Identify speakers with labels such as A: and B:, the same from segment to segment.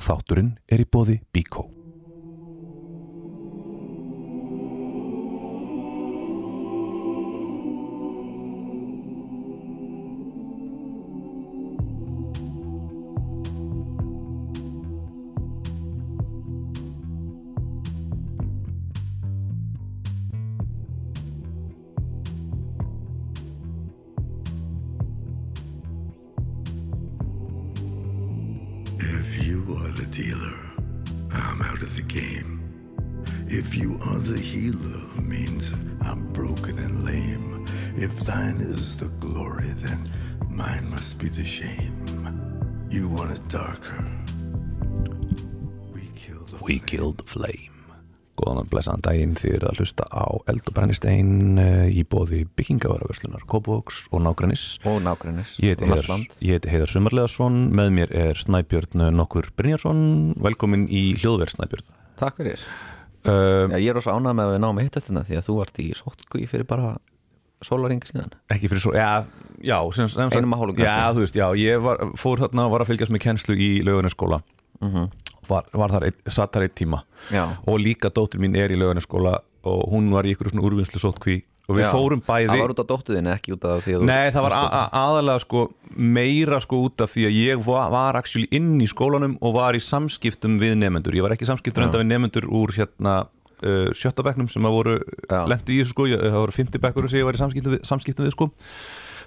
A: Þátturinn er í bóði Bíkó.
B: If you are the dealer, I'm out of the game. If you are the healer, means I'm broken and lame. If thine is the glory, then mine must be the shame. You want it darker. We kill the
A: We Killed Flame Góðan og blessaðan daginn þið eru að hlusta á Eld og Brennistein eh, í bóði byggingavaraföslunar Kópavogs og Nágrannis
C: og nágrinnis
A: Ég heiti Heiðar, ég heiti Heiðar Sumarleðarsson með mér er Snæbjörn nokkur Brynjarsson velkomin í hljóðverð Snæbjörn
C: Takk fyrir
A: uh,
C: Já, Ég er rosa ánað með að við náum hitt þetta því að þú vart í sótkví fyrir bara sólaringi síðan
A: ekki fyrir svo, já, já sem, sem sagt-
C: Einum og hálfum kannski.
A: já, þú veist, já, ég var, fór þarna og var að fylgjast með kennslu í laugunaskóla var, var þar, ein, satt þar eitt tíma
C: Mhm. Já.
A: og líka dóttir mín er í laugunaskóla og hún var í ykkur svona úrvinnslu sótkví og við
C: Já.
A: fórum bæði
C: Það var út af dóttuðin ekki út af því að þú
A: Nei, það var a- a- aðalega sko meira sko út af því að ég var, var actually inn í skólanum og var í samskiptum við nefendur. Ég var ekki í samskiptum enda við nefendur úr hérna uh, sjötta bekknum sem að voru
C: Já.
A: lendi í þessu sko, ég, það voru fymti bekkur sem ég var í samskiptum við, samskiptum við sko.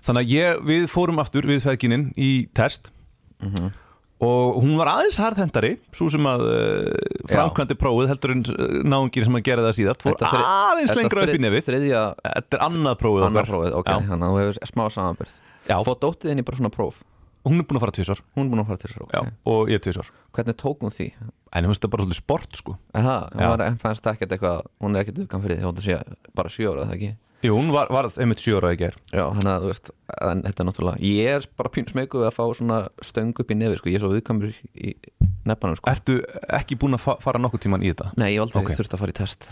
A: Þannig að ég, við fórum aftur við feðgininn í test
C: Mhm.
A: og hún var aðeins harðhendari, svo sem að uh,
C: Já.
A: framkvæmdi prófið heldur en uh, náungir sem að gera það síðan, fór
C: Þetta þri-
A: aðeins
C: þetta
A: lengra upp í
C: þri-
A: nefið.
C: Þriðja
A: Þetta er annað prófið okkar.
C: annar prófið, ok,
A: Já.
C: þannig að þú hefur smá samanbyrð
A: Já.
C: Fótt dóttuðin í bara svona próf
A: Hún er búin að fara tvisar
C: Hún er búin að fara til sér,
A: Já,
C: ok
A: og ég tvisar
C: Hvernig tók hún því?
A: En ég finnst það bara svolítið sport sko
C: Aha,
A: Já.
C: hún var, en fannst ekkert eitthvað, hún er ekkert viðkvæm fyrir því, hún er sé- bara sjö ára, er það ekki?
A: Jú, hún var, var einmitt sjö ára í ger
C: Já, þannig að þú veist, en þetta er náttúrulega Ég er bara pínu smegu við að fá svona stöng upp í nefi, sko, ég er svo viðkvæmur í nefnanum, sko
A: Ertu ekki búin að fa fara nokkuð tíman í þetta?
C: Nei, ég hef aldrei
A: Ok.
C: þurft að fara í test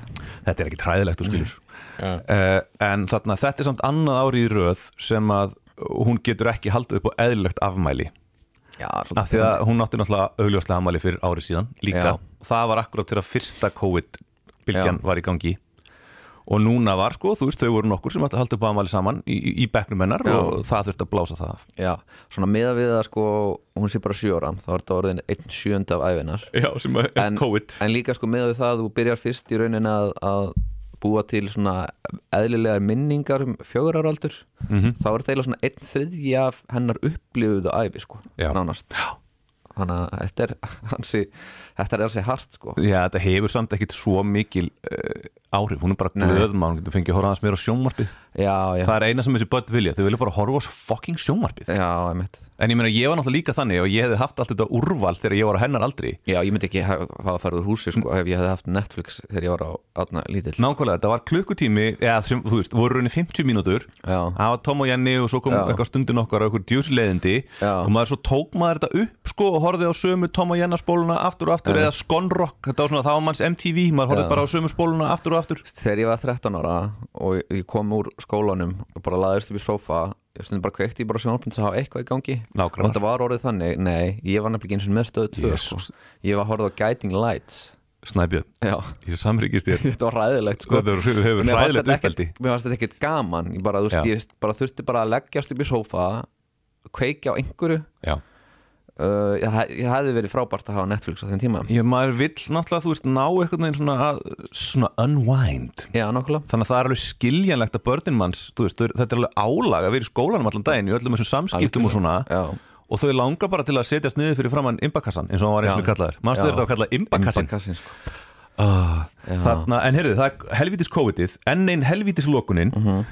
A: Þetta er ekki træðilegt, þú skilur uh, En þarna, þetta er samt annað ári í röð sem að hún getur ekki haldið upp á eðlilegt afmæli
C: Já,
A: af því að hún átti náttúrulega augljóslega afmæli fyrir ári síðan líka,
C: Já.
A: það var akkurat þegar fyrsta COVID-bylgjan
C: Já.
A: var í gangi og núna var sko, þú veist, þau voru nokkur sem átti að halda upp á afmæli saman í, í, í bekknum hennar
C: Já.
A: og það þurfti að blása það af
C: Já, svona meða við að sko hún sé bara sjö ára, þá er þetta orðin einn sjönd af æfinar
A: Já, sem er
C: en, en líka sko meða við það að þú byrjar fyrst í raunin að, að búa til svona eðlilegar minningar um fjögur ára aldur -hmm. þá er þetta eiginlega svona einn þriðji af hennar upplifuðu æfi sko,
A: Já.
C: nánast Já. Þannig að þetta er hansi, þetta er hansi hart sko
A: Já, þetta hefur samt ekkit svo mikil uh, áhrif, hún er bara
C: Nei.
A: glöðmann hún getur fengið að horfa aðeins meira á sjónvarpið
C: Já, já,
A: það er eina sem þessi börn vilja, þau vilja bara horfa á s- fucking sjónvarpið
C: já, einmitt
A: en ég meina, ég var náttúrulega líka þannig og ég hefði haft allt þetta úrval þegar ég var á hennar aldri
C: Já, ég myndi ekki hafa hafa farið úr húsi sko ef ég hefði haft Netflix þegar ég var á aðna lítill
A: Nákvæmlega, þetta var klukkutími eða sem, þú veist, voru raunin 50 mínútur
C: Já.
A: það var Tom og Jenny og svo kom
C: Já.
A: eitthvað stundin okkar og eitthvað djúsleðindi
C: Já.
A: og maður svo tók maður þetta upp sko og horfið á sömu Tom og Jenna spóluna aftur og aftur eða Skonrock, þetta var svona, það var manns MTV maður horfið bara á sömu spóluna aftur og aftur
C: þegar ég var 13 ára og ég- ég kom úr skólanum og bara laðist upp í sófa ég stundum bara kveikti í bara sjónarpinn að hafa eitthvað í gangi
A: Nágrannar.
C: og þetta var orðið þannig, nei, ég var nefnilega ekki eins og með stöðu tvö
A: Jesus.
C: sko. ég var horfið á Guiding Lights
A: Snæbjörn,
C: já,
A: ég samrýkist þér
C: þetta var ræðilegt sko
A: Þetta hefur- hefur
C: Mér fannst
A: hræðilegt
C: þetta ekkert-
A: uppeldi.
C: mér fannst þetta ekkert gaman ég bara, þú veist,
A: Já.
C: ég bara þurfti bara að leggjast upp í sófa kveikja á einhverju
A: Já.
C: uh, ég, hef- ég hefði verið frábært að hafa Netflix á þeim tíma
A: Ég, maður vill náttúrulega, þú veist, ná einhvern veginn svona, að, svona unwind
C: já, nákvæmlega
A: Þannig að það er alveg skiljanlegt að börnin manns, þú veist, þau- þetta er alveg álag að vera í skólanum allan daginn í öllum þessum samskiptum og svona
C: já.
A: og þau langar bara til að setjast niður fyrir framann imbakassan eins og hann var eins og
C: Já.
A: kallaður Manstu
C: Já.
A: þetta var kallað imbakassin
C: Kassin, sko.
A: Ah,
C: Já.
A: Þarna, en heyrðu, það er helvítis COVID-ið enn einn helvítis lokunin mm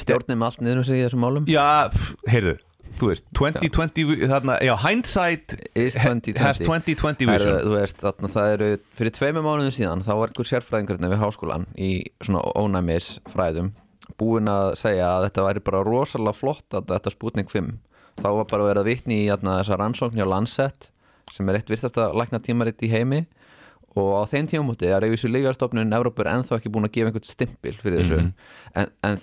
C: stjórnum allt niður um sig í þessum málum
A: Já, pff, heyrðu, þú veist 2020, þarna, já, hindsight
C: is 2020
A: has 2020
C: Það
A: vision
C: eru- þú veist, þarna, það eru fyrir tveimur mánuðum síðan þá var einhver sérfræðingurinn við háskólan í svona ónæmis fræðum búin að segja að þetta væri bara rosalega flott að þetta spútning 5 þá var bara verið að vitni í þarna, þessa rannsókn hjá Lancet sem er eitt virtasta lækna tímaritt í heimi og á þeim tímamúti er yfir þessu lyfjastofnun Evrópa er ennþá ekki búin að gefa einhvern stimpil fyrir þessu
A: Mhm.
C: en, en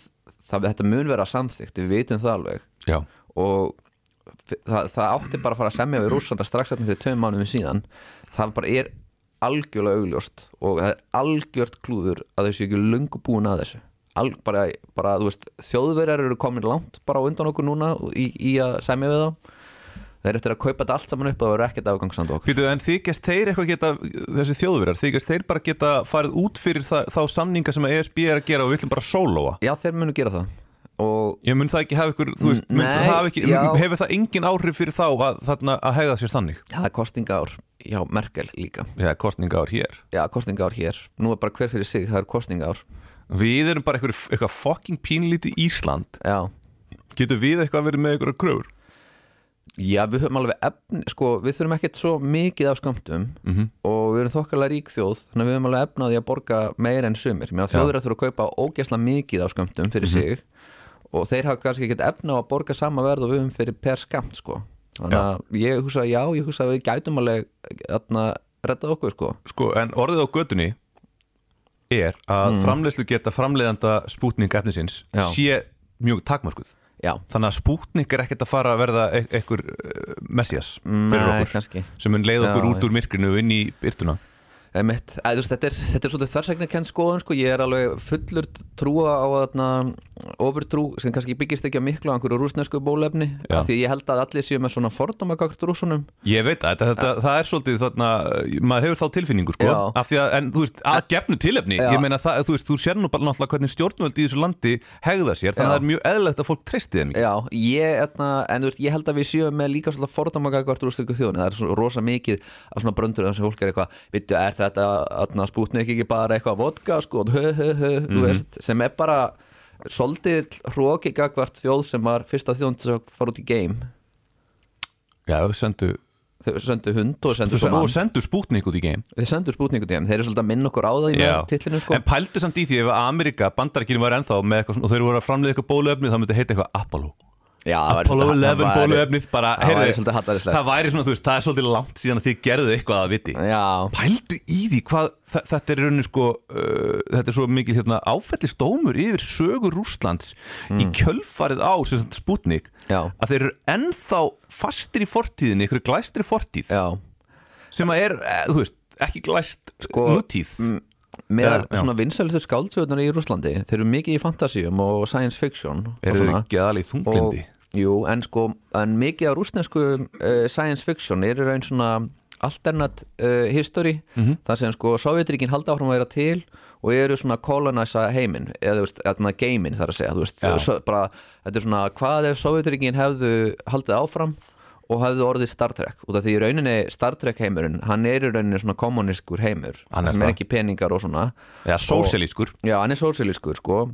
C: það, þetta mun vera samþygt, við vitum það alveg
A: Já,
C: og það, það átti bara að fara að semja við rússana strax hérna fyrir tveim mánuðum síðan það bara er algjörlega augljóst og það er algjört klúður að þau séu ekki lungu búin að þessu Al, bara, bara, þú veist, þjóðverjar eru komin langt bara á undan okkur núna í, í að semja við þá þeir eru eftir að kaupa þetta allt saman upp og það verður ekkert afgangsand okkur
A: Býtu, en þykjast þeir eitthvað geta, þessi þjóðverjar, þykjast þeir bara geta farið út fyrir það, þá samninga sem að ESB er að gera og við ætlum bara að sólóa?
C: já, þeir munu gera það og
A: Ég mun það ekki hafa ykkur, þú veist, mun
C: Nei,
A: það hafa ekki,
C: já.
A: hefur það engin áhrif fyrir þá að, þarna, að hegða sér þannig?
C: Já, það er kostingaár hjá Merkel líka
A: Já, kostningaður hér.
C: Já, kostingaár hér Nú er bara hver fyrir sig, það er kostingaár
A: Við erum bara eitthvað, eitthvað fucking pínlíti Ísland.
C: Já,
A: Getur við eitthvað verið með ykkur kröfur?
C: Já við höfum alveg efni Sko, við þurfum ekkert svo mikið af skamtum
A: Mhm.
C: -hmm. Og við erum þokkalega rík þjóð Þannig að við höfum alveg efnaði að borga meira en sumir Mér að þjóður að þurfa að kaupa ógæsla mikið af skamtum
A: Mhm.
C: fyrir sig Og þeir hafa kannski ekkert efna á að borga sama verð og við höfum fyrir per skamt sko. Þannig
A: Já.
C: að ég hugsa að já, ég hugsa að við gætum alveg eh, Þarna, rettað okkur sko
A: Sko, en orðið á gödunni er að mm. framleiðslu geta framleiðanda spútning efnisins
C: Já.
A: sé mjög takmörkuð.
C: Já,
A: Þannig að spútning er ekkert að fara að verða e- einhver uh, messias fyrir
C: Nei,
A: okkur
C: kannski.
A: sem mun leiða okkur
C: Já,
A: út úr myrkrinu og inn í byrtuna
C: Einmitt, Æ, þú veist, þetta, er, þetta er svolítið þversagnarkenn skoðun sko. ég er alveg fullur trúa á þarna, overtrú sem kannski byggist ekki að miklu á einhverju rúsnesku bólefni
A: Já.
C: af því að ég held að allir séu með svona fordóma gagvart rúsunum
A: Ég veit að þetta, þetta, það er svolítið þarna, maður hefur þá tilfinningu sko
C: Já.
A: af því að, en þú veist, að gefnu tilefni
C: Já.
A: ég meina það, þú veist, þú sér nú bara náttúrulega hvernig stjórnvöld í þessu landi hegða sér þannig að
C: Já.
A: það er mjög eðlilegt að fólk treysti þeim ekki
C: Já, ég, etna, en þú veist, ég held að við séum með líka svona fordóma gagvart rúsnesku þjóðunni það er svona rosa mikið af svona bröndur sem fólk er eitthvað, veitu, er þetta atna, spútnik ekki bara eitthvað vodka sko, hö, hö, hö, þú veist, sem er bara svolítið hróki gagvart þjóð sem var fyrsta þjóðun til að fara út í game
A: Já, þau sendu,
C: þau sendu hund og sendu
A: þú
C: svo
A: sendu,
C: mann
A: og sendu spútnik út í geim
C: þeir sendur spútningu til þeim, þeir eru svolítið að minna okkur á það í með
A: Já.
C: tillinu sko
A: En pældi samt í því ef að Amerika, bandarækinu var ennþá með eitthvað svona og þeir voru að framleiða eitthvað bóluefni þá myndi heita eitthvað Apollo
C: Já, það væri
A: Apollo
C: svolítið-
A: 11
C: það væri-
A: bóluefnið bara,
C: það væri
A: heyrðu,
C: svolítið hallærislegt.
A: það væri svona, þú veist, það er svolítið langt síðan að þið gerðu eitthvað að viti
C: Já,
A: Pældu í því hvað, þa- þetta er í rauninni sko, uh, þetta er svo mikil hérna, áfællistómur yfir sögur Rúslands í kjölfarið á sem sagt Sputnik
C: Mm. Já.
A: að þeir eru ennþá fastir í fortíðinni, ykkur glæstri fortíð
C: já
A: sem að er, eh, þú veist, ekki glæst sko,
C: Sko,
A: nútíð
C: Með
A: Já, já.
C: svona vinsælistu skáldsöðunar í Rúslandi Þeir eru mikið í fantasíum og science fiction og
A: eru
C: svona.
A: þeir ekki aðalega í
C: og,
A: þunglindi
C: Jú, en sko en mikið á rúsnesku uh, science fiction er í raun svona alternat uh, history
A: Mhm.
C: þar sem sko Sovjetríkin halda áfram að vera til og eru svona kolonæsa heiminn eða þú veist, þarna geimin þar að segja þú veist, svo, bara, þetta er svona hvað ef Sovjetríkin hefðu haldið áfram og hefðu orðið Star Trek út af því í rauninni Star Trek heimurinn hann er í rauninni svona kommuniskur heimur
A: Hann er
C: sem er
A: það.
C: ekki peningar og svona
A: eða sósialískur
C: Já, hann er sósíalískur sko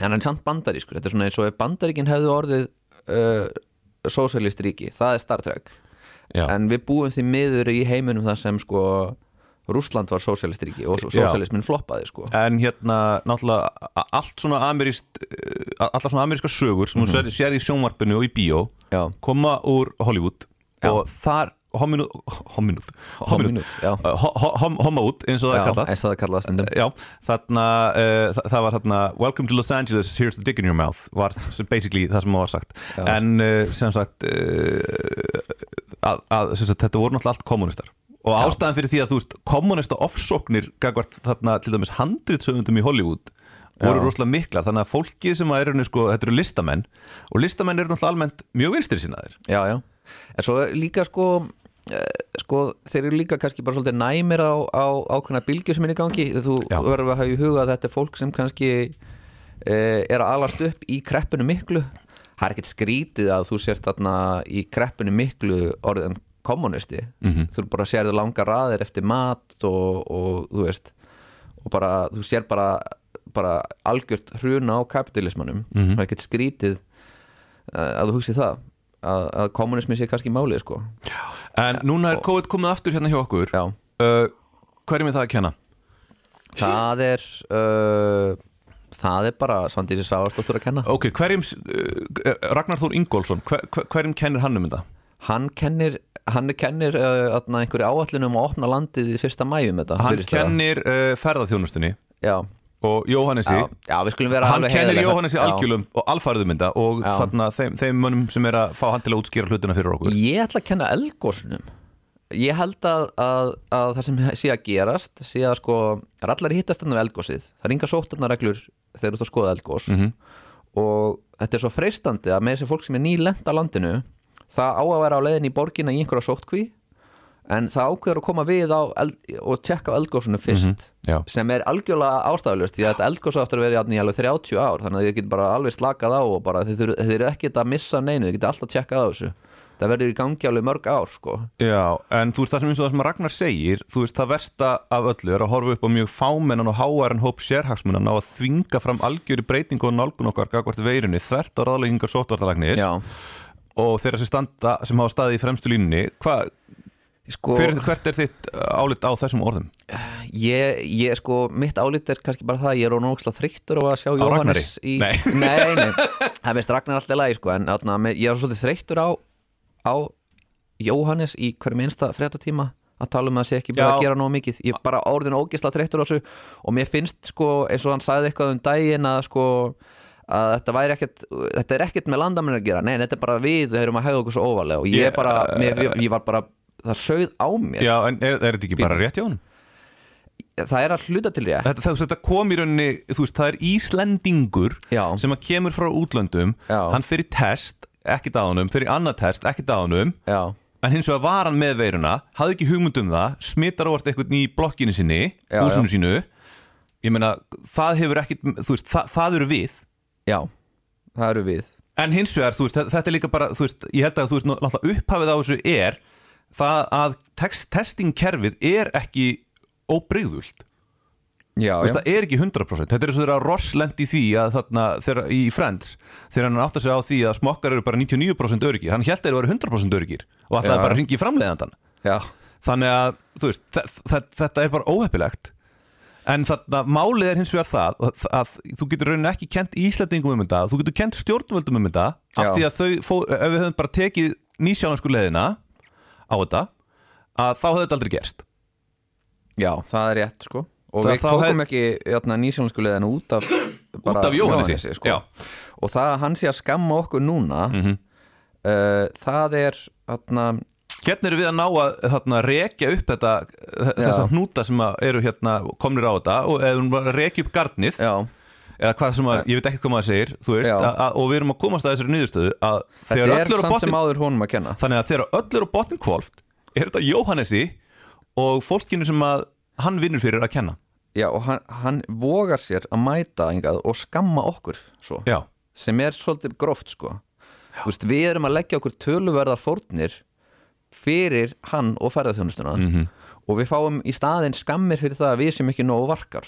C: en hann er samt bandarískur, þetta er svona eins og ef bandaríkin hefðu orðið uh, sósíalist ríki, það er Star Trek
A: Já.
C: en við búum því miður í heiminum þar sem sko Rússland var sósíalist ríki og
A: Já.
C: sósíalismin floppaði sko
A: En hérna, náttúrulega a- allt svona amerist, allar svona ameríska sögur sem þú mm sér í sjónvarpinu og í bíó
C: Mhm. Já.
A: koma úr Hollywood og þar hominút hominút,
C: Hominút, já.
A: eh, homaút eins og það
C: Já,
A: er kallað
C: eins og það kallað stundum
A: Já, þarna, uh, þa það var þarna Welcome to Los Angeles, here's the dick in your mouth var sem basically það sem var sagt en uh, sem sagt uh, að, að sem sagt, þetta voru náttúrulega allt kommunistar og ástæðan fyrir því að þú veist kommunista ofsóknir gagvart þarna til dæmis handritsöfundum í Hollywood voru rosalega miklar, þannig að fólki sem að er rauninni, sko, þetta eru listamenn og listamenn eru náttúrulega almennt mjög vinstri sinnaðir
C: Já, já En svo líka sko eh, sko, þeir eru líka kannski bara svolítið næmir á, á ákveðna bylgju sem er í gangi þú
A: Já.
C: verður að hafa í huga að þetta er fólk sem kannski e, er að alast upp í kreppinu miklu það er ekkert skrítið að þú sért þarna í kreppinu miklu orðin kommunisti, -hmm. þú bara sérðu langa raðir eftir mat og, og þú veist og bara, þú sér bara, bara algjört hruna á kapitalismanum það er ekkert skrítið eh, að þú hugsi það að, að kommunismi sé kannski málið sko
A: en núna er COVID komið aftur hérna hjá okkur
C: já,
A: uh, hverjum er það að kenna?
C: það er uh, það er bara Svandísi Sáastóttur að kenna
A: Ok, hverjum, uh, Ragnar Þór Ingólfsson, hver, hver- hverjum kennir hann um þetta?
C: hann kennir, hann kennir uh, atna, einhverju áallinu um að opna landið í fyrsta mæjum þetta
A: Hann
C: virðist vera.
A: kennir uh, ferðaþjónustunni
C: já,
A: og Jóhannesi
C: já, já, við skulum vera
A: Hann
C: alveg
A: kennir
C: heiðarleg.
A: Jóhannesi
C: Já.
A: algjölum og alfarðum þetta og
C: Já.
A: þarna þeim, þeim mönnum sem er að fá hann til að útskýra hlutina fyrir okkur
C: Ég ætla að kenna eldgósunum Ég held að, að, að það sem sé að gerast sé að sko rallari hittast þannig við eldgósið það er inga sóttarnareglur þegar þú ert að skoða eldgós og þetta er svo freistandi að með þessi fólk sem er nýlend á landinu það á að vera á leiðin í borginna í einhverja sóttkví en það ákveður að koma við á eld, og tjekka á eldgósinu fyrst
A: Já,
C: sem er algjörlega ástæðulegst því að þetta eldgósa aftur að vera í alveg 30 ár þannig að þið getur bara alveg slakað á og bara þið, þurfið- þið eru ekkert að missa af neinu, þið getur alltaf að tjekkað á þessu það verður í gangi alveg mörg ár sko.
A: já, en þú veist það sem eins og það sem Ragnar segir þú veist það versta af öllu er að horfa upp á mjög fámennan og háæran hóp sérhagsmunan á að þvinga fram algjöri breytingu og nálgun okkar gagvart veirinu þvert á ráðleggingar sótvartalagnis
C: Já,
A: og þeirra sem, standa, sem hafa staðið í fremstu línunni hva,
C: sko
A: hver, hvert er þitt uh, álit á þessum orðum?
C: ég, ég sko, mitt álít er kannski bara það að ég er ónúkslega þreyttur á að sjá
A: Ragnari?
C: Jóhannes í...
A: Nei.
C: nei, nei, það veist Ragnar alltaf lagi sko, en atna, ég er svolítið þreyttur á, á Jóhannes í hverjum einsta fréttatíma að tala um að það sé ekki búið
A: Já.
C: að gera nóg mikið ég er bara orðin ógislega þreyttur á þessu og mér finnst sko, eins og hann sagði eitthvað um daginn að sko að þetta væri ekkert, þetta er ekkert með landamenn að gera nei, þetta er bara við, þau erum að hegða okkur svo óvalega og ég
A: Ég- eh,
C: er bara, mér, ég var bara það sögð á mér,
A: Já, en er, er þetta ekki bara rétt hjá honum?
C: það er að hluta til rétt
A: þetta, það, þetta kom í rauninni, þú veist, það er Íslendingur
C: Já.
A: sem að kemur frá útlöndum
C: Já.
A: hann fyrir test, ekkert á honum fyrir annað test, ekkert á honum
C: já,
A: en hins vegar var hann með veiruna, hafði ekki hugmynd um það smittar óvart eitthvað í blokkinu sinni
C: Já,
A: húsinu sínu ég meina, það hefur ekkert, þú veist, það, það eru við
C: Já, það eru við
A: en hins vegar, þú veist, þe- þetta er líka bara þú veist, ég held að þú veist, náttúrulega upphafið á þessu er það að text, testingkerfið er ekki óbreyðult
C: Já,
A: Veist, það er ekki 100% Þetta er eins og þegar Ross lendi í því að þarna þeirra, í Friends þegar hann átti sig á því að smokkar eru bara 99% örgir hann held að þeir eru 100% örgir og að það
C: Já.
A: er bara ringi framleiðandan
C: já,
A: þannig að þú veist, þe- þe- þetta er bara óheppilegt en þarna málið er hins vegar það að, að þú getur raunin ekki kent Íslandingum um þetta þú getur kent stjórnvöldum um þetta af
C: Já.
A: því að þau, fó, ef við höfum bara tekið nýsjálansku leðina á þetta að þá hefði þetta aldrei gerst
C: já, það er rétt sko Og
A: Það-
C: við
A: þá
C: tókum
A: hef-
C: ekki hérna, nýsjónsku leðinu út af bara
A: af Jóhannesi,
C: sko.
A: já. Mhm.
C: Og það að hann sé að skamma okkur núna uh, Það er atna,
A: Hérna eru við að ná að þarna, rekja upp þetta, þessa hnúta sem að eru hérna komnir á þetta og eða við erum að rekja upp garnið
C: Já,
A: eða hvað sem að, ég veit ekki hvað maður segir þú veist,
C: Já.
A: að, að, og við erum að komast að þessari niðurstöðu að þegar
C: þetta
A: öll
C: er
A: eru á
C: samt sem
A: botnin
C: áður honum að kenna
A: þannig að þegar öll eru á botnin kvolft er þetta Jóhannesi og fólkinu sem að hann vinnur fyrir að kenna
C: Já, og hann, hann vogar sér að mæta engað og skamma okkur svo
A: Já,
C: sem er svolítið gróft sko Þú veist, við erum að leggja okkur töluverðar fórnir fyrir hann og ferðarþjónustuna
A: Mhm.
C: -hmm. og við fáum í staðinn skammir fyrir það að við sem ekki nógu varkar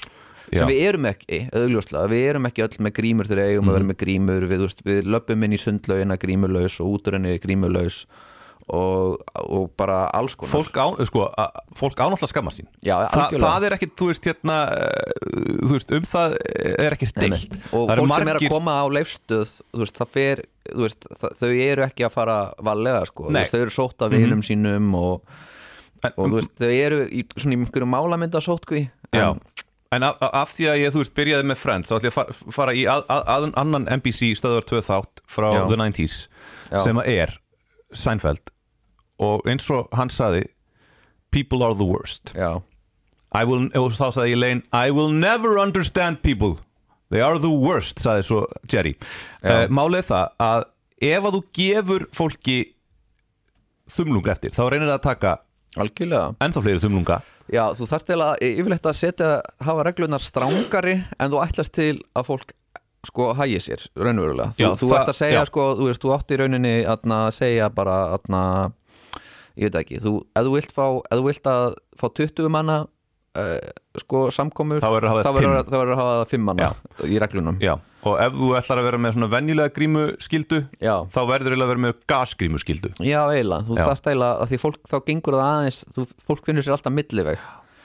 C: sem
A: Já.
C: við erum ekki, auðljóslega við erum ekki öll með grímur þegar eigum
A: Mhm.
C: að vera með grímur við, þú veist, við löpum inn í sundlaugina grímulaus og út úr henni grímulaus og, og bara alls konar
A: fólk á, sko, að, fólk á náttúrulega skammar sín
C: Já,
A: Þa,
C: algjörlega.
A: það er ekkit, þú veist, hérna eh, þú veist, um það er ekkert
C: Nei, nei.
A: deilt
C: og
A: Það eru
C: fólk sem er að
A: margir-
C: koma á leifstöð þú veist, það fer, þú veist, það, þau eru ekki að fara valega sko,
A: Nei.
C: Þú
A: Mhm.
C: veist, þau eru sótt af vinum sínum og, og þú veist, þau eru í, svona í einhverju sko, málamynda sótkví
A: Já, en af, af- af því að ég, þú veist, byrjaði með Friends þá ætlum ég að fara, fara í að, að, að, annan NBC stöðar 2 þátt frá
C: Já.
A: The 90s
C: Já.
A: sem að er Seinfeld og eins og hann saði People are the worst
C: já,
A: I will, og þá saði Elaine I will never understand people They are the worst, saði svo Jerry uh, Málið er það að ef að þú gefur fólki þumlung eftir, þá reynir það að taka
C: algjörlega
A: ennþá fleiri þumlunga
C: já, þú þarft til að yfirleitt að setja hafa reglunar strángari en þú ætlast til að fólk sko hægi sér, raunverulega þú,
A: Já,
C: þú
A: það-
C: ert að segja
A: já.
C: sko, þú veist, þú átt í rauninni atna, að segja bara atna, ég veit ekki, þú, ef þú vilt fá ef þú vilt að fá 20 manna uh, sko samkomur
A: Þá verður að hafa
C: þá
A: fimm.
C: verður að- þá verður að hafa það 5 manna í reglunum
A: Já, og ef þú ætlar að vera með svona venjulega grímu skildu
C: Já.
A: þá verður eiginlega að vera með gasgrímu skildu
C: Já, eiginlega, þú
A: Já.
C: þarft eiginlega að því fólk þá gengur það aðeins, þú, fólk finnur sér alltaf milliveg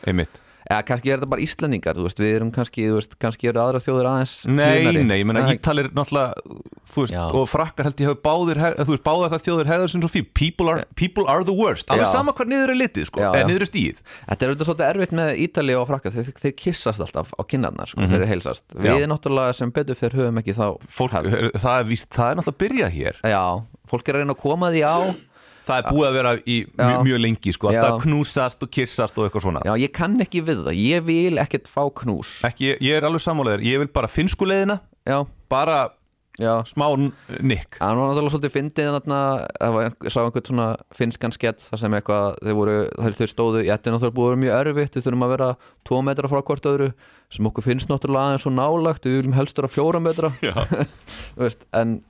A: einmitt
C: eða kannski er þetta bara Íslendingar þú veist, við erum kannski, þú veist, kannski eru aðra þjóður aðeins
A: Nei,
C: hlýðnari.
A: nei, ég menna
C: Það er ekki-
A: Ítalir náttúrulega, þú veist,
C: Já.
A: og frakkar held ég hafa báðir, heg- þú veist, báðar það þjóðir hegðar sem svo fín, people are, people are the worst alveg
C: Já.
A: sama hvað niður er litið, sko,
C: Já,
A: eða
C: já.
A: niður er stíð
C: Þetta er auðvitað svolítið erfitt með Ítali og frakka þeir, þeir kissast alltaf á kinnarnar sko, þeir heilsast,
A: Mhm. Já.
C: við náttúrulega sem betur fyrir höfum ekki þá
A: Fólk, það er, víst, það er náttúrulega að byrja hér
C: Já, fólk er að reyna að koma því á
A: það er búið að vera í mjög,
C: Já.
A: mjög lengi, sko, alltaf
C: Já.
A: að knúsast og kissast og eitthvað svona
C: Já, ég kann ekki við það, ég vil ekkert fá knús
A: Ekki, ég er alveg sammálaður, ég vil bara finnsku leiðina
C: Já,
A: bara
C: já
A: smá n- nikk
C: Hann var náttúrulega svolítið fyndið þarna, það var, ég sá einhvern svona finnskan skett þar sem eitthvað, þeir voru, þeir, þeir stóðu, ég ætti náttúrulega búið að vera mjög erfitt, við þurfum að vera tvo metra frá hvort öðru, sem okkur finnst náttúrulega aðeins svo nálagt, við viljum helst vera fjóra metra, þú veist, en,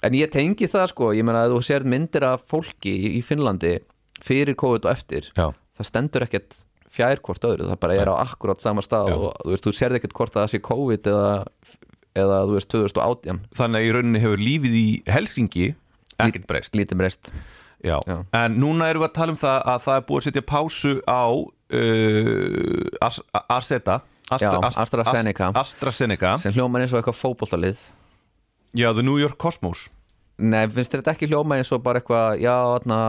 C: en ég tengi það sko, ég meina að þú sér myndir af fólki í, í Finnlandi fyrir COVID og eftir,
A: Já.
C: það stendur ekkert fjær hvort öðru, það bara er á akkurát sama stað og þú veist, þú sérð ekkert hvort að það sé COVID eða, eða þú veist 2018
A: þannig að í rauninni hefur lífið í Helsingi ekkert breyst
C: lítið breyst
A: Já.
C: Já.
A: En núna erum við að tala um það að það er búið að setja pásu á uh, As- Aseta Astra,
C: Já,
A: Ast-
C: AstraZeneca.
A: Ast- AstraZeneca
C: sem hljómar eins og eitthvað fótbollalið
A: Já, The New York Cosmos
C: Nei, finnst þér þetta ekki hljóma eins og bara eitthvað Já, þarna,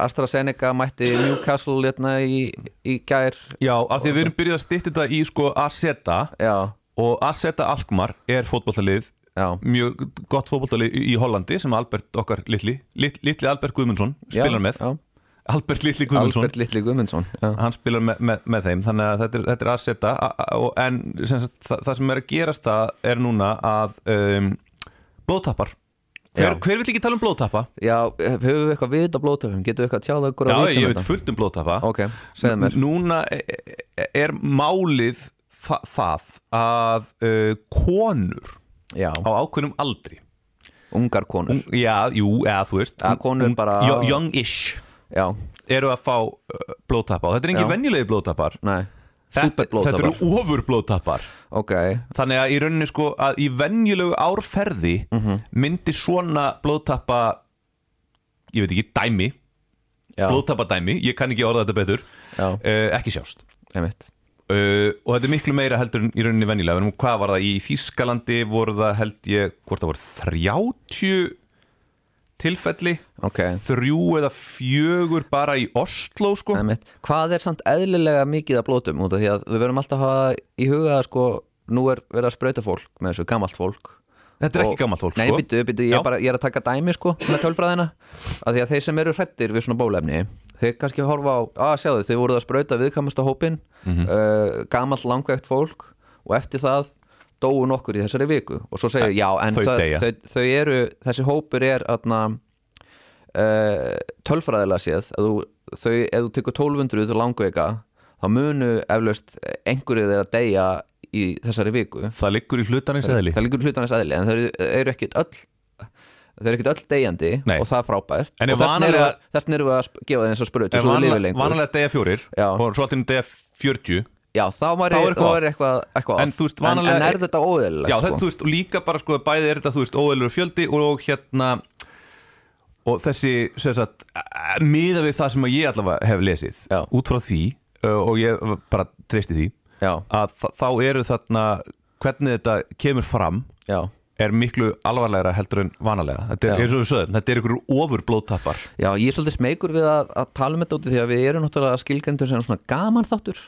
C: AstraZeneca mætti Newcastle hérna í, í gær
A: Já, af því að við erum byrjuð að stytta þetta í sko Aseta
C: Já,
A: og Aseta Alkmaar er fótbollalið
C: já,
A: mjög gott fótbollalið í í Hollandi sem Albert okkar litli lit, litli Albert Guðmundsson
C: Já,
A: spilar með
C: já.
A: Albert litli Guðmundsson
C: Albert Litli Guðmundsson já.
A: hann spilar með, með, með þeim þannig að þetta er, þetta er að setja a- a- og- en sem sagt, það, það sem er að gerast það er núna að um, blóðtappar hver,
C: Já.
A: hver vill ekki tala um blóðtappa?
C: já, höfum við eitthvað vit á blóðtöfum? Getum við eitthvað tjáð okkur
A: Já,
C: að
A: ég veit fullt um blóðtappa
C: Ok, segðu mér
A: Núna e- e- er málið þa það að uh, konur
C: Já,
A: á ákveðnum aldri
C: ungar konur
A: Ung- Já, jú, eða þú veist
C: Ja,
A: ung-
C: konur
A: ung-
C: bara-
A: yo- Young-ish
C: Já,
A: eru að fá uh, blóðtappa og þetta er engin
C: Já.
A: venjulegi blóðtappar
C: nei,
A: Þetta, þetta
C: Superblóðtapar.
A: eru ofurblóðtappar
C: ok
A: Þannig að í raunininu sko að í venjulegu árferði
C: Mhm.
A: myndi svona blóðtappa ég veit ekki, dæmi
C: Já,
A: blóðtappa dæmi, ég kann ekki orða þetta betur
C: Já.
A: uh, ekki sjást
C: einmitt
A: uh, og þetta er miklu meira heldur en í rauninni venjulega, en hvað var það í Þýskalandi voru það held ég, hvort það voru 30 tilfelli
C: Ok,
A: þrjú eða fjögur bara í Oslo sko
C: einmitt Hvað er samt eðlilega mikið að blóðtöfum? Út af því að við verðum alltaf að hafa í huga að sko Nú er verið að sprauta fólk með þessu gamalt fólk
A: Þetta er
C: Og-
A: ekki gammalt fólk
C: Nei,
A: sko
C: býttu, býttu, ég,
A: Já.
C: er bara, ég er að taka dæmi sko með tölfræðina að því að þeir sem eru hrættir við svona bólefni þeir kannski horfa á, að sjáðu þeir voruð að sprauta viðkamasta hópin mm
A: Mhm.
C: gamalt langvegt fólk og eftir það dóu nokkur í þessari viku og svo segja, já, en
A: þau
C: þau,
A: deyja.
C: þau, þau, eru þessi hópur er atna, uh, tölfræðilega séð að þú, þau, ef þú tekur 1200 langveika, þá munu eflaust einhverju þeirra deyja í þessari viku
A: Það liggur í hlutarins eðli
C: það líkur hlutarnas eðli en þau eru, eru ekkit öll þau eru ekkit öll degjandi
A: Nei.
C: og það er frábært
A: En er
C: og þess
A: vanalega-
C: vanalega... þess erum við að sp- gefa þeim þess að
A: En
C: sprötu svo þau
A: vanalega-
C: lifið lengur
A: Vanalega degja fjórir
C: Já.
A: og svo alltaf degja 40
C: já, þá,
A: Þá
C: var,
A: er
C: þá er
A: eitthvað off.
C: eitthvað, eitthvað
A: En
C: off.
A: þú veist, vanalega-
C: en, en er þetta sko? óðurlega
A: Já, þetta, þú veist, og líka bara sko bæði er þetta, þú veist, óeilur fjöldi og hérna og þessi, sem sagt eh, miðað við það sem að ég allavega hef lesið
C: Já.
A: út frá því ö, og ég bara treysti því
C: já,
A: að þa- þá eru þarna hvernig þetta kemur fram
C: já,
A: er miklu alvarlegra heldur en vanalega þetta er
C: Já.
A: eins og við sögum, þetta er ykkur ofur blóðtappar
C: já, ég er svolítið smegur við að, að tala um þetta úti því að við erum náttúrulega skilgrendur sem svona gaman þáttur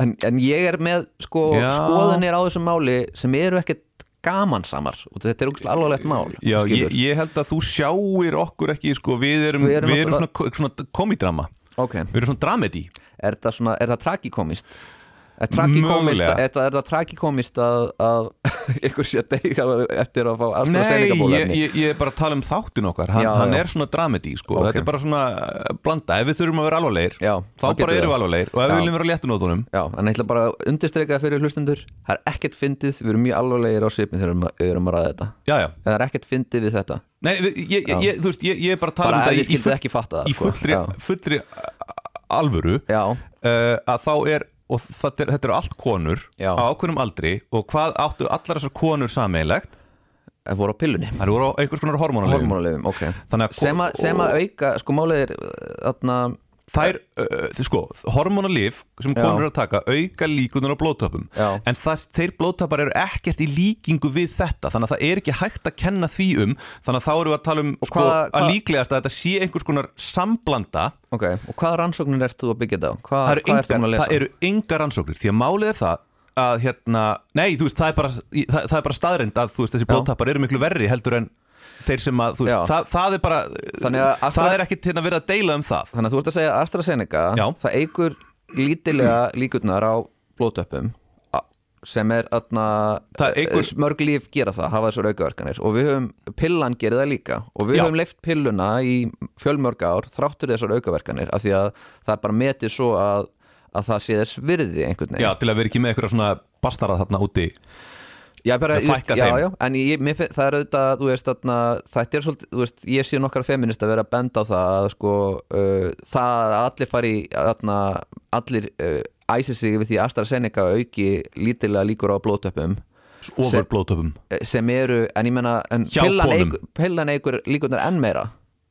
C: en, en ég er með sko,
A: Já.
C: skoðanir á þessu máli sem eru ekkit gamansamar og þetta er ógustlega alvarlegt mál
A: Já, ég,
C: skilur.
A: ég held að þú sjáir okkur ekki sko, við erum,
C: Við
A: við
C: erum
A: erum,
C: náttúrulega-
A: svona, ko- svona komidrama
C: ok,
A: við erum svona dramedi
C: er það svona, er það tragikomist? Er tragikomist,
A: Mögulega.
C: er, það- er það tragikomist að, að ykkur sé að deyja eftir að fá
A: Nei,
C: AstraZeneca
A: ég,
C: bólefni?
A: ég, ég er bara að tala um þáttin okkar Hann,
C: Já,
A: hann
C: já.
A: er svona dramedi, sko
C: Ok.
A: Þetta er bara svona uh, blanda Ef við þurfum að vera alvarlegir,
C: Já,
A: þá
C: þá getum
A: bara erum
C: við
A: við
C: það.
A: alvarlegir Og ef
C: Já.
A: við viljum vera á léttunótunum
C: Já, en ég ætla bara að undirstrika það fyrir hlustendur Það er ekkert fyndið, við erum mjög alvarlegir á svipin þegar við erum að- við erum að ræða þetta
A: Já, já,
C: En Það er ekkert fyndið við þetta
A: nei, við- ég, ég, ég, þú veist, ég, ég er bara að tala um það í-
C: Bara ef ég
A: í
C: skildi ekki fatta það
A: Í
C: sko.
A: fullri,
C: Já.
A: fullri uh, alvöru uh,
C: Já,
A: Að þá er, og þetta er, þetta er allt konur
C: Já.
A: Á ákveðnum aldri Og hvað áttu allar þessar konur sameiginlegt
C: það voru á pillunni
A: Það voru á einhvers konar hormónalegum
C: Hormónulegum, ok
A: Þannig að-
C: sem, að, sem að auka, sko málið er þarna,
A: þær, uh, þið- sko, hormonalif sem
C: Já.
A: konur eru að taka auka líkunar á blóttöpum
C: Já.
A: en það, þeir blóttöpar eru ekkert í líkingu við þetta þannig að það er ekki hægt að kenna því um þannig að þá erum við að tala um sko,
C: hvað-
A: að
C: hvað-
A: líklegast að þetta sé einhvers konar samblanda
C: Ok, og hvaða rannsóknir ert þú að byggja þetta á? Hvað,
A: það eru,
C: hvað ert þú
A: engar,
C: búin að lesa?
A: það eru engar rannsóknir því að málið er það að hérna, nei, þú veist, það er bara, það, það er bara staðrind að þú veist, þessi blóðtappar eru miklu verri heldur en þeir sem að, þú veist,
C: Já.
A: það, það er bara
C: Þannig að Astra-
A: það er ekkit hérna verið að deila um það
C: Þannig að þú ert að segja að AstraZeneca
A: Já.
C: það eigur lítilega líkurnar á blótöppum sem er atna,
A: Það eykur-
C: mörg líf gera það, hafa þessar aukaverkanir og við höfum, pillan gerir það líka og við
A: Já.
C: höfum leift pilluna í fjölmörg ár þráttur þessar aukaverkanir af því að það er bara metið svo að, að það sé þess virði einhvern veginn
A: Já, til að vera ekki með einhverja svona bastarað þarna úti
C: Já, bara,
A: Að
C: þú veist,
A: fækka
C: já,
A: þeim.
C: já, en ég, mér, finn- það er auðvitað, þú veist, þarna, þetta er svolítið, þú veist, ég sé nokkar feminist að vera að benda á það að sko, uh, það að allir fari, þarna, allir uh, æsir sig við því að AstraZeneca auki lítilega líkur á blótöpum
A: ofur blóðtöpum
C: sem eru, en ég menna, en
A: Hjá
C: pillan
A: konum.
C: eykur, pillan eykur líkurnar enn meira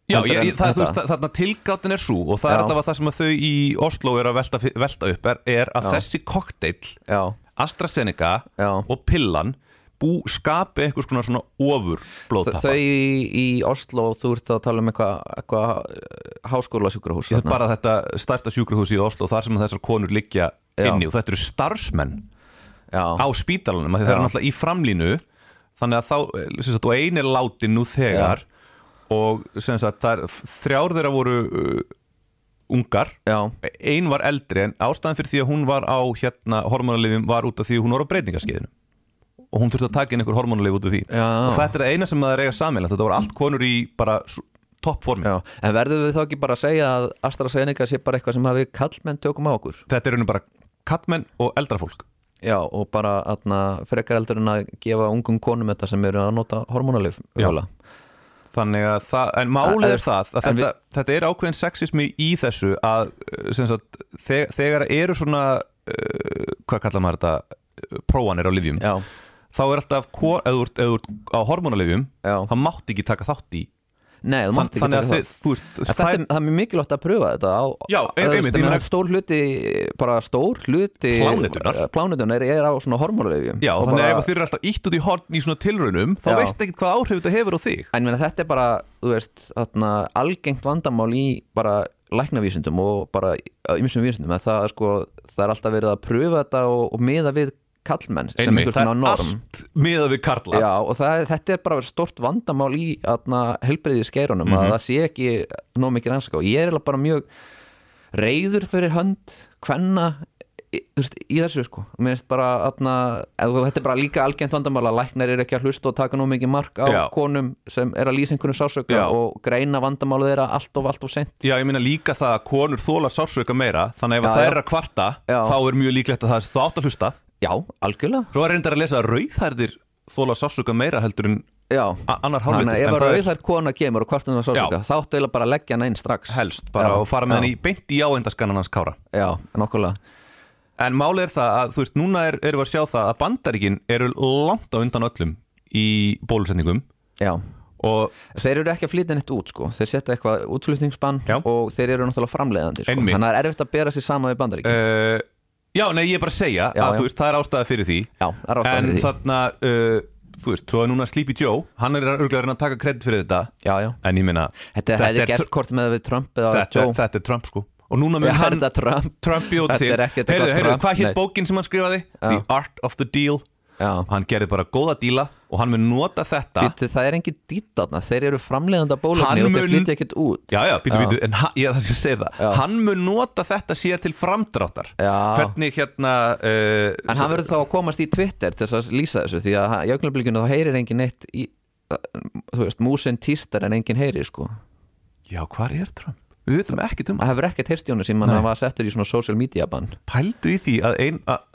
A: Já,
C: heldur
A: ég,
C: en
A: ég, það, þú
C: þetta.
A: veist, þarna tilgáttin er svo og það er
C: Já.
A: allavega það sem að þau í Oslo eru að velta, fi- velta upp er, er að þessi kokteill
C: Já,
A: AstraZeneca
C: Já.
A: og pillan bú skapi einhvers konar svona ofur
C: Þ-
A: blóðtappa
C: þau í, í Oslo, þú ert að tala um eitthvað, eitthvað hérna. háskóla sjúkrahús
A: Þetta er bara þetta stærsta sjúkrahús í Oslo þar sem þessar konur liggja
C: Já.
A: inni og þetta eru starfsmenn á
C: Já,
A: spítalanum af því það eru
C: Já.
A: náttúrulega í framlínu þannig að þá, eh, sem sagt, og ein er látin nú þegar og sem sagt, það er þrjár þeirra voru uh, ungar
C: já
A: ein var eldri en ástæðan fyrir því að hún var á hérna hormonaliðum var út af því að hún var á breytingaskeiðinu og hún þurfti að taka inn einhver hormonalið út af því
C: Já.
A: og þetta er eina sem það er eiga sammeilagt þetta voru allt konur í bara toppformi
C: Já, en verðum við þá ekki bara að segja að AstraZeneca sé bara eitthvað sem hafi kallmenn tökum á okkur
A: þetta er raunum bara kattmenn og eldra fólk
C: Já, og bara atna, frekar eldur en að gefa ungum konum þetta sem eru að nota hormonalif
A: Já.
C: mögulega.
A: þannig að það, en málið
C: En-
A: er það að
C: en
A: þetta, þetta er ákveðin sexismi í þessu að uh, sem sagt, þeg, þegar eru svona uh, hvað kallar maður þetta uh, prófanir á lyfjum,
C: Já,
A: þá er alltaf ko- ef þú ert- ef þú ert á hormonalifjum
C: Já.
A: þá mátt ekki taka þátt í
C: nei, þú mátt ekki
A: þannig
C: taka
A: að
C: það.
A: þið, þú veist
C: En Þetta er, það er mjög mikilvægt að pröfa þetta á,
A: Já,
C: að-
A: einmitt, ég
C: að-
A: meina-
C: að stór hluti bara stór hluti
A: Plánetunnar.
C: plánetunar er á svona hormonalifjum
A: Já,
C: Og
A: þannig að
C: bara-
A: ef þið eru alltaf ítt út í horn í svona tilraunum þá
C: Já.
A: veist ekki hvað áhrif þetta hefur á þig
C: En ég meina, þetta er bara, þú veist, þarna, algengt vandamál í bara læknavísundum og bara ymsum vísundum að það, sko, það er alltaf verið að pröfa þetta og, og miða við kallmenn sem
A: Einmitt,
C: einhvers
A: það
C: konar
A: er
C: norm
A: allt miðað við karla
C: Já, og það, þetta er bara verið stort vandamál í helbriðið skeirunum
A: Mhm.
C: að það sé ekki nóg mikið rannsaka og ég er eiginlega bara mjög reyður fyrir hönd hvenna í, þú veist, í þessu sko Mér finnst bara, atna, þetta er bara líka algengt vandamál að læknar er ekki að hlusta og taka nóg mikið mark á
A: Já.
C: konum sem er að lýsa einhvernum sásöka
A: Já.
C: og greina vandamálu þeirra allt of allt of sent
A: Já, ég meina líka það að konur þóla sársöka meira þannig að ef
C: Já,
A: það
C: já.
A: er að kvarta
C: Já.
A: þá er mjög líklegt að það er þá átt að hlusta
C: Já, algjörlega
A: Svo er reyndar að lesa að rauðhærðir þóla sársöka meira heldur en
C: Já,
A: a- annar hálfvitur
C: þannig að ef
A: En
C: að
A: það er
C: rauðar kona kemur og kvartunar sásöka,
A: Já.
C: þá áttu eiginlega bara að leggja hann einn strax
A: helst bara
C: Já,
A: og fara með
C: já,
A: henni í beint í áendaskannan hans kára
C: Já, nokkulega
A: En málið er það að, þú veist, núna er, erum við að sjá það að bandaríkin eru langt á undan öllum í bólusetningum
C: Já,
A: og
C: Þeir eru ekki að flytja neitt út sko Þeir setja eitthvað útflutningsbann
A: Já.
C: og þeir eru náttúrulega framleiðandi sko.
A: Einmitt.
C: Þannig að það er erfitt að bera sér sama við bandarík
A: uh, Já, nei, ég er bara að segja
C: Já,
A: að,
C: já.
A: þú veist, það er ástæða fyrir því
C: Já, það er ástæðan
A: En
C: fyrir því
A: þarna, uh, þú veist, svo er núna Sleepy Joe Hann er örgulega að reyna að taka kredit fyrir þetta
C: Já, já
A: En ég meina,
C: Þetta hefði
A: er,
C: gert hvort með við Trump eða
A: þetta,
C: Joe
A: þetta er Trump sko Og núna
C: Já,
A: mun hann
C: þetta er Trump
A: Trump bjóð
C: Þetta
A: til
C: er ekkert
A: Heyrðu,
C: eitthvað
A: heyrðu,
C: Trump,
A: hvað
C: nei.
A: hétt bókin sem hann skrifaði? The Art of the Deal
C: Já.
A: Og Hann gerði bara góða díla og hann mun nota þetta
C: Býtu, það er engin dýtt átna, þeir eru framleiðandi að
A: Hann
C: bólefni og þeir
A: mun-
C: flytja ekkert út
A: Já, já, býtu, býtu, en ha, ég er það sem ég segir það
C: Já.
A: Hann mun nota þetta sér til framdráttar
C: Já.
A: Hvernig hérna uh,
C: En hann verður þá að komast í Twitter til þess að lýsa þessu því að í augnablikinu þá heyrir engin neitt í, þú veist, músin tístar en engin heyrir sko
A: Já, hvar er Trump? Við veitum ekki um
C: Það hefur ekkert heyrst í honum sem hann var settur í svona social media bann
A: pældu í því að ein að,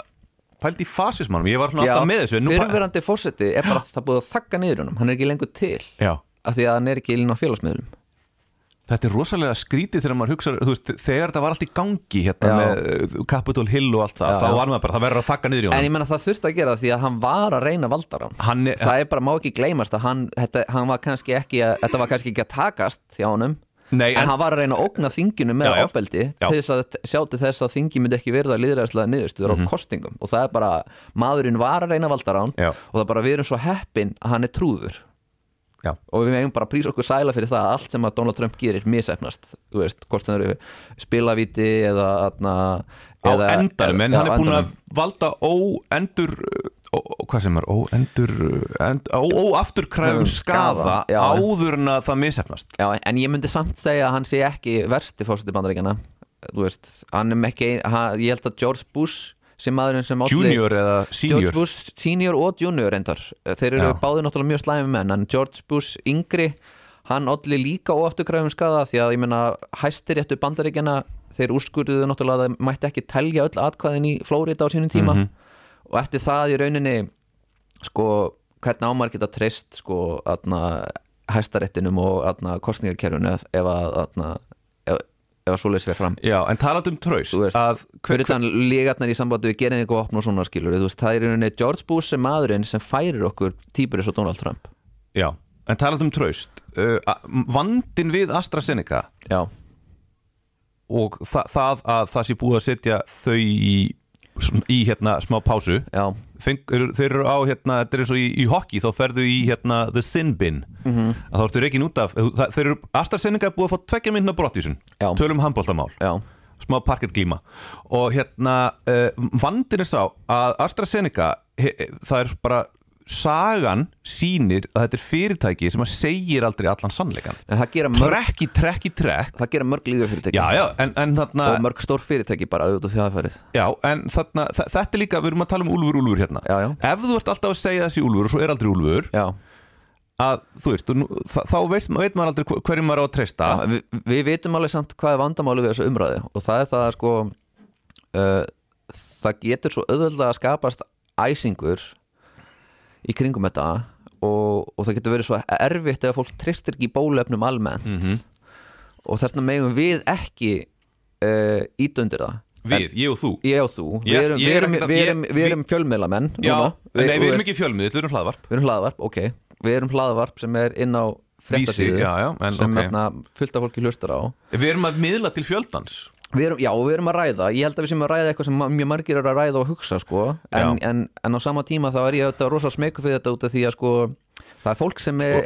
A: pældu í fasismannum, ég var svona alltaf með þessu en nú pæ-
C: fyrirverandi fósetti er bara það búið að þakka niður honum hann er ekki lengur til
A: Já,
C: af því að hann er ekki inn á félagsmiðlum
A: þetta er rosalega skrítið þegar maður hugsa veist, þegar þetta var allt í gangi hérna,
C: Já.
A: með uh, Capitol Hill og allt það
C: Já,
A: þá
C: já.
A: var maður bara, það verður að þakka niður í
C: en
A: honum
C: ég menna það þurfti að gera það því að hann var að reyna valdaran
A: Hann er-
C: það er bara má ekki gleymast að hann, þetta, hann var kannski ekki að, þetta var kannski ekki að takast hjá honum
A: Nei,
C: en,
A: en-
C: hann var að reyna að ógna þinginu með
A: Já, já.
C: ofbeldi
A: Já.
C: til þess að sjáti þess að þingi myndi ekki verða líðræðislega niðurstöður
A: Mhm.
C: á kostingum og það er bara, maðurinn var að reyna valdarán
A: Já.
C: og það er bara, við erum svo heppin að hann er trúður
A: Já.
C: og við megum bara að prísa okkur sæla fyrir það að allt sem að Donald Trump gerir misefnast þú veist, hvort það eru spilavíti eða, atna,
A: á
C: eða
A: endanum, en
C: Já,
A: hann
C: á
A: er búin
C: endanum.
A: að valda óendur ó, ó- hvað sem er, óendur end, ó, óafturkræfum skaða
C: Skaða, já.
A: áður en að það misefnast
C: Já, en ég myndi samt segja að hann sé ekki versti fórseti bandaríkjana þú veist, hann er ekki hann, ég held að George Bush sem maðurinn sem olli-
A: junior eða
C: George
A: senior
C: Bush senior og junior reyndar þeir eru
A: Já.
C: báðir náttúrulega mjög slæmi menn en George Bush yngri hann olli líka óafturkræfum skaða því að ég meina hæstir réttu bandaríkjana þeir úrskurðuðu náttúrulega að það mætti ekki telja öll atkvæðin í Flórida á sínum tíma
A: Mhm.
C: og eftir það í rauninni sko, hvernig ámar geta treyst sko, aðna, hæstaréttinum og aðna, kostningakerfinu ef, ef að aðna, ef, ef að svoleiðis verð fram
A: Já, en talandi um traust
C: Þú veist,
A: að hver,
C: fyrir þann lígarnar í sambandi við gerin eitthvað opn og svona skilur þú veist, það er í rauninni George Bush sem maðurinn sem færir okkur týpuris og Donald Trump
A: já, en talandi um traust uh, að- vandinn við AstraZeneca
C: já,
A: og þa það að það sé búið að setja þau í, í hérna smá pásu
C: já,
A: Feng, eru- þeir eru á hérna, þetta er eins og í, í hockey þá ferðu í hérna the sin bin
C: Mhm.
A: að þá ertu reikin út af það, þeir eru aðstarfsendinga búið að fá tveggja myndna brottvísun
C: Já.
A: tölum handbóltamál
C: já,
A: smá parkettglíma og hérna uh, vandin er sá að AstraZeneca he, eh, það er bara sagan sýnir að þetta er fyrirtæki sem að segir aldrei allan sannleikan
C: en það gera mörg,
A: trekk í trekk í trekk
C: það gera mörg lígafyrirtæki
A: já já en, en þarna
C: og mörg stór fyrirtæki bara auðvitað þjáðfærið
A: Já, en þarna, þa- þetta er líka, við erum að tala um úlfur, úlfur hérna
C: Já, já.
A: Ef þú ert alltaf að segja þessi úlfur og svo er aldrei úlfur
C: já,
A: að, þú veist, og nú, þa- þá veist, veit maður aldrei hver- hverjum maður á að treysta
C: já við, við vitum alveg samt hvað er vandamáli við þessu umræði og það er það að sko uh, það getur svo auðvitað að skapast æsingur í kringum þetta og, og það getur verið svo erfitt ef fólk tristir ekki í bólefnum almennt
A: Mhm.
C: og þess vegna megum við ekki uh, ítundir það
A: Við, ég og þú
C: ég og þú, við
A: Ég-
C: erum,
A: ég
C: við
A: er
C: erum,
A: ekkert að-
C: við
A: ég-
C: erum, við erum fjölmiðlamenn
A: Já,
C: núna.
A: nei, við
C: þú
A: erum
C: veist,
A: ekki fjölmið, við erum hlaðvarp
C: við erum hlaðvarp, ok við erum hlaðvarp sem er inn á fréttasíðu
A: Vísi, já, já, en
C: sem
A: ok.
C: þarna fullt af fólki hlustar á
A: Við erum að miðla til fjöldans
C: Við erum, já, við erum að ræða, ég held að við séum að ræða eitthvað sem ma- mjög margir eru að ræða og hugsa sko. en,
A: Já.
C: en, en á sama tíma þá er ég auðvitað rosa smeku fyrir þetta út af því að sko, það er fólk
A: Sko-
C: sem er,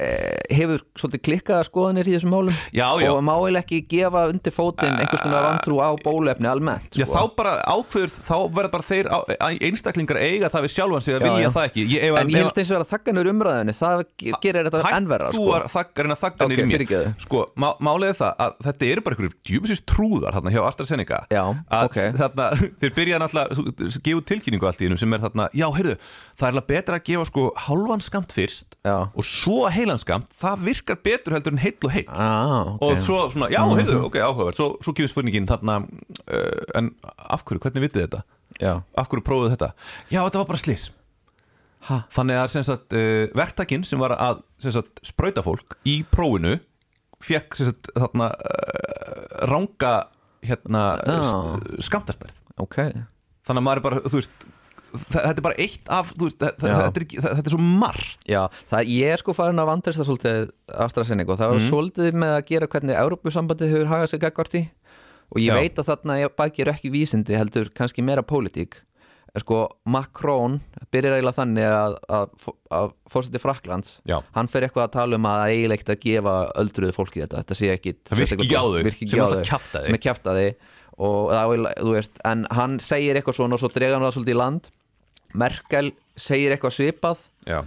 C: hefur svolítið klikkaða skoðanir í þessum málum
A: Já, já. Ah.
C: og má eiginlega ekki gefa undir fótinn einhvers konar vantrú á bólefni almennt
A: Já,
C: sko.
A: þá bara ákveður, þá verða bara þeir á- að einstaklingar eiga það við sjálfan sig að
C: Já,
A: vilja
C: já.
A: það ekki ég, ef,
C: En ég held þessu að þakkanur umræðinu, það ge- gerir þetta ennverra
A: Þú
C: sko.
A: er þakkarinn að þakka
C: Ok,
A: niður mér
C: fyrirgefðu.
A: Sko, má, málið er það að þetta eru bara einhverjum djúmisins trúðar þarna hjá AstraZeneca
C: Já,
A: að
C: ok.
A: þarna, þeir byrja náttúrulega gefa út tilkynningu allt í innum sem er þarna já, heyrðu, það er alveg betra að gefa sko hálfan skamt fyrst
C: Já.
A: og svo heilan skamt, það virkar betur heldur en heill og heill
C: ah, okay.
A: og svo svona, já, heyrðu,
C: Mhm.
A: ok, áhugavert svo, svo gefur spurningin þarna uh, en af hverju, hvernig vitið þið þetta?
C: Já.
A: af hverju prófuðu þetta? Já, þetta var bara slís
C: Ha?
A: Þannig að sem sagt, uh, verktakinn sem var að sem sagt, sprauta fólk í prófinu fekk sem sagt, þarna, uh, ranga hérna,
C: Já.
A: st- skammtastærð
C: Ok,
A: Þannig að maður er bara, þú veist þa- þetta er bara eitt af, þú veist, þa- þa-
C: Já.
A: þetta er, ekki- þa- þetta er svo margt
C: já, það ég er sko farin að vandrista svolítið AstraZeneca og það
A: Mhm.
C: var svolítið með að gera hvernig Európusambandið hefur hagað sig gagvart í og ég
A: Já.
C: veit að þarna ég baki eru ekki vísindi heldur kannski meira pólitík En sko Macron byrjar eiginlega þannig að, að, fó- að fórseti Fraklands
A: Já.
C: hann fer eitthvað að tala um að eiginlega ekkert að gefa öldruðu fólki þetta, þetta sé ekki
A: Það virki ekki á þau,
C: virki
A: sem
C: ekki á
A: er
C: þau,
A: alltaf kjaftaði.
C: sem er kjaftaði og það vil, þú veist, en hann segir eitthvað svona og svo dregar hann það svolítið í land Merkel segir eitthvað svipað
A: Já,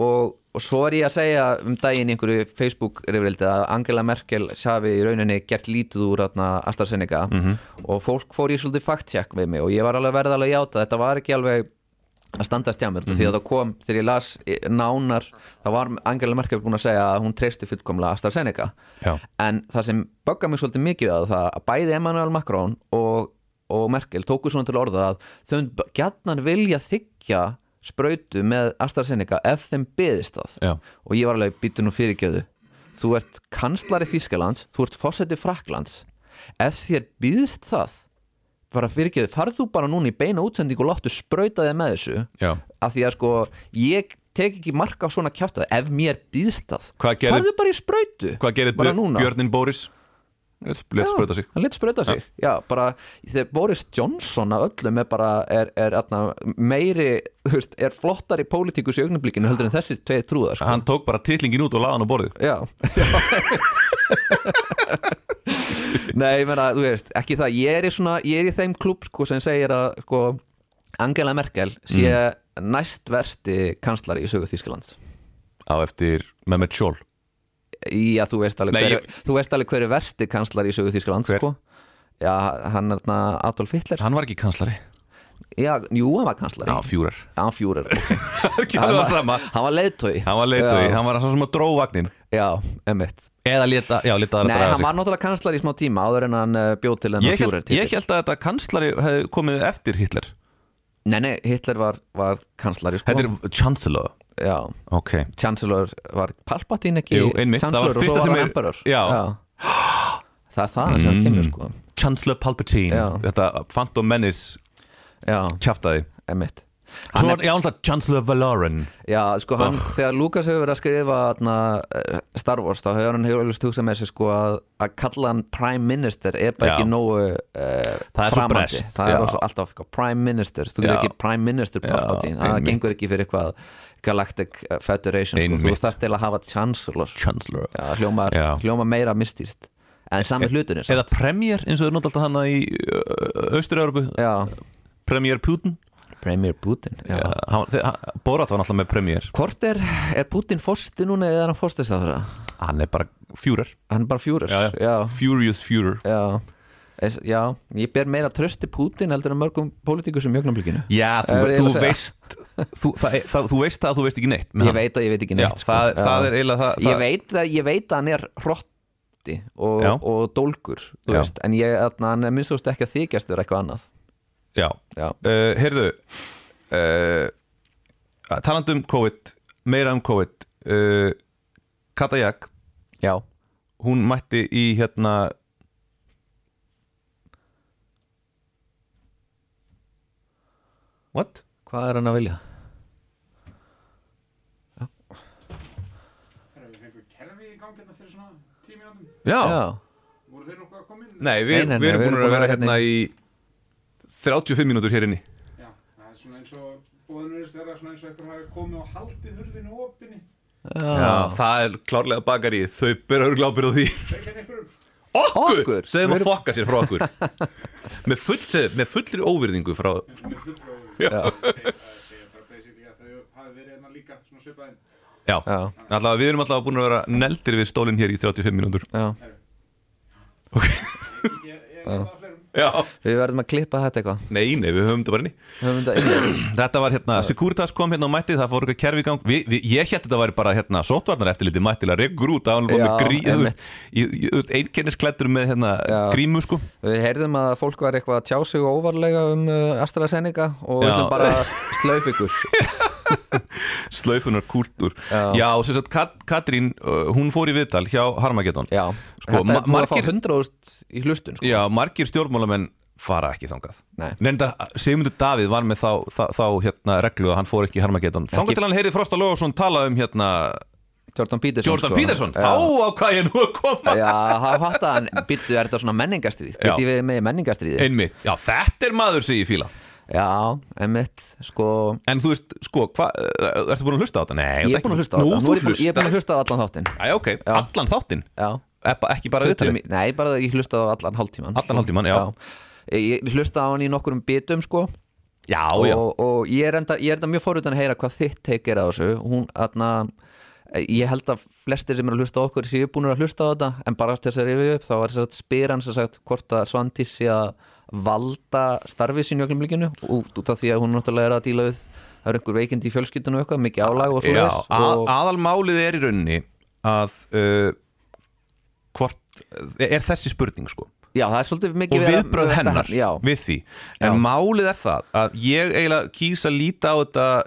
C: og, og svo er ég að segja um daginn í einhverju Facebook reyfrildi að Angela Merkel hafi í rauninni gert lítið úr atna, AstraZeneca og fólk fór í svolítið fact-check við mig og ég var alveg verð alveg að játa þetta var ekki alveg að standast hjá mér því að það kom, þegar ég las eh, nánar þá var Angela Merkel búin að segja að hún treysti fullkomlega AstraZeneca
A: Já.
C: en það sem böggar mig svolítið mikið að það að bæði Emmanuel Macron og, og Merkel tóku svona til orða að þau gætnan vilja þykja sprautu með AstraZeneca ef þeim beðist það
A: Já.
C: og ég var alveg býtu nú fyrirgjöðu þú ert kanslari Þýskalands þú ert fósetti Fraklands ef þér býðist það bara fyrirgjöðu, farð þú bara núna í beina útsendingu og láttu sprauta þig með þessu
A: Já.
C: af því að sko, ég tek ekki marka á svona kjátaði, ef mér býðst það
A: Hvað gerði-
C: farðu bara í sprautu
A: hvað gerði
C: bara núna
A: Björnin Bóris? let's, let's
C: Já,
A: bröta sig
C: hann létt sprauta sig já, bara, þegar Boris Johnson af öllum er bara er, er, atna, meiri, þú veist, er flottar í pólitíkus í augnablikinu heldur en þessir tveið trúðar sko.
A: Hann tók bara titlingin út og laði hann á borðið
C: já, já nei, ég meina, þú veist ekki það, ég er í, svona, ég er í þeim klub sko, sem segir að sko, Angela Merkel sé
A: Mm.
C: næst versti kanslari í sögu Þýskalands
A: á eftir Mehmet Scholl
C: Já, þú veist alveg,
A: Nei,
C: hver,
A: ég-
C: þú veist alveg hver er versti kanslari í sögu Þýskaland
A: Hver?
C: sko. Já, hann er þarna Adolf Hitler
A: Hann var ekki kanslari
C: Já, jú, hann var kanslari
A: Já, fjúrar
C: hann fjúrar
A: Ekki alveg það sama
C: Hann var leiðtói
A: Hann var leitu
C: Já.
A: hann var svo sem að dró vagnin
C: Já, emmitt
A: Eða leta, já, leta aðra
C: Nei,
A: draga
C: hann
A: sig
C: var náttúrulega kanslari í smá tíma áður en hann uh, bjóð til hennar
A: ég,
C: fjúrar
A: held, ég held að þetta kanslari hefði komið eftir Hitler
C: Nei, nei, Hitler var, var kanslari sko.
A: Þetta er Chancellor
C: Já,
A: Ok
C: Chancellor var Palpatine ekki
A: Jú, einmitt, það var
C: Chancellor og
A: fyrsta
C: svo
A: sem
C: var
A: er-
C: hann Emperor
A: Já. Mm.
C: Það er það sem það kemur sko
A: Chancellor Palpatine
C: Já.
A: Þetta Phantom Menace
C: Já,
A: kjaftaði
C: emmitt
A: Svo var ég ánlega Chancellor Valoran
C: Já, sko, hann, þegar Lukas hefur verið að skrifa na, Star Wars, þá hefur hann hefur alveg stúksað með sér sko að, að kalla hann Prime Minister er
A: Já.
C: bara ekki nógu uh,
A: Það er svo brest,
C: Það
A: já.
C: er svo alltaf eitthvað Prime Minister, þú getur
A: Já.
C: ekki Prime Minister Palpatine, það
A: einmitt.
C: gengur ekki fyrir eitthvað Galactic Federation, sko, þú
A: Einmitt.
C: þarf til að hafa Chancellor,
A: Chancellor
C: já, hljómar,
A: Já. E-
C: hljómar meira mistýrst, en sami hlutunir
A: Eða Premier eins og þau nota alltaf hana í Austur-Európu
C: Já,
A: Premier Putin
C: Premier Putin já.
A: Já, hann- þe- hann- Borat var náttúrulega með Premier
C: Hvort er, er Putin fórsti núna eða er hann fórstist að
A: Hann er bara fjúrar
C: Hann er bara fjúrur
A: Já, já. Furious Führer
C: Já Es, já, ég ber meira trösti Pútin heldur en mörgum pólitíkusum jögnablikinu
A: Já,
C: Það Eh, er
A: þú,
C: eiginlega
A: þú
C: að segja.
A: veist þú, það, það, þú veist það að þú veist ekki neitt með
C: Ég
A: hann.
C: veit að ég veit ekki neitt sko.
A: sko, Já, það- það er eiginlega það- það-
C: Ég, veit að, ég veit að hann er hrotti og,
A: Já.
C: og dólgur þú
A: Já.
C: veist, En ég, þarna, hann er minnst þú veist ekki að þykjast vera eitthvað annað
A: Já,
C: Já.
A: Uh, heyrðu uh, talandi um COVID meira um COVID uh, Kata Jakk,
C: Já,
A: hún mætti í hérna What?
C: hvað er hann að vilja?
D: Þegar við fengum kerfi í gangi hérna fyrir svona tíu mínútum,
A: Já,
D: voru þeir nokkuð að koma inn?
A: nei, við,
C: Nei, nei, nei,
A: við erum búin að vera
C: hérna
A: hérna í 35 mínútur hér inni
D: Já, það er svona eins og, bóðinu verðist vera svona eins og eitthvað hafi komið og haldið hurðinu opinni.
A: Já, það er klárlega bakari þau byrja örglábir á því
D: Sveikar einhverjum.
A: Okkur,
C: Okkur?
A: segðum
C: Við
A: að
C: erum-
A: fokka sér frá okkur með, full, með fullri óvirðingu frá
D: Svona með fullróður. Já. Það segja bara basically að þau hafi verið hérna líka svona svipaðinn.
A: Já,
C: Já.
A: Allavega, við erum allavega búin að vera neldir við stólinn hér í 35 mínútur
C: Já.
D: Ég, ég, ég get það fleirum.
A: Já,
C: Við verðum að klippa þetta eitthvað
A: nei, nei, við höfum þetta bara inni
C: Höfum þetta inni.
A: Þetta var hérna, Securitas kom hérna og mætti það fór eitthvað kerfi í gang, vi, vi, ég held þetta væri bara hérna, sótvarnar eftirliti mættilega reggur út að hann var
C: Já,
A: með grí, þú
C: einmitt.
A: veist ég- ég- þú veist, einkennisklæddur með hérna
C: Já.
A: grímu sko
C: Við heyrðum að fólk var eitthvað að tjá sig óvarlega um uh, AstraZeneca og við
A: Já.
C: ætlum bara að slaupa ykkur
A: slaufunar kúrtur
C: Já.
A: Já, og sem sagt, Kat, Katrín, uh, hún fór í viðtal hjá Harmageddon
C: Já,
A: Sko, ma-
C: þetta er búið að
A: margir-
C: fá hundróðust í hlustun sko.
A: Já, margir stjórnmálamenn fara ekki þangað
C: Nei.
A: Nefnda, Sigmundur Davíð var með þá, þá, þá hérna, reglu að hann fór ekki í Harmageddon Þangað
C: Ekki-
A: til hann heyrði Frosta Lóðarsson tala um hérna
C: Jordan Peterson
A: Jordan
C: sko.
A: Peterson,
C: Já.
A: þá á hvað ég nú að koma
C: Já, það fattar hann, býttu, er þetta svona menningarstríð?
A: Já.
C: Geti við með í menningarstríði?
A: Einmitt, já þetta er maður sem ég fíla
C: Já, emmitt, sko
A: En þú veist, sko, hva, eh, ertu búin að hlusta á þetta? Nei, þetta
C: Ég er búin að
A: ekki-
C: hlusta á
A: Nú,
C: þetta, Nú er ég
A: þú
C: búin- ég er búin að
A: hlusta
C: hlusta á allan þáttinn
A: Æ, ok, allan þáttinn
C: Já,
A: Eppa, Ekki bara viðtalið
C: 20 nei, bara ég hlusta á allan hálftíman
A: Allan hálftímann, já.
C: Ég ég hlusta á hann í nokkurum bitum, sko
A: Já, já,
C: og, og ég er enda, ég er enda mjög fóruðan að heyra hvað þitt teik er á þessu Hún, aðna, ég held að flestir sem eru að hlusta á okkur séu búin að hlusta á þetta en bara til þess að rifja upp þá var þess að spyr hans að sagt hvort að Svandi sé að valda starfið sín í öllum líkinu út, út af því að hún náttúrulega er að díla við það eru einhver veikindi í fjölskyldinu og eitthvað, mikið álag og svo
A: já
C: þess
A: að,
C: og,
A: Aðalmálið er í rauninni að uh, hvort, eh, er þessi spurning sko
C: já, það er svolítið
A: og
C: mikið verið að-
A: viðbröð
C: þetta- hérna,
A: hennar
C: já,
A: við því en
C: Já.
A: málið er það að ég eiginlega kýs að líta á þetta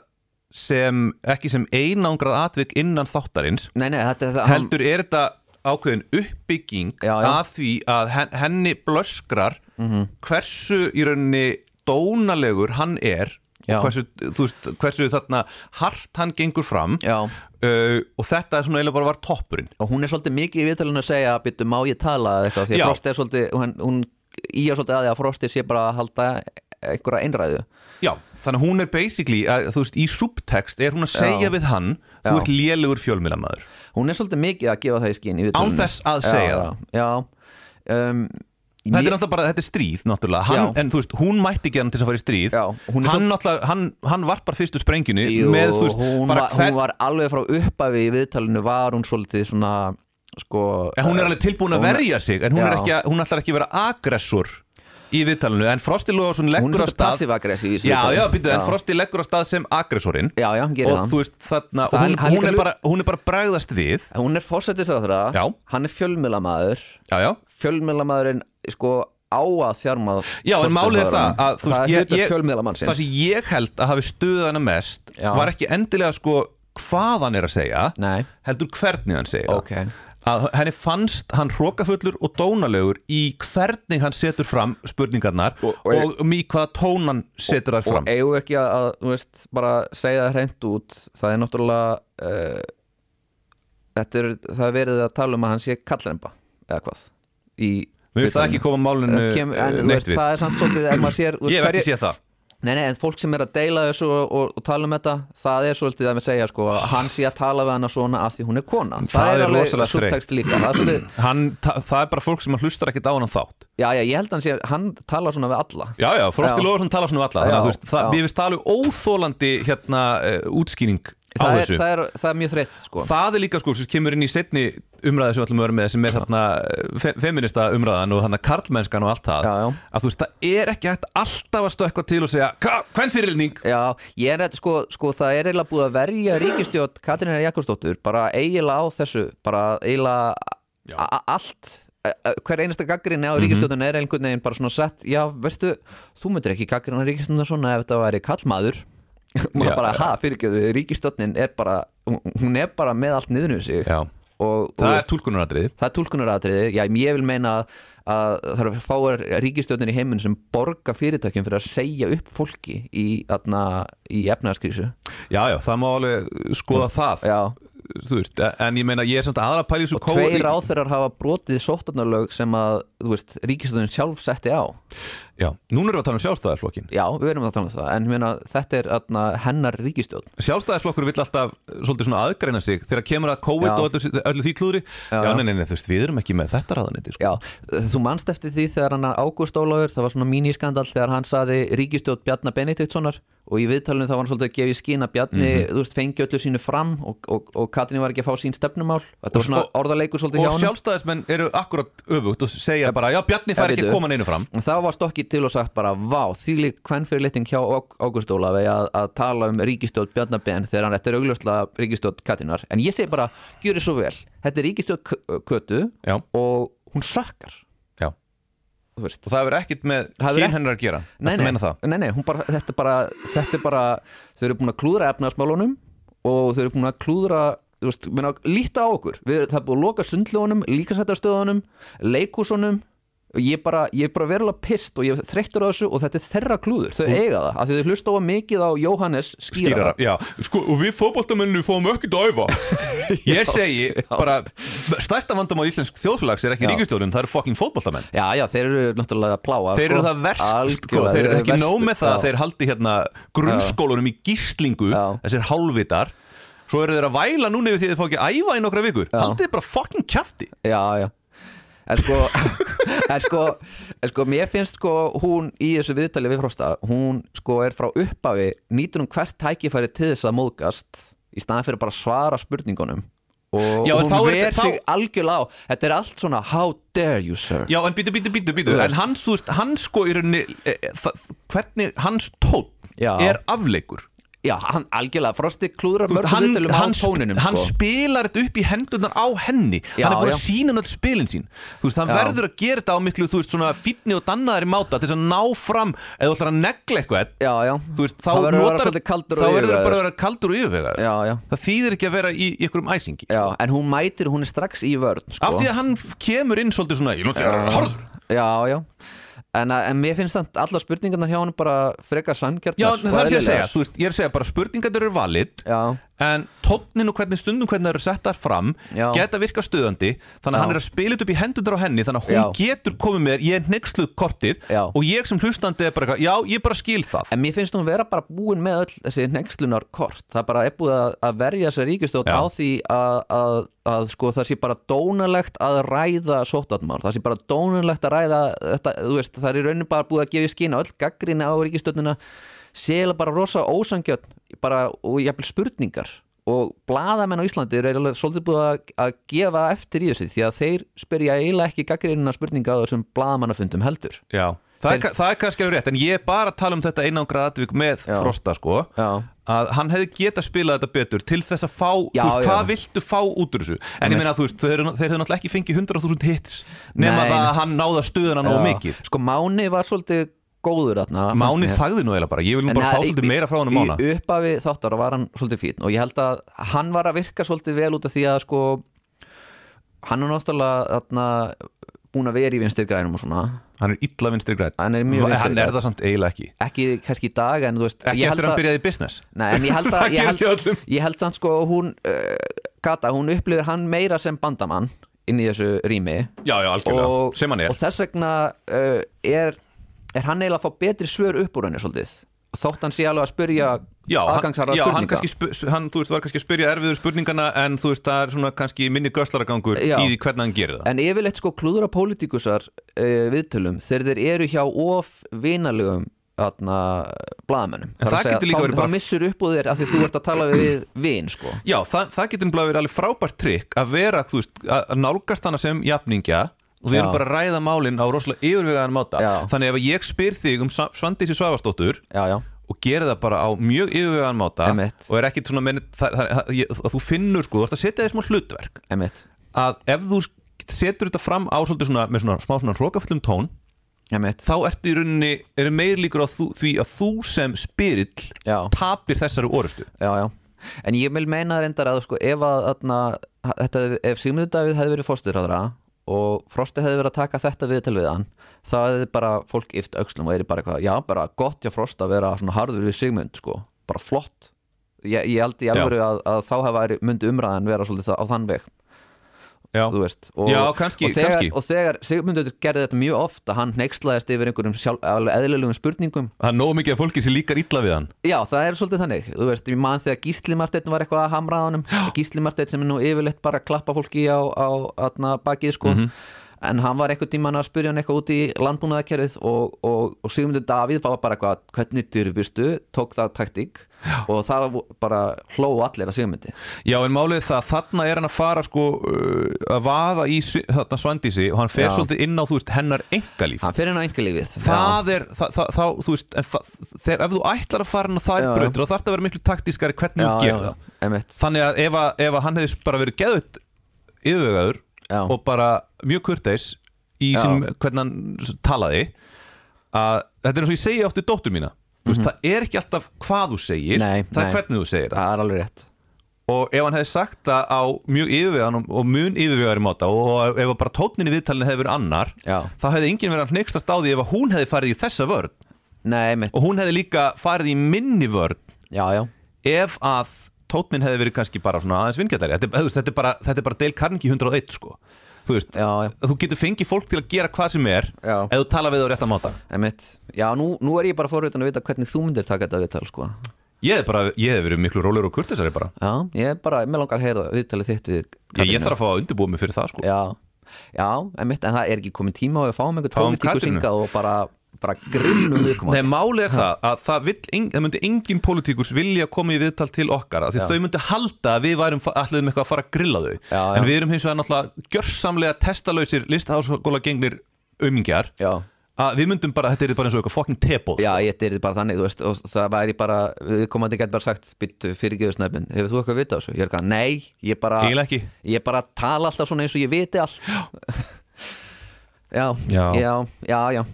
A: sem, ekki sem einangrað atvik innan þáttarins
C: nei, nei, þetta er það
A: heldur er þetta ákveðin uppbygging
C: Já, Mhm. já.
A: að því að hen- henni blöskrar hversu í rauninni dónalegur hann er
C: Já.
A: og hversu, þú veist, hversu þarna hart hann gengur fram
C: Já.
A: uh, og þetta er svona eiginlega bara var toppurinn
C: og hún er svolítið mikið í viðtalinu að segja byttu má ég tala eða eitthvað því að
A: Já.
C: Frosti er svolítið hún, hún íja svolítið að því að Frosti sé bara að halda einhverja einræðu
A: Já, þannig að hún er basically að, þú veist, í subtext er hún að segja
C: Já.
A: við hann þú
C: Já.
A: ert lélugur fjölmiðlamæður
C: hún er svolítið mikið að gefa það í skinn í viðtalinu.
A: þess að segja
C: já, já, já. Um,
A: Þetta
C: mér-
A: er náttúrulega bara, þetta er stríð náttúrulega hann,
C: Já.
A: En þú veist, hún mætti ekki hann til þess að fara í stríð
C: Já, hún
A: hann,
C: er svo-
A: náttúrulega, hann, hann varpar fyrstu sprengjunni
C: Jú,
A: með, þú veist,
C: hún,
A: bara
C: var, hún var alveg frá uppafi í viðtalinu var hún svolítið svona sko,
A: En hún er alveg tilbúin að
C: hún-
A: verja sig En hún, er
C: Já.
A: ekki, að- hún ætlar ekki að vera agressor í vittalinu En Frosti Lóðarsson
C: hún
A: leggur á
C: er svolítið
A: stað
C: passív-aggressív í þessu
A: Já,
C: viðtali.
A: já, býttu, en Frosti leggur á stað sem aggressorinn
C: já, já, hún gerir
A: Og
C: það
A: þú veist, þarna,
C: Það er-
A: hún,
C: hann
A: hún,
C: líka
A: er
C: lu-
A: bara, hún er bara að bregðast við
C: hún er fórsættisraðra,
A: Já.
C: hann er fjölmiðlamaður
A: Já, já
C: fjölmiðlamaðurinn sko á að þjarma
A: Já, en málið er það að þú
C: það
A: veist,
C: er
A: ég,
C: hlutur
A: ég, það
C: fjölmiðlamannsins
A: sem ég held að hafi stuðað hana mest
C: Já.
A: var ekki endilega sko hvað hann er að segja
C: Nei.
A: heldur hvernig hann segja
C: Ok.
A: að henni fannst hann hrókafullur og dónalegur í hvernig hann setur fram spurningarnar og,
C: Og-
A: og, um
C: og-
A: í hvaða tón hann setur þær
C: og
A: fram
C: eigum við ekki að, að þú veist, bara segja það hreint út það er náttúrulega uh, þetta er, það er verið að tala um að hann sé kallremba eða hvað í
A: Mér finnst það
C: viðtalinu.
A: ekki koma málinu
C: Það kem, en,
A: eh,
C: þú
A: neitt
C: veist,
A: við
C: það er samt svolítið ef maður sér þú veist,
A: Ég hef
C: hverju-
A: ekki séð það
C: Nei, nei, en fólk sem er að deila þessu og, og, og tala um þetta það er svolítið að við segja sko að hann sé að tala við hana svona að því hún er kona það,
A: Það er
C: alveg
A: rosalega þreytt.
C: subtext líka það er svolítið,
A: hann, ta, Það er bara fólk sem hlustar ekkit á hann þátt
C: já, já, ég held að hann sé hann tala svona við alla
A: Já, já, Frosti
C: Já.
A: Lóðarsson tala svona um alla Þannig að
C: Já,
A: þú veist, það,
C: já.
A: mér finnst það alveg óþólandi hérna uh, útskýning á
C: það, er,
A: þessu
C: það, er, það er mjög þreytt sko
A: það er líka sko sem kemur inn í setni umræði sem við ætlum að vera með sem er þarna eh, fe feminista umræðan og þarna karlmennskan og allt það
C: Já, já.
A: að þú veist það er ekki hægt alltaf að stökkva til og segja hvern fyrirlning
C: Já, ég er þetta sko, sko það er eiginlega búið að verja ríkistjótt Katrínar Jakobsdóttur bara eiginlega á þessu bara eiginlega a- a- allt a- a- hver einasta gaggrinni
A: Mhm.
C: á ríkistjóttun er einhvern veginn bara svona sett já, veistu, þú myndir ekki gaggrina ríkistjóttun svona ef þetta væri kallmaður
A: Já,
C: maður bara, ha, fyrirgjöðu, ríkistjóttin er bara hún er bara með allt niður um sig
A: Já.
C: og,
A: það
C: og
A: er túlkunaratriði
C: það er tólkunaratriði, já, ég vil meina að, að það eru fáar ríkistjóðin í heiminn sem borga fyrirtækjum fyrir að segja upp fólki í, þarna, í efnaðaskrísu
A: já já það má alveg skoða það
C: já.
A: þú veist en ég meina ég er samt aðra pæli
C: og tveir ráþeirar hafa brotið sóttarnarlög sem að, þú veist, ríkistjóðin sjálf setti á
A: já núna erum við að tala um sjálfstæðarflokkin
C: já, við erum að tala um það, en ég meina, þetta er þarna, hennar ríkistjóð
A: sjálfstæðarflokkur vill alltaf eh, svolítið svona aðgreina sig þegar kemur að COVID
C: Já.
A: og öllu, öllu því klúðri já, já nei, nei, nei, þú veist, við erum ekki með þetta ráðanetti sko.
C: Já, þú manst eftir því þegar hann Ágúst Ólafur, það var svona míniskandall þegar hann saði ríkistjótt Bjarnar Benediktssonar og í viðtalinu þá var hann svolítið að gefa í skín að Bjarni,
A: Mhm.
C: þú veist, fengi öllu sínu fram og, og, og Katrín var ekki að fá sín stefnumál þetta var svona
A: og- sko-
C: orðaleikur svolítið hjá
A: og
C: hann
A: sjálfstæðismenn eru akkurat öfugt og segja bara, já Bjarni fær
C: Já,
A: ekki
C: bíddu.
A: að koma neinu fram
C: Þá var stokkið til og sagt bara, vá, þýli hvern fyrir liting hjá Á- Ágúst Ólafi að, að tala um ríkistjótt Bjarnar Ben þegar hann þetta er augljóslega ríkistjótt Katrínar en ég segi bara, gjöri svo vel þetta er ríkistjótt K- Kötu
A: Já.
C: og hún sökkar,
A: Já. og
C: þú veist
A: það hefur ekkit með
C: hefur
A: kyn
C: ekki-
A: hennar að gera
C: Nei,
A: Ertu að
C: nei,
A: meina það?
C: nei, nei hún bara, þetta, er bara, þetta er bara þau eru búin að klúðra efnaðasmálunum og þau eru búin að klúðra þú veist, menna, líta á okkur Við, það er búin að loka sundljónum, líkasættastöðunum leikúsunum og ég er bara, ég er bara verulega pist og ég er þreyttur á þessu og þetta er þerra klúður, þau eiga það af því þau hlusta á mikið á Jóhannes skýrara,
A: Skýrara, já, sko, og við fótboltamennu fáum ekki dæfa Ég segi, bara, stærsta vandamál íslensk þjóðfélags er ekki
C: Já.
A: ríkistjóðum, það eru fucking fótboltamenn
C: Já, já, þeir eru náttúrulega að pláa
A: Þeir
C: sko.
A: eru það verst, sko,
C: Algjörlega,
A: þeir eru ekki
C: verstu,
A: nóg með það
C: já.
A: að þeir haldi hérna grunnskólunum í gíslingu,
C: Já.
A: þessir hálfvitar Svo eru þeir að væla núna yfir því að þeir fá ekki að æfa í nokkra vikur Haldið bara fucking kjafti
C: Já, já En sko, en sko, en sko mér finnst sko hún í þessu viðtali við Frosta hún sko er frá uppafi nýtur hún hvert tækifæri til þess að móðgast í staðan fyrir bara að svara spurningunum og
A: Já, en þá
C: hún
A: er
C: ver
A: þetta- þá-
C: sig algjörlega á þetta er allt svona how dare you sir
A: Já, en býtu, býtu, býtu, býtu
C: Þú veist.
A: En hans, þú veist, hans sko í rauninni e, e, það- Hvernig hans tón
C: Já.
A: er afleikur
C: Já, hann algjörlega, Frosti klúðrar
A: Þú veist,
C: mörgum
A: hann,
C: viðtalum á
A: hann, sp-
C: tóninum
A: hann
C: sko.
A: spilar þetta upp í hendunar á henni
C: Já,
A: Hann er búin
C: já.
A: að sína hann öll spilin sín Þú veist, hann
C: Já.
A: verður að gera þetta á miklu Þú veist, svona fínni og dannaðari máta Til þess að ná fram, eða þú ætlar að negla eitthvað
C: Já, já,
A: Þú veist, þá
C: Það verður að vera
A: notar-
C: svolítið kaldur
A: Þá
C: og
A: verður það bara að
C: yfirvegaður.
A: vera kaldur og yfirvegaður
C: Já, já.
A: Það þýðir ekki að vera í, í ykkurum æsingi
C: Já, en hún mætir, hún er strax í vörn sko.
A: Af því að hann f- kemur inn svolítið svona Ég lótti að vera harður
C: Já, já en, að- en mér finnst þannig allar spurningarnar hjá hann bara frekar sanngjarnar
A: Já,
C: og
A: það er sem ég að segja,
C: eðlilegar.
A: þú veist, ég er að segja bara spurningarnir eru valid
C: Já,
A: en tónnin og hvernig stundum hvernig það eru settar fram
C: Já.
A: geta virka stöðandi þannig að
C: Já.
A: hann er að spila þetta upp í hendunar á henni þannig að hún getur komið með, ég er hneiksluð kortið
C: Já.
A: og ég sem hlustandi er bara, eitthvað, já, ég bara skil það
C: en mér finnst hún vera bara búin með öll þessi nexlunar kort það er bara er búið að, að verja sér ríkistjótt
A: Já.
C: á því að, að, að sko, það sé bara dónalegt að ræða sóttatmál, það sé bara dónalegt að ræða þetta, þú veist, það er í rauninu bara búið að gefa í skina öll gaggrinni á ríkistjóttina sélega bara rosa ósangjöld bara, og jafnvel spurningar og blaðamenn á Íslandi eru eiginlega svolítið búið að, að gefa eftir í þessu því að þeir spyrja eiginlega ekki gaggrinna spurninga á þessum blaðamannafundum heldur
A: Já, það er,
C: Þeir-
A: ka- það er kannski alveg rétt en ég er bara að tala um þetta einangra atvik með
C: Já.
A: Frosta sko
C: Já.
A: að hann hefði getað spilað þetta betur til þess að fá,
C: Já,
A: þú veist,
C: já.
A: hvað viltu fá út úr þessu en ég meina, þú veist, þeir, eru- þeir hefðu náttúrulega ekki fengið 100.000 hits nema
C: Nei,
A: það
C: nei.
A: að hann náða stöðuna nógu
C: Já.
A: mikið
C: Sko Máni var svolítið góður þarna fannst
A: Máni
C: mér.
A: þagði nú eiginlega bara, ég vil nú
C: En
A: bara
C: að-
A: fá svolítið
C: í-
A: meira frá hann um mána
C: Í upphafi þáttara var hann svolítið fín og ég held að hann var að virka svolítið vel út af því að sko hann er náttúrulega þarna búin að vera í vinstri grænum og svona
A: Hann er illa vinstri græn
C: Hann er mjög vinstri
A: Hann er
C: grænn.
A: það samt eiginlega ekki
C: ekki kannski í dag en þú veist
A: Ekki
C: ég
A: eftir
C: held
A: að hann
C: að-
A: byrjaði í business
C: Nei, en ég held að
A: Það
C: ég
A: gerist hjá
C: held,
A: öllum.
C: ég held samt sko að hún uh, Gata, hún upplifir hann meira sem bandamann inn í þessu rými
A: Já, já, algjörlega,
C: og,
A: sem hann er
C: og þess vegna uh, er, er hann eiginlega að fá betri svör upp úr henni svolítið þótt hann sé alveg að spyrja
A: Já, hann,
C: aðgangsarra
A: já hann,
C: spurninga
A: kannski, spu- hann þú veist, var kannski að spyrja erfiður spurningana en þú veist, það er svona kannski minni göslaragangur
C: Já.
A: í því hvernig hann gerir það
C: en yfirleitt sko klúðra pólitíkusar uh, viðtölum þegar þeir eru hjá of vinalegum þarna blaðamönnum
A: En
C: Þar að
A: það
C: segja,
A: getur líka
C: þá,
A: verið
C: þá
A: bara-
C: missur upp úr þér af því þú ert að tala við vin sko
A: Já, það, það getur bara verið alveg frábært trikk að vera, þú veist, að að nálgast hana sem jafningja og við
C: Já.
A: erum bara að ræða málin á rosalega yfirvegaðan máta
C: Já.
A: Þannig ef ég spyr þig um Sa- Svandísi Svavastóttur
C: já, já.
A: og gera það bara á mjög yfirvegaðan máta
C: Einmitt.
A: og er ekkit svona menn, það, það, það, ég- að þú finnur sko, þú ert að setja þér smá hlutverk
C: Emitt.
A: að ef þú setur þetta fram á svolítið svona, með svona smá svona hrókafullum tón
C: Emitt.
A: þá ertu í rauninni, eru meir líkur á þú, því að þú sem spyrill
C: Já.
A: tapir þessari orustu
C: já, já. En ég vil meina reyndar að sko, ef, að, atna, þetta, ef Sigmundur Davíð hefði verið fórsturhæðra og Frosti hefði verið að taka þetta viðtal við hann þá hefði bara fólk yft öxlum og er bara eitthvað, já bara gott hjá Frost að vera svona harður við Sigmund sko, bara flott ég, ég held í alvöru að, að þá hefði myndi umræðan vera svolítið það, á þann veg
A: Já,
C: þú veist og,
A: Já, kannski,
C: og þegar,
A: kannski.
C: og þegar Sigmundur gerði þetta mjög oft að hann neykslaðist yfir einhverjum sjálf, alveg eðlilegum spurningum
A: það er nógu mikið af fólki sem líkar illa við hann
C: Já, það er svolítið þannig, þú veist, ég man þegar Gísli Marteinn var eitthvað að hamra á honum Gísli Marteinn sem er nú yfirleitt bara að klappa fólki á, á atna, bakið sko
A: Mhm.
C: en hann var eitthvað tíman að spyrja hann eitthvað út í landbúnaðakerfið og, og, og Sigmundur Davíð var bara eitthvað hvernig dyrfistu, tók það taktík og það vo- bara hló allir að Sigmundi
A: Já, en málið er það, þarna er hann að fara sko uh, að vaða í svi- þarna svandísi og hann fer
C: Já.
A: svolítið inn á, þú veist, hennar engalíf
C: Hann fyrir hann á einkalífið
A: Það er, það, það, þá, þú veist, en það, þegar, ef þú ætlar að fara hann á þær
C: Já, já.
A: brautir þá þarf það að vera miklu taktískari hvernig
C: Já,
A: þú gerir
C: já,
A: það
C: einmitt.
A: Þannig að ef, að, ef að hann hefði bara verið geðut yfirvegaður
C: Já.
A: og bara mjög kurteis í
C: Já.
A: sínum hvernig hann talaði að þetta er eins og ég segi oft í dóttur mína Þú veist, það er ekki alltaf hvað þú segir
C: Mhm. Nei,
A: það
C: nei.
A: er hvernig þú segir það
C: það er alveg rétt
A: og ef hann hefði sagt það á mjög yfirvegan og, og mun yfirvegar í máta og ef að bara tótninni viðtalinu hefði verið annar
C: Já.
A: þá hefði enginn verið að hneikstast á því ef að hún hefði farið í þessa vörn
C: Nei, mitt,
A: og hún hefði líka farið í minni vörn
C: já, já
A: ef að tótnin hefði verið kannski bara svona aðeins vingjartari þetta, er- þú veist, þetta, er bara- þetta er bara Dale Carnegie 101 sko. þú veist,
C: Já, já.
A: þú getur fengið fólk til að gera hvað sem er
C: Já.
A: ef þú tala við á rétta máta
C: Einmitt. Já, nú, nú er ég bara forvitin að vita hvernig þú myndir taka þetta viðtal sko.
A: ég hef, bara, ég hef verið miklu rólegur og kurtisari bara
C: Já, ég er bara, mér langar að heyra viðtalið þitt við
A: ég, ég
C: Katrínu.
A: þarf að fá að undirbúa mig fyrir það sko.
C: Já, já einmitt, en það er ekki komið tíma og við fáum einhvern
A: Fáum
C: pólitíkus
A: Katrínu.
C: hingað og bara, bara grinnum
A: Nei,
C: viðkomandi
A: málið er það að það, vill, eng- það myndi engin pólitíkus vilja koma í viðtal til okkar af því þau myndi halda að við værum fa- ætluðum eitthvað að fara að grilla þau
C: Já, já.
A: en við erum hins vegar náttúrulega gjörsamlega testalausir listaháskóla gengnir umingjar
C: Já,
A: að við myndum bara, þetta er bara eins og sko. eitthvað fucking tebóð
C: já, ég þetta er bara þannig, þú veist, og það væri bara, viðkomandi gæti bara sagt, byttu fyrirgeðu snöfn, hefur þú eitthvað vitað þessu? Ég er ekki að, nei, ég bara,
A: Eiginlega ekki.
C: ég bara tala alltaf svona eins og ég viti allt Já,
A: Já.
C: já, já, já.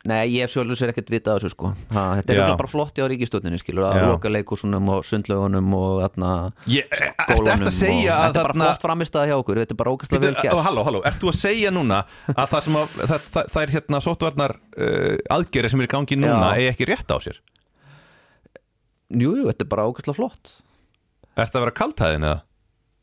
C: Nei, ég hef sjálfur sér ekkert vitað af þessu sko ha, Þetta er
A: Já.
C: örugglega bara flotti á ríkistöðninu skilur að
A: Já.
C: loka leikursunum og sundlaugunum og þarna
A: Ég- e- ertu- ertu að
C: skólanum
A: segja
C: og,
A: að
C: Þetta er bara
A: þarna-
C: flott framistæða hjá okkur Þetta er bara ógæslega vel
A: Bíddu,
C: gert
A: Halló, halló, ert þú að segja núna að það sem að það, það, það er hérna sóttvarnar uh, aðgerið sem er í gangi núna
C: Já.
A: eigi ekki rétt á sér?
C: Jú, jú, þetta er bara ógæslega flott
A: Ert það að vera kaltæðin eða?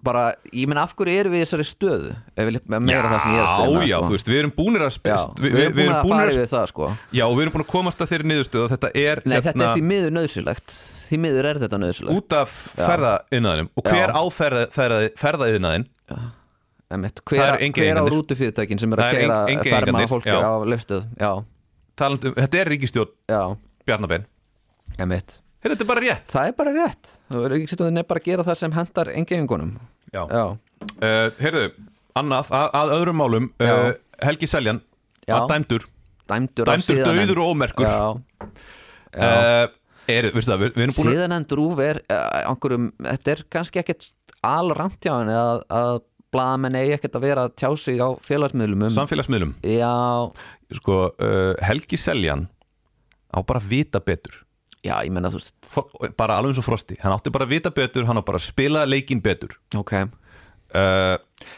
C: Bara, ég menn af hverju erum við í þessari stöðu ef við meira það sem ég er að
A: Já,
C: spila
A: já,
C: sko.
A: þú veist, við erum búinir að
C: já,
A: spyrst
C: Við erum búin að fara
A: að
C: yfir það sko
A: Já, og við erum búin að komast að þeirri niðurstöð og þetta er hérna
C: Nei, þetta er því miður nöðsilegt Því miður er þetta nöðsilegt
A: út af ferðaiðnaðinum og hver
C: Já.
A: á ferða- ferða- ferðaiðnaðin
C: Einmitt,
A: Það
C: hver,
A: eru engir
C: hver á
A: eigendur.
C: rútufyrirtækin sem er
A: Það
C: að
A: eru
C: keira
A: eng- engir
C: ferma
A: eigendur,
C: fólki
A: já.
C: á löfstöð Já,
A: talandi um, þetta er ríkistjórn
C: já,
A: Bjarnabenn
C: emitt
A: Heyrðu, þetta er bara rétt
C: Það er bara rétt Þú er ekki stöðin er bara að gera það sem hendar engengunum
A: Já,
C: Já,
A: Uh, heyrðu, annað, að, að öðrum málum uh,
C: Já.
A: Helgi Seljan
C: Já.
A: var dæmdur
C: dæmdur af
A: dæmdur
C: síðanefnd.
A: döður og ómerkur uh,
C: Já,
A: er, veistu það, við, við erum búin að
C: síðanend rúf er eh, einhverjum, þetta er kannski ekkert alramt hjá henni að, að blaðamenn eigi ekkert að vera að tjá sig á félagsmiðlum um
A: samfélagsmiðlum
C: Já,
A: sko, uh, Helgi Seljan á bara að vita betur
C: já, ég menna þú veist
A: For, bara alveg eins og Frosti, hann átti bara að vita betur hann á bara að spila leikinn betur
C: Ok,
A: uh,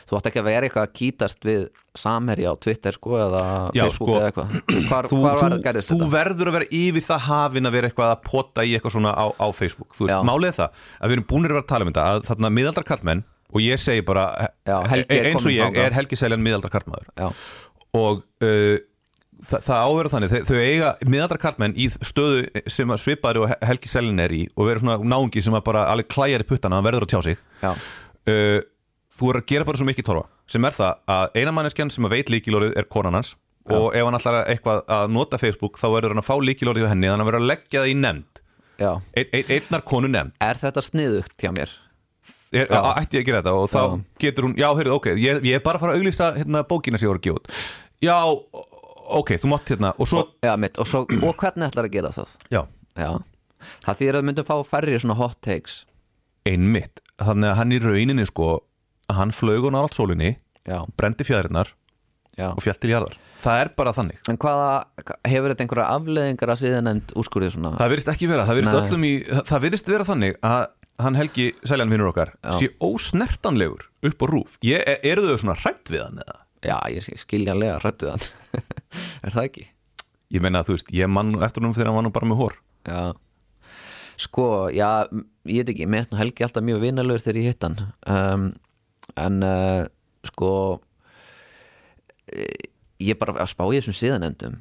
C: þú átt ekki að vera eitthvað að kýtast við samherji á Twitter sko eða
A: Já,
C: Facebook
A: sko,
C: eða eitthvað Hvar,
A: þú,
C: hvar var
A: þú,
C: gerðist
A: þú
C: þetta?
A: verður að vera yfir það hafin að vera eitthvað að pota í eitthvað svona á, á Facebook þú veist,
C: Já.
A: málið er það að við erum búinir að vera að tala um þetta að þarna miðaldra kallmenn og ég segi bara e-
C: Já, Helgi er
A: eins og
C: kominn
A: ég
C: þangað.
A: er Helgi Seljan miðaldra kallmaður
C: Já,
A: og uh, það, það áverða þannig þau, þau eiga miðaldra kallmenn í stöðu sem að svipaður og Helgi Seljan er í og vera svona náungi sem að bara alveg klæjar í puttana hann verður að tjá sig
C: já,
A: uh, þú er að gera bara svo mikið torfa sem er það að eina manneskjan sem að veit líkilorðið er konan hans og ef hann ætlar að- eitthvað að nota Facebook þá verður hann að fá líkilorðið hjá henni þannig að hann verður að leggja það í nefnd
C: já
A: ein, ein, einnar konu nefnd
C: Er þetta sniðugt hjá mér?
A: er,
C: Já.
A: á- ætti ég að gera þetta og þá
C: Já.
A: getur hún já, heyrðu, ok, ég, ég er bara að fara að auglýsa hérna, bókina sem ég voru að gefa út já, ok, þú mátt hérna og svo,
C: Já, mitt, og, svo, og hvernig ætlar að gera það?
A: já,
C: Já, það þýðir að við myndum fá færri svona hot takes
A: einmitt þannig að hann í rauninni sko hann flög hún á allt sólinni,
C: Já,
A: brendi fjæðirinnar
C: já
A: og fjall til jarðar það er bara þannig
C: En hvaða, hefur þetta einhverja afleðingar að síðan end úrskurðið svona?
A: Það virðist ekki vera, það virðist
C: Nei.
A: öllum í það- Það virðist vera þannig að hann Helgi Sæljan vinnur okkar sé ósnertanlegur upp á rúf Ég, e- Eru þau svona hrætt við hann eða?
C: Já, ég skil- skiljanlega hrættu hann Er það ekki?
A: Ég meina að þú veist, ég mann nú eftir núm þegar hann var nú bara með hór
C: Já Sko, já, m- ég veit ekki, mér er nú Helgi alltaf mjög vinalegur þegar ég hitt hann um, En uh, sko eh, Ég er bara að spá í þessum síðanefndum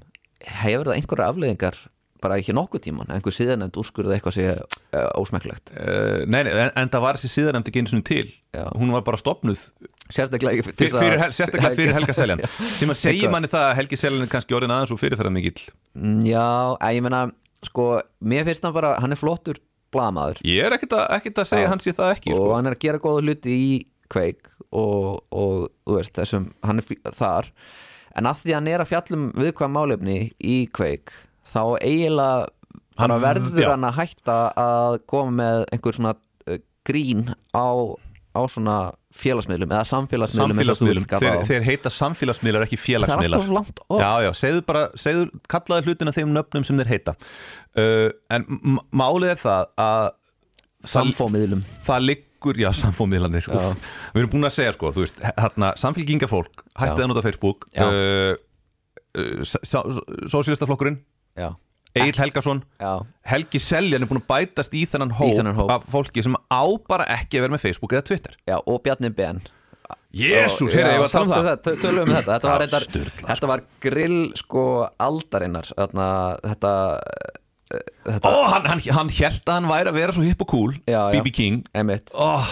C: Hefur það einhverja afleðingar bara ekki nokkuð tíman einhver síðanefnd úrskurðið eitthvað sé uh, ósmekklegt
A: uh, Nei, nei, en, en það var þessi síðanemnd ekki einu sinni til
C: Já.
A: Hún var bara stopnuð
C: sérstaklega ekki
A: fyrir,
C: til
A: fyrir,
C: þess
A: Hel-
C: að-
A: sérstaklega fyrir Helga Sæljan sem að segja
C: Eitthvað.
A: manni það að Helgi Sæljan er kannski orðin aðeins og fyrirferðar mikill
C: Mm, Já, en ég meina sko, mér finnst hann bara, hann er flottur blamaður
A: Ég er ekkit að, ekkit að segja
C: Já.
A: hann sé það ekki
C: og
A: sko.
C: hann er að gera góða hluti í kveik og, og þú veist, þessum hann er fí- þar en að því hann er að fjallum viðkvæm málefni í kveik, þá eiginlega
A: Hann-
C: hann verður
A: já.
C: hann að hætta að koma með einhver svona uh, grín á, á svona félagsmiðlum eða samfélagsmiðlum, eins og þú vilt
A: Samfélagsmiðlum,
C: kalla
A: þeir,
C: þá.
A: þeir heita samfélagsmiðlar ekki
C: það er
A: félagsmiðlar
C: alltaf langt orð
A: Já, já, segðu bara, segðu, kallaðu hlutina þeim nöfnum sem þeir heita uh, En m- málið er það að
C: samfómiðlum
A: Það, það liggur, já, samfómiðlanir
C: Já.
A: Úff. Við erum búin að segja, sko, þú veist, hérna, samfélkingafólk Hættið
C: Já.
A: að nota Facebook
C: Já.
A: uh, uh, Sósílistaflokkurinn,
C: já,
A: Egil Helgason
C: já,
A: Helgi Seljan er búin að bætast í þennan hóp,
C: þennan hóp.
A: Af fólki sem á bara ekki að vera með Facebook eða Twitter
C: já, og Bjarni Ben
A: Jésús,
C: Já,
A: heyrðu, ég var að tala um
C: sástu
A: það
C: það Tölum um þetta, þetta var,
A: Já,
C: reyndar,
A: sturla,
C: þetta var grill sko aldarinnar þarna, þetta,
A: Ó, hann, hann, hann held að hann væri að vera svo hipp og cool
C: Já, já.
A: BB King
C: emitt,
A: oh,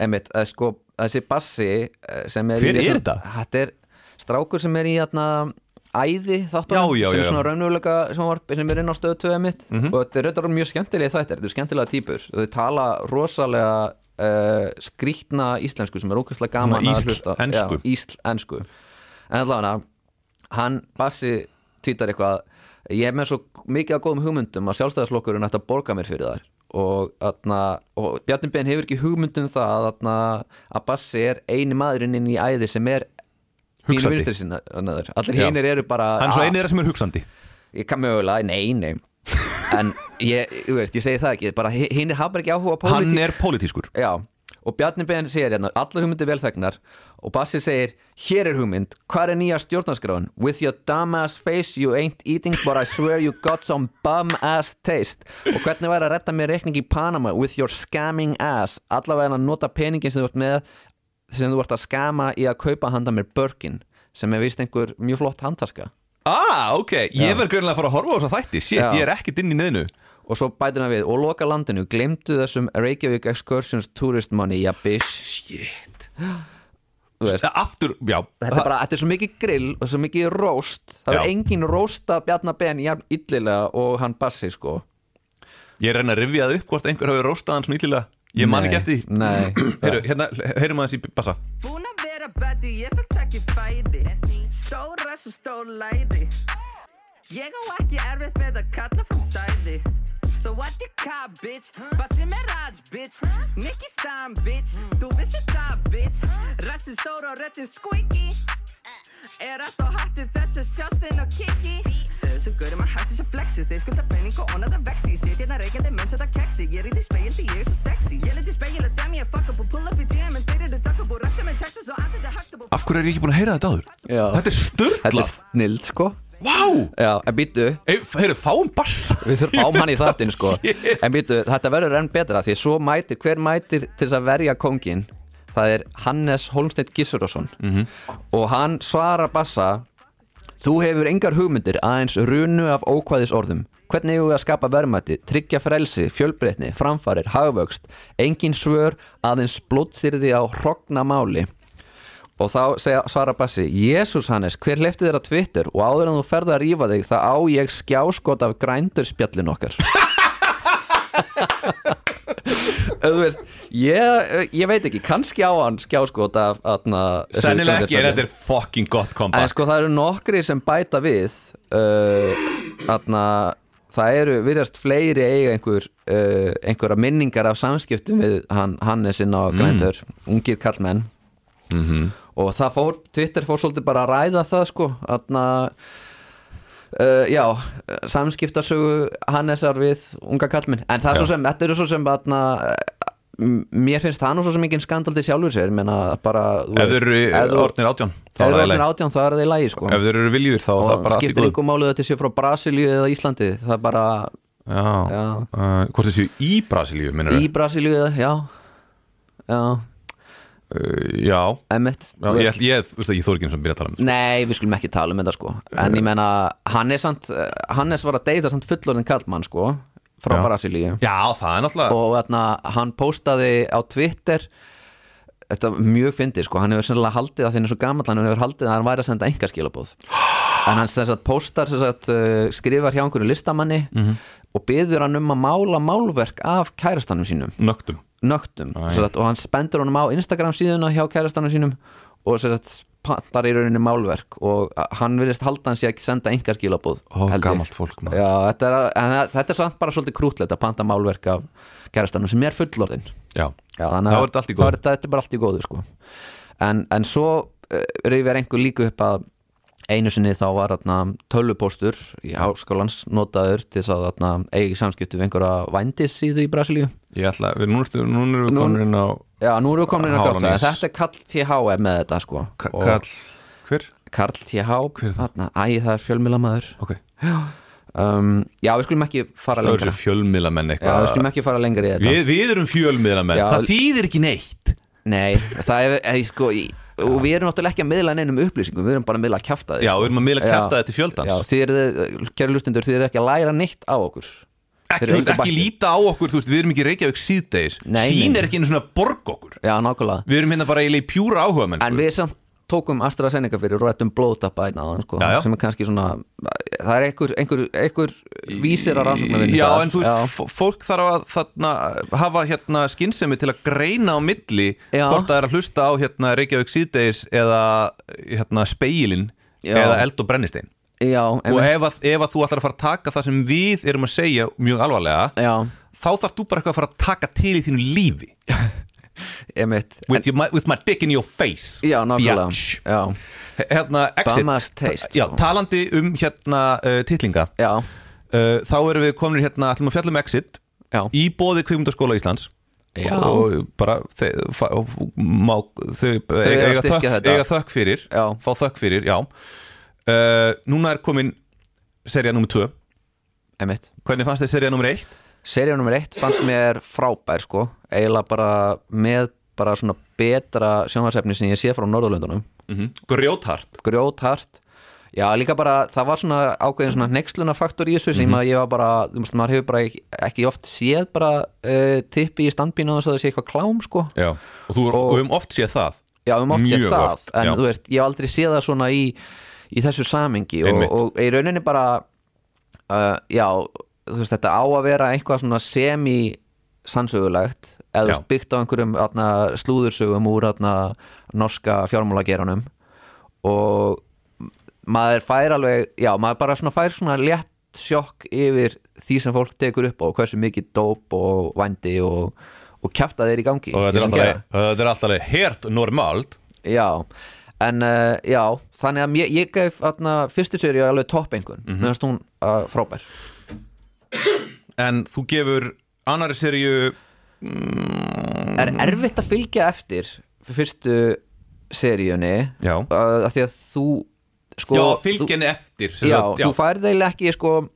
C: emitt eh, sko, þessi bassi eh, sem er í
A: Hver er
C: þessum-
A: þetta?
C: Þetta er strákur sem er í þarna æði þáttunum
A: Já, já,
C: sem
A: já, Mhm.
C: er
A: já.
C: svona raunveruleika sem, var, sem er inn á stöðu 2 emitt og þetta er reyndar mjög skemmtilega þættir þetta er skemmtilega típur og þau tala rosalega uh, skrýtna íslensku sem er ókvæslega gaman
A: Svona
C: að
A: ísl-
C: hlusta.
A: ensku.
C: Já, íslensku en allavega hann Bassi týtar eitthvað ég er með svo mikið af góðum hugmyndum að sjálfstæðaslokkurinn ætti að borga mér fyrir þar og, atna, og Bjarni Ben hefur ekki hugmyndum það að, atna, að Bassi er eini maðurinn inn í æði sem er
A: Hugsandi.
C: hinir vinstri sinna- annaður. allir
A: Já.
C: hinir eru bara
A: Hann er svo
C: "Ah,
A: einið þeirra sem er hugsandi
C: ég kann mögulega, nei, nei en ég, þú veist, ég segi það ekki bara hi- hinir hafa ekki áhuga á pólitík
A: Hann er pólitískur
C: já, og Bjarni Ben segir hérna allar hugmyndir velþegnar og Bassi segir, hér er hugmynd, hvað er nýja stjórnarskráin with your dumb ass face you ain't eating but I swear you got some bum ass taste og hvernig væri að retta mér reikning í Panama with your scamming ass allavega að nota peningin sem þú ert með sem þú ert að skama í að kaupa handa mér Birkin sem er vist einhver mjög flott handtaska
A: Ah, ok, ég verð greinlega að fara að horfa á þess þætti Shit,
C: Já.
A: ég er ekkert inn í neðinu
C: og svo bætir hann við og loka landinu, glemdu þessum Reykjavík Excursions Tourist Money ja bish,
A: Shit
C: þú veist
A: Aftur, já
C: þetta er bara, þetta er svo mikið grill og svo mikið róst,
A: Já.
C: það er engin rósta Bjarnabenn jafn illilega og hann Bassi sko
A: Ég reyna að rifja það upp hvort einhver hafi róstað hann svona íllilega Ég man
C: Nei,
A: ekki eftir því
C: nei.
A: Heyru, hérna, heyrum aðeins í bassa
E: Búin að vera bæti, ég fætt ekki fæði Stóra sem stór læri Ég á ekki erfitt með að kalla fram sæði So what you cop, bitch? Bassi með raj, bitch Nicky Stein, bitch Þú vissir það, bitch Rassin stór og röttin squeaky Er allt og hættir þess að sjást inn og kiki Segðu sem gaurið maður hættir sem flexi Þeir skulda penning og onnaða vexti Ég sit hérna reikandi menn sem það keksi Ég rýði speil því ég er svo sexy Ég liti speil að dæmi ég fuck up og pull up í DM En þeir eru duck up og rassi með Texas og allir það högt upp og
A: Af hverju er ég ekki búin að heyra þetta áður?
C: Já.
A: Þetta er
C: þetta
A: störla
C: er snild sko
A: Vá,
C: já, en býtu,
A: Ey, heyru, fáum bassa
C: við þurfum ám hann í þáttin sko en býtu, þetta verður enn betra því svo mætir, hver mætir til þess að verja kóngin það er Hannes Holmsteinn Gissurásson -hmm. og hann svarar Bassa Þú hefur engar hugmyndir aðeins runu af ókvæðis orðum. Hvernig hefur við að skapa verðmætti, tryggja frelsi, fjölbreytni, framfarir, hagvöxt, engin svör, aðeins blótsýrði á hrogna máli. Og þá segja, svara Bassi, Jésús Hannes, hver hleyfti þér að Twitter og áður en þú ferð að rífa þig, þá á ég skjáskot af grændurspjallin okkar. Þú veist, ég, ég veit ekki, kannski á hann skjáskot af... Atna,
A: Sennilega ekki, en þetta er fucking gott
C: En
A: kombat
C: sko það eru nokkri sem bæta við uh, Þarna Það eru virðast fleiri eiga einhver, uh, einhverja minningar af samskiptum við hann, Hannesinn á
A: Mm.
C: Grændur, ungir kallmenn
A: Mhm.
C: og það fór, Twitter fór svolítið bara að ræða það sko, þarna uh, já, eh, samskiptasögu Hannesar við unga kallmenn en það er svo sem, þetta eru svo sem þarna, eh, m- mér finnst það nú svo sem engin skandaldi sjálfur sér, menna bara
A: Ef
C: þú
A: þeir
C: veist,
A: eru
C: ef þú-
A: orðnir átján þá
C: Ef
A: er það
C: það
A: í
C: er
A: lagi.
C: átján þá er það í lagi sko
A: Ef þeir eru viljur þá er það
C: og
A: bara allt í
C: skiptir
A: góð
C: ykkur málu þetta sé frá Brasilíu eða Íslandi það er bara
A: Já,
C: Já.
A: Uh, hvort þessi í Brasilíu, minnur
C: í Brasilíu eða, já já,
A: Uh, Já,
C: emitt
A: já ég, ég, ég, veist það, ég þór ekki eins og að byrja að tala um þetta.
C: nei, við skulum ekki tala um þetta sko en ég menna, Hannes, samt, eh, Hannes var að deyta samt fullorðin kallmann sko frá
A: Já.
C: Brasilíu
A: Já, það er náttúrulega
C: og þarna, hann postaði á Twitter þetta er mjög fyndið sko, hann hefur sennilega haldið að því hann er svo gamall hann hefur haldið að hann væri að senda enga skilabóð en hann sem sagt, postar sem sagt, uh, skrifar hjá einhverju listamanni
A: Mhm.
C: og byður hann um að mála málverk af kærastanum sínum,
A: nögtum
C: nögtum sem sagt, og hann spendur honum á Instagram síðuna hjá kærastanum sínum og sem sagt, pantar í rauninni málverk og uh, hann virðist halda hann sé að senda enga skilabóð
A: Ó, gamalt fólk maður.
C: Já, þetta er, en það- þetta er samt bara svolítið krútlegt að panta málverk af kærastanum sem er fullorðin
A: Já,
C: Já, þannig
A: Þá
C: að
A: er þetta allt í góðu.
C: þá er þetta- þetta er bara allt í góðu sko. en, en svo uh, reyfir einhver líka upp að einu sinni þá var atna, tölvupóstur í háskólans notaður til þess að atna, eigi samskiptu við einhverja vændis síðu í Brasilíu
A: ég ætla, við núna ertu- núna erum við
C: Nú-
A: komin inn á
C: Já, nú erum við komin inn að
A: Hálan
C: gott það
A: ís.
C: Þetta er Karl TH er með þetta sko
A: Ka-
C: Og
A: Karl, hver?
C: Karl TH
A: Hver er það?
C: þarna, Æ, það er fjölmjöla maður
A: Ok,
C: um, Já, við skulum ekki
A: það
C: fara
A: er
C: lengra
A: þessi fjölmiðla menn
C: Já, við
A: eitthvað
C: skulum ekki fara lengra í þetta
A: við, við erum fjölmiðla menn,
C: Já.
A: það þýðir ekki neitt
C: Nei, það er, eða, sko, í, og við erum náttúrulega ekki að miðla neinum upplýsingum, við erum bara að miðla að kjafta þið
A: Já, við erum að miðla
C: Já.
A: kæfta þetta til fjöldans
C: Já, þið eru, kæru lustundur, þið eru ekki að læra neitt á okkur
A: Ekki,
C: Þeir
A: þú
C: eru
A: veist,
C: engu
A: ekki
C: bætti.
A: líta á okkur, þú veist, við erum ekki í Reykjavík síðdeis
C: Nei,
A: Sín
C: nei.
A: er ekki einu svona að borga okkur
C: Já, nákvæmlega
A: Við erum hérna bara eiginlega í pjúra áhuga menn
C: En við samt tókum AstraZeneca fyrir og rættum blóðtappa einn aðan, sko
A: Já, já.
C: sem er kannski svona, það er einhver, einhver, einhver vísir að rannsóknar
A: Já, en þú veist, f- fólk þarf að þarna, hafa hérna skynsemi til að greina á milli
C: Já.
A: hvort það er að hlusta á hérna Reykjavík síðdeis eða hérna speilin
C: Já.
A: eða eld og brennistein
C: Já, já,
A: og
C: en,
A: ef að, ef að þú ætlar að fara að taka það sem við erum að segja mjög alvarlega
C: já,
A: þá þarf þú bara eitthvað að fara að taka til í þínu lífi
C: emitt
A: with, your, my, with my dick in your face
C: Já, nákvæmlega
A: Biatch.
C: já.
A: Hérna, exit
C: Bama's taste.
A: Já, talandi um hérna uh, titlinga
C: já,
A: uh, Þá erum við komin hérna, ætlum að fjalla um exit
C: já,
A: Í bóði kvikmyndaskóla Íslands
C: Já.
A: Og bara þe fa- má, Þau, þau
C: eru að
A: eiga,
C: styrkja
A: þökk,
C: þetta.
A: eiga þökk fyrir
C: já,
A: Fá þökk fyrir, já uh, Núna er komin Serja nummer 2
C: emitt
A: Hvernig fannst þið serja nummer 1?
C: Serið nummer eitt fannst mér frábær sko eiginlega bara með bara svona betra sjónvarsefni sem ég sé frá Norðurlöndunum
A: Mm -hmm. Grjóthart
C: grjóthart Já, líka bara, það var svona ákveðin svona neykslunarfaktor í þessu sem að ég var bara, þú veist, maður hefur bara ekki, ekki oft séð bara uh, tippi í standbínu og þess að það sé eitthvað klám, sko
A: Já. Og þú og...
C: Og-
A: um oft séð það
C: Já, við mátt séð
A: Mjög
C: það,
A: oft,
C: en
A: já.
C: þú veist, ég hef aldrei séð það svona í, í þessu samingi og,
A: Einmitt.
C: og í rauninni bara uh, já, þú veist, þetta á að vera eitthvað svona semi sannsögulegt, eða þú
A: Já.
C: veist, byggt á einhverjum atna, slúðursögum úr atna, norska fjármálageranum og maður fær alveg, já, maður bara svona fær svona létt sjokk yfir því sem fólk tekur upp og hversu mikið dóp og vændi og, og kjafta þeir í gangi
A: Og
C: í
A: þetta er
C: þessum
A: alltaf
C: geira.
A: leið- þetta er alltaf leið hert normalt
C: Já, en uh, já, þannig að mér, ég gaf atna, fyrstu séri alveg topp einhvern mm -hmm. meðan hún uh, frábær
A: En þú gefur annari serju
C: Er erfitt að fylgja eftir fyrstu seríunni
A: Já.
C: uh, af því að þú sko,
A: Já,
C: þú,
A: fylgjenni eftir sem
C: já,
A: sagt,
C: þú færð þeil ekki sko,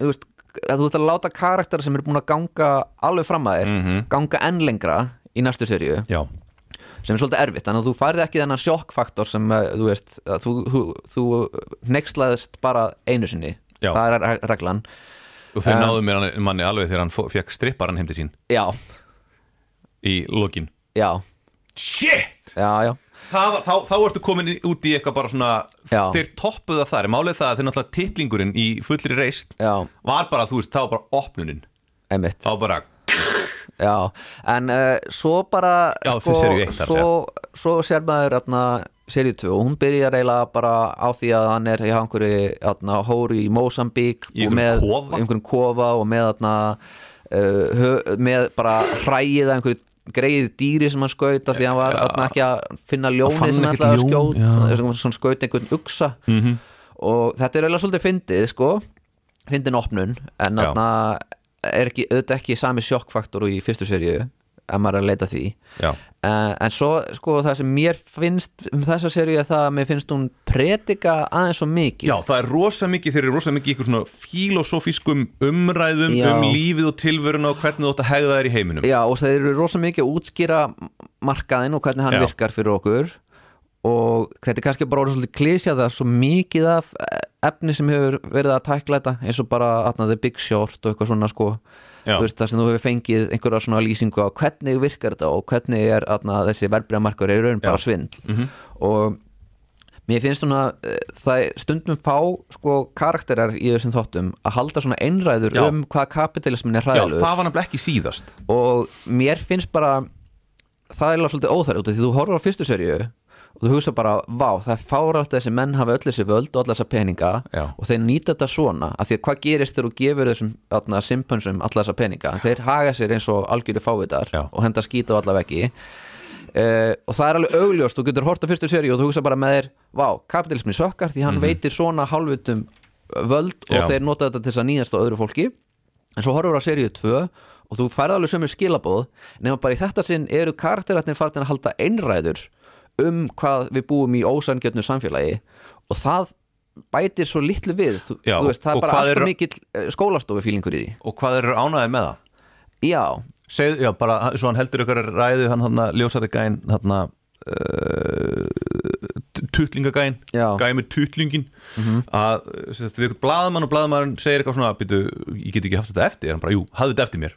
C: þú veist að þú ert að láta karakter sem er búin að ganga alveg fram að þér, ganga enn lengra í næstu seríu
A: já.
C: sem er svolítið erfitt, þannig að þú færði ekki þennan sjokkfaktor sem eh, þú veist að þú, þú, þú nexlaðist bara einu sinni,
A: Já.
C: það er re- reglan
A: Og
C: Eh.
A: þau náðu mér hann- manni alveg þegar hann fó- fekk stripparan heim til sín
C: já,
A: í lokin
C: já,
A: Shit!
C: já, já
A: Það, var- þá, þá ertu komin í- út í eitthvað bara svona
C: Já.
A: Þeir toppuð það þar Málið það að þeir náttúrulega titlingurinn í fullri reist
C: Já.
A: Var bara, þú veist, þá var bara opnunin
C: Einmitt,
A: Þá bara,
C: já, en uh, svo bara sko,
A: Já, þið seríu eitt, þar
C: svo, svo sér maður atna, seríu 2 og hún byrjar eiginlega bara á því að hann er í einhverju atna, hóri í Mósambík
A: Í einhverjum
C: og með-
A: kofa?
C: í einhverjum kofa og með atna, uh, hö, með bara hræið að einhverju greið dýri sem hann skaut af því að hann var atna, ekki að finna
A: Hann fann
C: ljónið sem hann
A: ekkert
C: ætlaði að
A: ljón,
C: skjót
A: já. Mhm.
C: þess vegna svona skaut einhvern uksa -hmm. og þetta er eiginlega svolítið fyndið sko fyndin opnun en
A: Já.
C: þarna er ekki, auðvitað ekki sami sjokkfaktor og í fyrstu seríu ef maður er að leita því
A: já
C: uh, en svo sko það sem mér finnst um þessa seríu er það að mér finnst hún predika aðeins og mikið
A: Já, það er rosa mikið, þeir eru rosa mikið í ykkur svona filosófískum umræðum
C: Já.
A: um lífið og tilveruna og hvernig þú átt að hegða þær í heiminum
C: Já, og þeir eru rosa mikið að útskýra markaðin og hvernig hann
A: Já.
C: virkar fyrir okkur og þetta er kannski bara orðið svolítið klísja það er svo mikið af eh, efni sem hefur verið að tækla þetta eins og bara atna, The Big Short og eitthvað svona sko
A: Já.
C: Þú veist, það sem þú hefur fengið einhverja svona lýsingu á hvernig virkar þetta og hvernig er atna, þessi verbreyðamarkar er í raun bara svindl
A: Mhm.
C: -hmm. og mér finnst svona eh, það er stundum fá sko karakterar í þessum þáttum að halda svona einræður
A: Já.
C: um hvað kapitalismin er
A: Já,
C: hræðilegur
A: það var nefnilega ekki síðast
C: og mér finnst bara það er alveg svolítið óþæri út af því þú horfir á fyrstu serju og þú hugsa bara vá, það fára alltaf þessi menn hafa öll þessi völd og alla þessa peninga
A: Já.
C: og þeir nýta þetta svona af því að hvað gerist þegar þú gefur þessum atna, simpönsum alla þessa peninga þeir haga sér eins og algjöru fávitar
A: Já.
C: og henda skýta á alla veggi uh, og það er alveg augljóst þú getur hort á fyrstu serju og þú hugsa bara með þér vá, kapitalismi sökkar því hann veitir svona hálfutum völd og
A: Mhm. Já.
C: þeir nota þetta til þess að nýjast á öðru fólki en svo horfur á seríu 2 og þú færð alveg sömu skilabóð nema bara í þetta sinn eru karakteratnir farin að halda einræður um hvað við búum í ósangjörnu samfélagi og það bætir svo litlu við þú,
A: Já,
C: þú veist,
A: og
C: það er bara
A: hvað
C: alltaf
A: eru-
C: er... mikill skólastofu fílingur í því
A: Og hvað þeir eru ánæðið með það?
C: já,
A: Segð, já, bara, svo hann heldur ykkur ræðu hann hann ljósætti gæinn hann uh, tutlingagæinn
C: Já. Mhm.
A: gæinn uh, með tutlingin mm -hmm. að sem sagt, við ykkur blaðmann og blaðmann segir eitthvað svona, býtu, ég get ekki haft þetta eftir hann bara, jú, hafði þetta eftir mér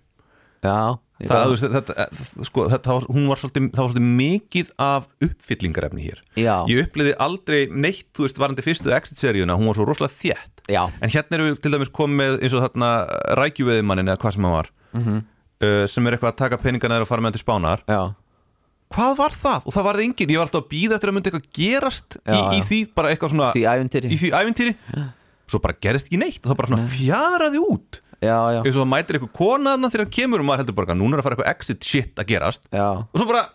C: já ég
A: það, þú
C: bara-
A: veist, þetta, eh, sko, þetta, það var, hún var svolítið, það var svolítið mikið af uppfyllingarefni hér
C: Já.
A: ég upplýði aldrei neitt, þú veist, varandi fyrstu exit-seríuna, hún var svo rosalega þétt
C: Já.
A: en hérna erum við til dæmis komið með eins og þarna rækjuveðimannin eða hvað sem hann var
C: Mhm.
A: -hmm. uh, sem er eitthvað að taka peningana þeirra og fara með hann til spánar
C: já,
A: hvað var það? og það varði engin, ég var alltaf að býða eftir að myndi eitthvað gerast
C: Já,
A: í, í
C: já.
A: því bara eitthvað svona
C: Því ævintýri.
A: í því ævintýri svo bara gerist ekki neitt og það bara svona fjaraði út
C: já, já,
A: eins og það mætir eitthvað konaðna þegar hann kemur og maður heldur bara að núna er að fara eitthvað exit shit að gerast
C: já.
A: og svo bara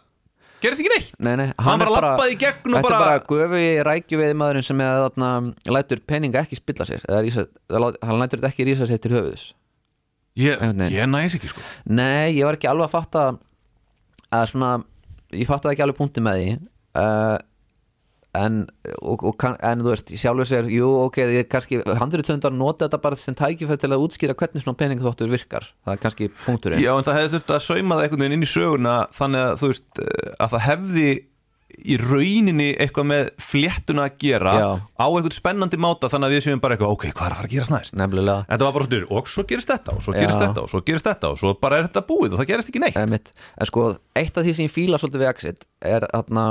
A: gerist ekki neitt
C: Nei, nei,
A: Hann bara labbaði í gegn og
C: Þetta er
A: bara-
C: bara gufi rækjuveiði maðurinn sem er þarna lætur peninga ekki spilla sér eða rísa, eða lát- hann lætur þetta ekki rísa sér til höfuðs
A: Ég,
C: Einhvern veginn.
A: ég næs ekki sko
C: Nei, ég var ekki alveg að fatta að svona, ég fattaði ekki alveg punkti með því uh, en, og, og, kann- en þú veist, ég sjálfur sér jú, ok, ég kannski, handriðtöndar nota þetta bara sem tækifæri til að útskýra hvernig svona peningþóttur virkar, það er kannski punkturinn
A: Já, en það hefði þurft að sauma það einhvern veginn inn í söguna þannig að þú veist eh, að það hefði í rauninni eitthvað með fléttuna að gera
C: Já.
A: á einhvern spennandi máta þannig að við séum bara eitthvað, ok, hvað er að fara að gerast næst?
C: nefnilega
A: En það var bara svona, og svo gerist þetta og svo gerist
C: Já.
A: þetta og svo gerist þetta og svo bara er þetta búið og það gerist ekki neitt
C: Einmitt. En sko, eitt af því sem ég fíla svolítið við Exit er þarna,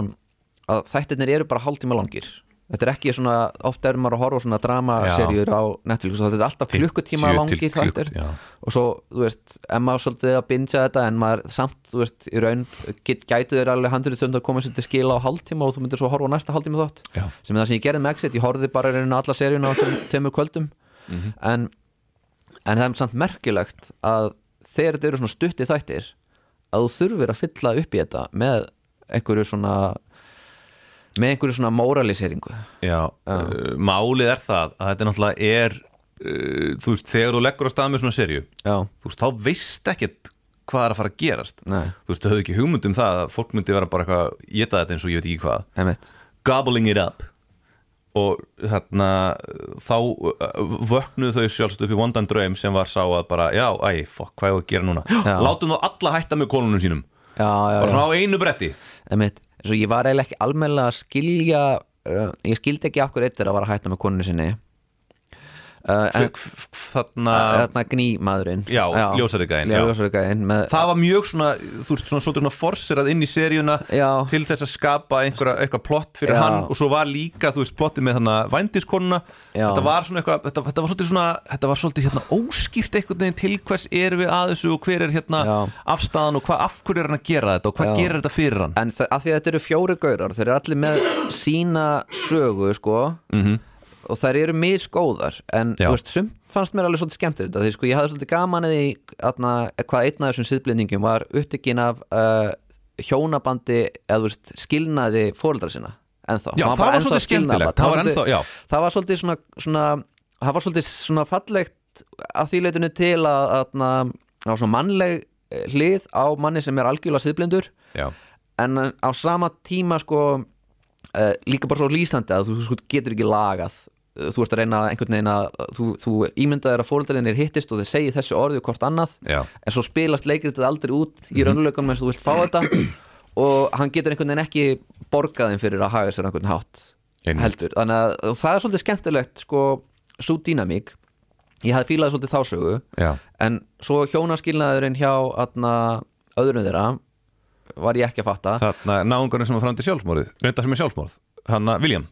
C: að þættirnir eru bara hálftíma langir Þetta er ekki svona, ofta er maður að horfa á svona dramaserjur á Netflix og þetta er alltaf
A: 50
C: klukkutíma
A: til
C: langir
A: klukk-
C: þættir
A: já.
C: og svo, þú veist, en maður svolítið að bingja þetta en maður samt, þú veist, í raun get, gætu þér alveg handrið tönda að koma sér til skila á hálftíma og þú myndir svo horfa á næsta hálftíma þátt
A: Já.
C: sem er það sem ég gerði með Exit, ég horfði bara í raun á alla seríuna á tveim- tveimur kvöldum
A: Mhm.
C: en en það er samt merkilegt að þegar þetta eru svona stutti þættir að þú þurfir að fylla upp í þetta með einhverju svona með einhverju svona móraliseringu
A: Já, uh, málið er það að þetta náttúrulega er uh, þú veist, þegar þú leggur á stað með svona serju
C: já,
A: þú veist, þá veist ekkert hvað er að fara að gerast
C: Nei.
A: þú veist, þau höfðu ekki hugmynd um það að fólk myndi vera bara eitthvað, geta þetta eins og ég veit ekki hvað
C: einmitt
A: gobbling it up og þarna uh, þá uh, vöknuðu þau sjálfsagt upp í vondan draum sem var sá að bara, já, æ, fokk, hvað er að gera núna
C: Já.
A: látum þá alla hætta með konunum sínum
C: já, já,
A: bara
C: já,
A: svona á einu bretti
C: einmitt svo ég var eiginlega ekki almennilega að skilja uh, ég skildi ekki akkur eittir að vara að hætta með koninu sinni uh, en hérna
A: þarna,
C: þarna gnímaðurinn
A: Hérna- Já, ljósarikaðinn, já.
C: ljósarikaðinn með
A: það var mjög svona, þú veist, svona svolítið svona forserað inn í seríuna
C: Já.
A: til þess að skapa einhverja, eitthvað plott fyrir
C: Já.
A: hann og svo var líka, þú veist, plottið með þannig vændiskonuna,
C: Já.
A: þetta var svona eitthvað þetta, þetta var svolítið svona, þetta var svolítið hérna óskýrt einhvern veginn til hvers erum við að þessu og hver er hérna
C: Já.
A: afstæðan og hvað, af hverju er hann að gera þetta og hvað
C: Já.
A: gerir þetta fyrir hann
C: En það, að því að þetta eru fjóri gaurar Þeir eru allir með sína sögu sko, -hmm. Og þær eru misgóðar En
A: Mhm. Já.
C: þú veist, sum fannst mér alveg svolítið skemmt við þetta Því sko, ég hafði svolítið gaman að því atna, Hvað einn af þessum síðblendingum var Upptekinn af uh, hjónabandi Eða þú veist, skilnaði fóreldra sinna Ennþá
A: Já,
C: Hann
A: það
C: bara
A: var svolítið
C: ennþá skilnaðabarn.
A: skemmtilegt. Það var ennþá- já.
C: það var svolítið svona, svona það var svolítið svona fallegt að því leitinu til að, að, að það var svona mannleg eh, hlið á manni sem er algjörlega síðblindur
A: Já.
C: en eh, á sama tíma sko uh, líka bara svo lýsandi að þú sko, getur ekki lagað Eh, þú ert að reyna einhvern veginn að þú, þú ímyndaðir að fóreldarinir hittist og þið segi þessi orðið hvort annað
A: Já. Mhm.
C: en svo spilast leikritið aldrei út í raunlökunum eins og þú vilt fá þetta og hann getur einhvern veginn ekki borgaðin fyrir að haga sér á einhvern hátt
A: Einmitt.
C: heldur, þannig að og það er svolítið skemmtilegt sko, svo dýnamík ég hafði fílaði svolítið þá sögu
A: Já.
C: en svo hjónaskilnaðurinn hjá atna, öðrum þeirra var ég ekki að fatta
A: Þarna náungarnir sem var framandi sjálfsmórið reynda sem er sjálfsmórið, hann að William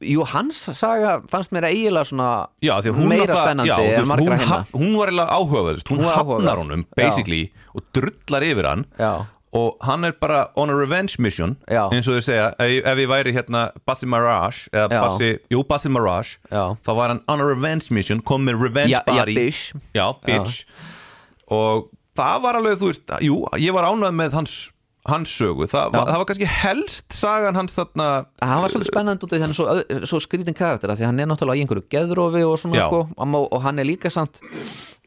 C: Jú, hans saga fannst mér eiginlega svona
A: Já, því að hún
C: meira
A: náttúrulega-
C: spennandi
A: já, þú
C: en
A: veist,
C: margra
A: hún,
C: hinna
A: haf- hún var eiginlega áhugaverðist hún,
C: Hún var
A: hafnar
C: áhugaverð.
A: honum
C: Já.
A: basically og drullar yfir hann
C: Já.
A: og hann er bara on a revenge mission
C: Já.
A: eins og þau segja, ef, ef ég væri hérna Bassi Mirage, eða
C: Já.
A: Bassi jú, Bassi Mirage,
C: Já.
A: þá var hann on a revenge mission, kom með revenge
C: Já, já,
A: body
C: bitch.
A: Já, bitch. og það var alveg, þú veist, jú, ég var ánægð með hans hans sögu, það, var, það var kannski helst sagan hans þarna
C: Hann var svolítið spennandi út af því að hann er svo, öð- svo skrítin karakter af því að hann er náttúrulega í einhverju geðrófi og svona
A: Já.
C: sko amma- og hann er líka samt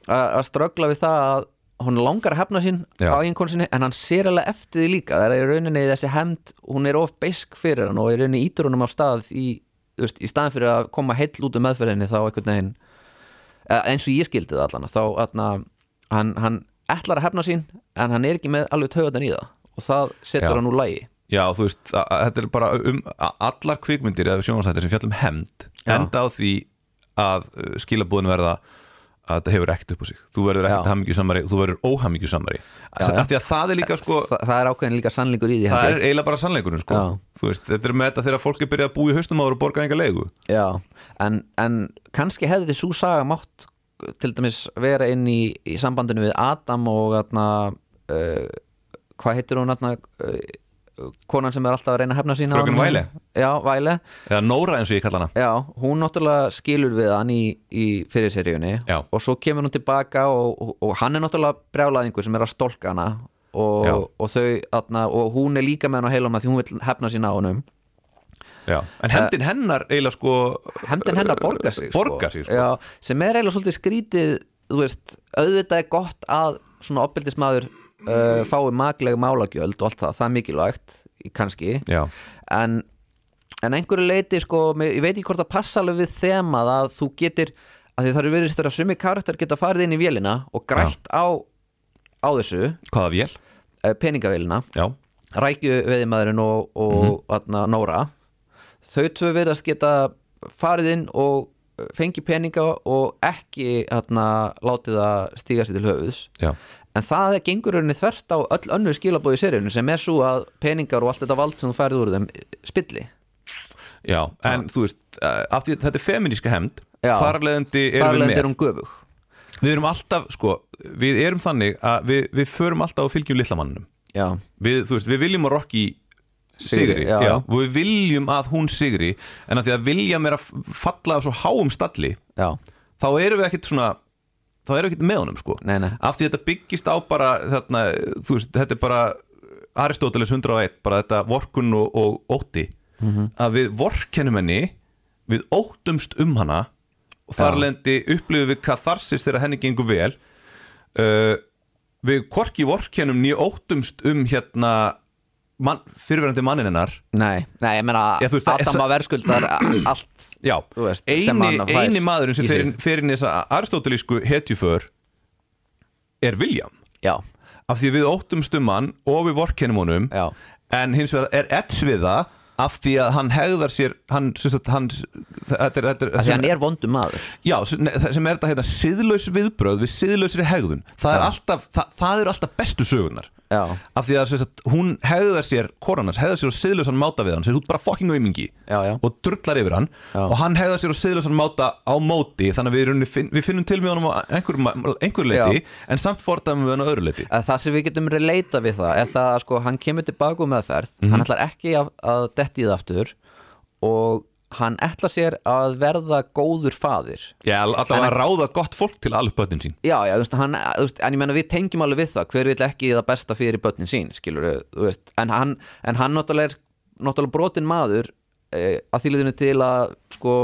C: að að ströggla við það að hún langar að hefna sín
A: Já.
C: á einhvern sinni en hann sér alveg eftir því líka það er í rauninni þessi hefnd, hún er of beisk fyrir hann og í rauninni ítur húnum af stað í, þú veist, í staðan fyrir að koma heill út um meðferðinni þá einhvern veginn eða eins og ég skildi það allan þá atna, hann, hann ætlar að hefna sín en hann er ekki með alveg taugarnar í það og það
A: Já.
C: setur hann úr lægi
A: Já, þú veist, a- a- þetta er bara um a- allar kvikmyndir eða sjónvarsættir sem fjallum hemd
C: Já.
A: enda á því að uh, skilabúðin verða að þetta hefur ekkert upp á sig þú verður ekkert
C: Já.
A: hamingjusamari, þú verður óhamingjusamari
C: Já, já.
A: af því að það er líka sko
C: Þa, það er ákveðin líka sannleikur í því
A: það er
C: Henrik.
A: eiginlega bara sannleikurinn sko
C: Já.
A: þú veist, þetta er með þetta þegar fólk er byrjað að búa í haustum ára og borga enga leigu
C: Já, en, en kannski hefði þið svo saga mátt til dæmis vera inn í, í sambandinu við Adam og atna, uh, hvað heitir hún atna, uh, konan sem er alltaf að reyna að hefna sína á
A: Fröken
C: honum?
A: Wiley.
C: Já, Væle
A: eða Nóra eins og ég kalla hana
C: Já, hún náttúrulega skilur við hann í, í fyrirseríunni
A: Já.
C: og svo kemur hún tilbaka og, og, og hann er náttúrulega brjálaðingur sem er að stólka hana
A: Já.
C: og, og, þau, atna, og hún er líka með hann á heilana því hún vil hefna sín á honum
A: Já.
C: Eh.
A: En hendin hennar eiginlega sko
C: hefndin hennar borga sig, sko.
A: Borgar sig, sko.
C: Já, sem er eiginlega svolítið skrítið þú veist, auðvitað er gott að svona opbildismæður uh, fái magleg málagjöld og allt það, það er mikilvægt í- kannski
A: Já.
C: en, en einhverju leiti sko, mér- ég veit ekki hvort það passa alveg við þemað að þú getir að því það eru verið að sumi karakter geta farið inn í vélina og grætt á á þessu,
A: Hvaða vél?
C: uh, peningavélina
A: Já,
C: rækjuveiðimaðurinn og, og mm
A: Mhm.
C: Nóra þau tvö verðast geta farið inn og fengi peninga og ekki atna, látið að stíga sér til höfuðs
A: já,
C: en það gengur rauninni þvert á öll önnur skilabóð í seriðinu sem er svo að peningar og allt þetta vald sem þú færið úr þeim spilli
A: já. En þú veist, eh, af því að þetta er feminíska hemd
C: Já.
A: Farleðandi erum við
C: Þarlegend
A: með
C: er hún göfug
A: Við erum alltaf, sko, við erum þannig að við, við förum alltaf og fylgjum litla mannum
C: Já,
A: við, þú veist, við viljum að Rocky sigri,
C: Sigri, já.
A: já. og við viljum að hún sigri en að því að vilja mér að falla á svo háum stalli
C: já,
A: þá erum við ekkit svona þá erum við ekkit með honum sko
C: Nei, nei.
A: af því þetta byggist á bara þarna, þú veist, þetta er bara Aristóteles 101, bara þetta vorkun og, og ótti
C: Mhm.
A: að við vorkennum henni við óttumst um hana og þar lendi upplifum við katharsis þegar henni gengur vel uh, við hvorki vorkennum nýja óttumst um hérna mann, fyrirverandi mannin hennar
C: nei, nei, ég meina
A: Já, þú veist, það er
C: Adama verðskuldar a- allt
A: Já,
C: Þú veist, sem
A: eini,
C: hann fær
A: eini maðurinn sem
C: í sig.
A: fer inn- fer inn í þessa aristótelísku hetjuför er William
C: Já,
A: af því að við óttumst um hann og við vorkennum honum
C: Já.
A: en hins vegar er Edds við það af því að hann hegðar sér hann, sem sagt, hann þetta er, þetta er,
C: því hann er vondum maður
A: já, sem ne- sem er þetta hérna síðlaus viðbröð við síðlausri hegðun það, er alltaf, það, það eru alltaf bestu sögunar
C: Já.
A: af því að sem sagt, hún hegðar sér konan hans hegðar sér á síðlausan máta við hann sem þú bara fucking aumingi
C: Já, já.
A: og drullar yfir hann
C: Já.
A: og hann hegðar sér á síðlausan máta á móti þannig að við, í rauninni finn, við finnum til með honum á einhverju einhver leiti en samt fordæmi við hann á öðru leiti
C: að það sem við getum releita við það er það að sko, hann kemur tilbaka um meðferð hann ætlar ekki að, að detti í það aftur og hann ætlar sér að verða góður faðir
A: Já, allavega að ráða gott fólk til alveg bötin sín
C: já, já, þú veist, hann, þú veist, en ég menna við tengjum alveg við það hver vil ekki það besta fyrir börnin sín skilur þú veist, en hann, en hann náttúrulega er náttúrulega brotin maður eh, að þýliðinu til að sko,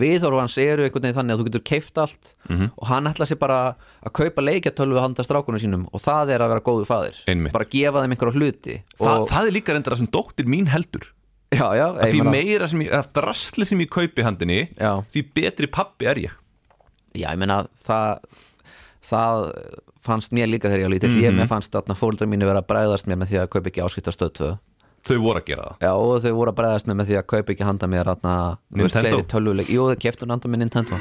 C: viðhorf hans eru einhvern veginn þannig að þú getur keift allt
A: Mhm.
C: og hann ætla sér bara að kaupa leikjartölvu handa strákunum sínum og það er að vera góður faðir
A: Einmitt.
C: bara gefa þeim einhverja hluti
A: Þa,
C: og,
A: Það er líka reyndar það sem dóttir mín heldur
C: já, já,
A: að
C: ég
A: Því
C: meina-
A: meira sem ég, að drastli sem ég kaupi handinni
C: Já.
A: Því betri pappi er ég
C: Já, ég meina það það fannst mér líka þegar ég var lítill ég
A: Mhm.
C: mér fannst þarna fóruldra mínu vera að bræðast mér með því að kaupa ekki áskiptastöð 2
A: Þau voru að gera það
C: Já, og þau voru að bregðast með með því að kaupa ekki handa mér atna,
A: Nintendo.
C: tölvuleik Jú, þau keftu handa mér Nintendo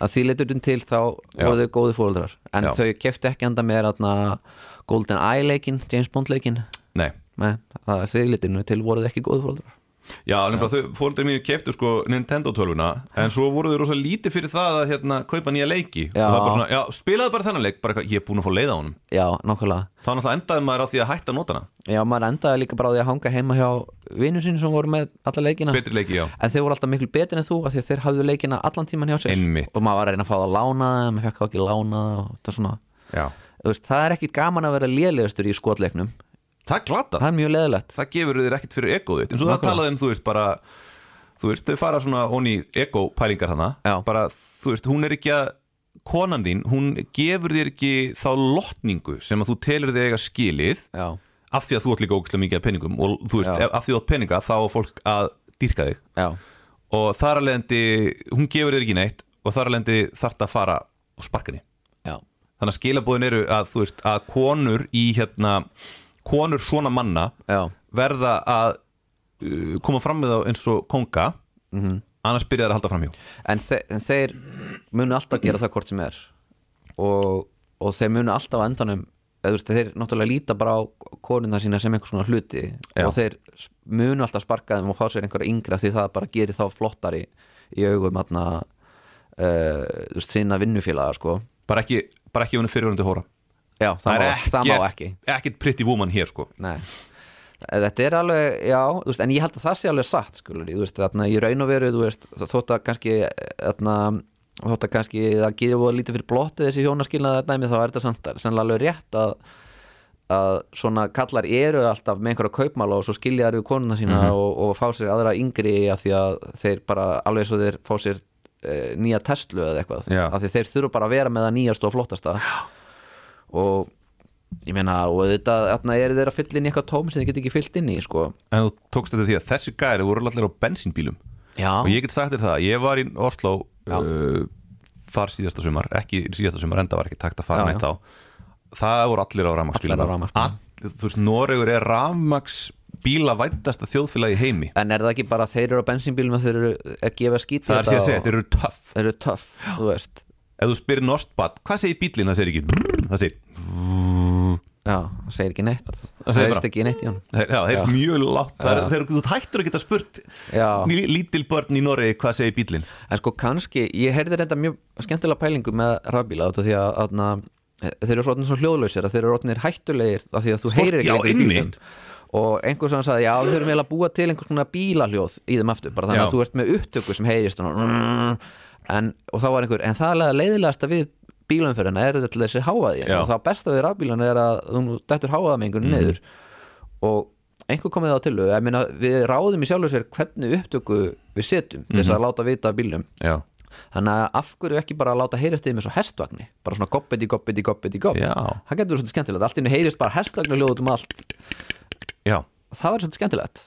C: að því letur til þá voru þau góði fóruldrar en
A: Já.
C: þau keftu ekki handa mér atna, Golden Eye leikinn, James Bond leikinn
A: Nei,
C: Nei, að því letur til voru þau ekki góði fóruldrar
A: já, nefnilega þau fóruldri mínu keftu sko Nintendo tölvuna En svo voru þau rosa lítið fyrir það að hérna kaupa nýja leiki Og
C: Já.
A: það var bara svona, já, spilaðu bara þennan leik Bara eitthvað, ég er búin að fá leið á honum
C: Já, nákvæmlega
A: Þá náttúrulega endaði maður á því að hætta að nota hana
C: Já, maður endaði líka bara á því að hanga heima hjá vinnu sín sem voru með alla leikina
A: Betri leiki, já
C: En þeir voru alltaf miklu betur en þú af því að þeir hafðu leikina allan tíman hjá sér
A: Einmitt.
C: Og maður var að reyna að fá það að lána Maður fekk það ekki lána og það svona
A: Já
C: Þú veist, það er ekki gaman að vera lélegastur í skotleiknum
A: Það er glata
C: það er mjög leðilegt
A: það gefur þér ekkert fyrir egoð þitt eins og það
C: Nákvæmlega.
A: talaði um, þú veist, bara þú veist, þau fara svona onni ego-pælingar hana
C: Já.
A: bara, þú veist, hún er ekki að konan þín, hún gefur þér ekki þá lotningu sem að þú telur þig að skilið
C: já,
A: af því að þú átt líka ógæslega mikið af peningum og þú veist,
C: Já.
A: ef- af því að þú átt peninga þá á fólk að dýrka þig
C: já,
A: og þar að leiðandi, hún gefur þér ekki neitt og þar að leiðandi þarft að fara og sparka henni
C: já,
A: þannig að skilabóðin eru að, þú veist, að konur í hérna, konur svona manna
C: já,
A: verða að uh, koma fram með þá eins og konga
C: Mhm.
A: annars byrja þær að halda fram hjá
C: en, þe en þeir munu alltaf gera það hvort sem er og, og þeir munu alltaf á endanum eða þú veist, þeir náttúrulega líta bara á konuna sína sem einhvers konar hluti
A: Já.
C: og þeir s- munu alltaf sparka þeim og fá sér einhverja yngra því það bara gerir þá flottari í augum atna, uh, þú veist, sína vinnufélaga sko.
A: bara ekki, bara ekki ef hún er fyrirvörandi hóra
C: já, það, má, það má ekki
A: ekkert pretty woman hér sko
C: Nei Þetta er alveg, já, þú veist, en ég held að það sé alveg satt, skulur, þú veist, þarna í raun og veru, þú veist, þótt að kannski, þarna, þótt að kannski það gerir voða lítið fyrir blottið þessi hjónaskilnaða dæmi, þá er þetta samt, sannlega alveg rétt að, að svona kallar eru alltaf með einhverja kaupmála og svo skilja þær við konuna sína
A: Mhm.
C: og, og fá sér aðra yngri af því að þeir bara alveg svo þeir fá sér e, nýja Tesla eða eitthvað
A: Já.
C: af því þeir þurfa bara að vera með það nýjast og flottasta og ég meina og þetta þarna eru þeir að fylla inn í eitthvað tóm sem þeir geta ekki fyllt inn í sko.
A: En þú tókst þetta því að þessi gæri voru allir á bensínbílum
C: Já,
A: og ég get sagt þér það, ég var í Oslo uh, þar síðasta sumar ekki síðasta sumar, enda var ekki takt að fara
C: Já,
A: neitt á það voru allir á rafmaksbílum
C: Allir á rafmagnsbílum.
A: þú veist, Noregur er rafmaksbíla væntasta þjóðfélagi í heimi
C: en er það ekki bara þeir eru á bensínbílum að þeir eru að gefa skýt
A: það er síðan að segja, þeir eru töff
C: þeir eru töff, þú veist
A: ef þú spyrir Norstbad, hvað segir bílinn, það segir ekki brrr, það segir,
C: Já, það segir ekki neitt
A: segir
C: Það
A: bara-
C: veist ekki neitt í honum
A: Þeir- já, þeir eru mjög látt það er,
C: Já.
A: þeir eru, þú hættur að geta spurt
C: Já.
A: ný- lítil börn í Noregi, hvað segir bílinn
C: En sko kannski, ég heyrði reynda mjög skemmtilega pælingu með rafbíla út af því að aðna, þeir eru svona svo hljóðlausir að þeir eru orðnir hættulegir af því að þú heyrir ekki
A: Sko, já,
C: lengur í bílnum.
A: einmitt.
C: og einhver sem sagði, já við höfum eiginlega að búa til einhvers konar bílahljóð í þeim aftur bara þannig
A: Já.
C: að þú ert með upptöku sem heyrist svona, en, og þá var einhver, en það er leiðilegast að við bílumferðina eru þetta þessi
A: Já.
C: háaði
A: Mhm.
C: og það besta við rafbílan er að þú dættur háaðamengun mm. niður og einhver komið þá til þau, ég meina við ráðum í sjálfur sér hvernig upptöku við setjum til
A: Mhm.
C: þess að láta vita af bílum
A: já,
C: þannig að af hverju ekki bara láta heyrist þið með svo hestvagni bara svona goppiti, goppiti, goppiti, gopp
A: Já.
C: það getur verið svolítið skemmtilegt, allt inni heyrist bara hestvagnu út um allt,
A: já,
C: það verður svolítið skemmtilegt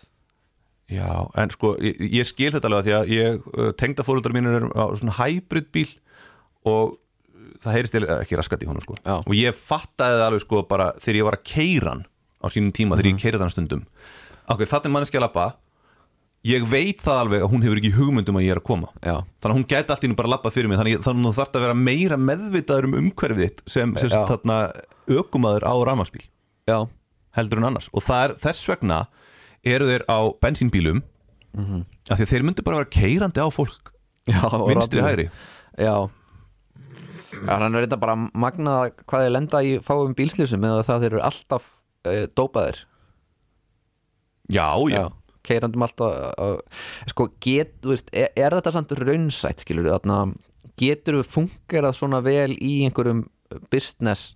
A: já en sko, ég, ég skil þetta alveg af því að ég, uh, tengdafóruldar mínir eru á svona hybrid bíl og það heyrist til, ekki raskat í honum sko
C: Já.
A: og ég fattaði það alveg sko bara þegar ég var að keira hann á sínum tíma,
C: Mhm.
A: þegar ég keira hann stundum ok, það er manneskja að labba ég veit það alveg að hún hefur ekki hugmyndum að ég er að koma
C: Já.
A: þannig að hún gæti allt í hennu bara labba fyrir mig þannig, þannig að þú þarf að vera meira meðvitaður um umhverfið þitt sem, sem
C: Já.
A: þarna, ökumaður á rafmagsbíl
C: Já,
A: heldur en annars og það er, þess vegna eru þeir á bensínbílum af því að þeir myndu bara vera keirandi á fólk
C: já og
A: vinstri
C: rafbílum.
A: hægri
C: Já Já, hann er þetta bara magnað hvað þeir lenda í fáum bílslýsum eða það þeir eru alltaf e, dópaðir
A: já, já,
C: Keirandum alltaf uh, Sko, get, þú veist, er, er þetta samt raunsætt, skilur við, þarna getur við fungerað svona vel í einhverjum business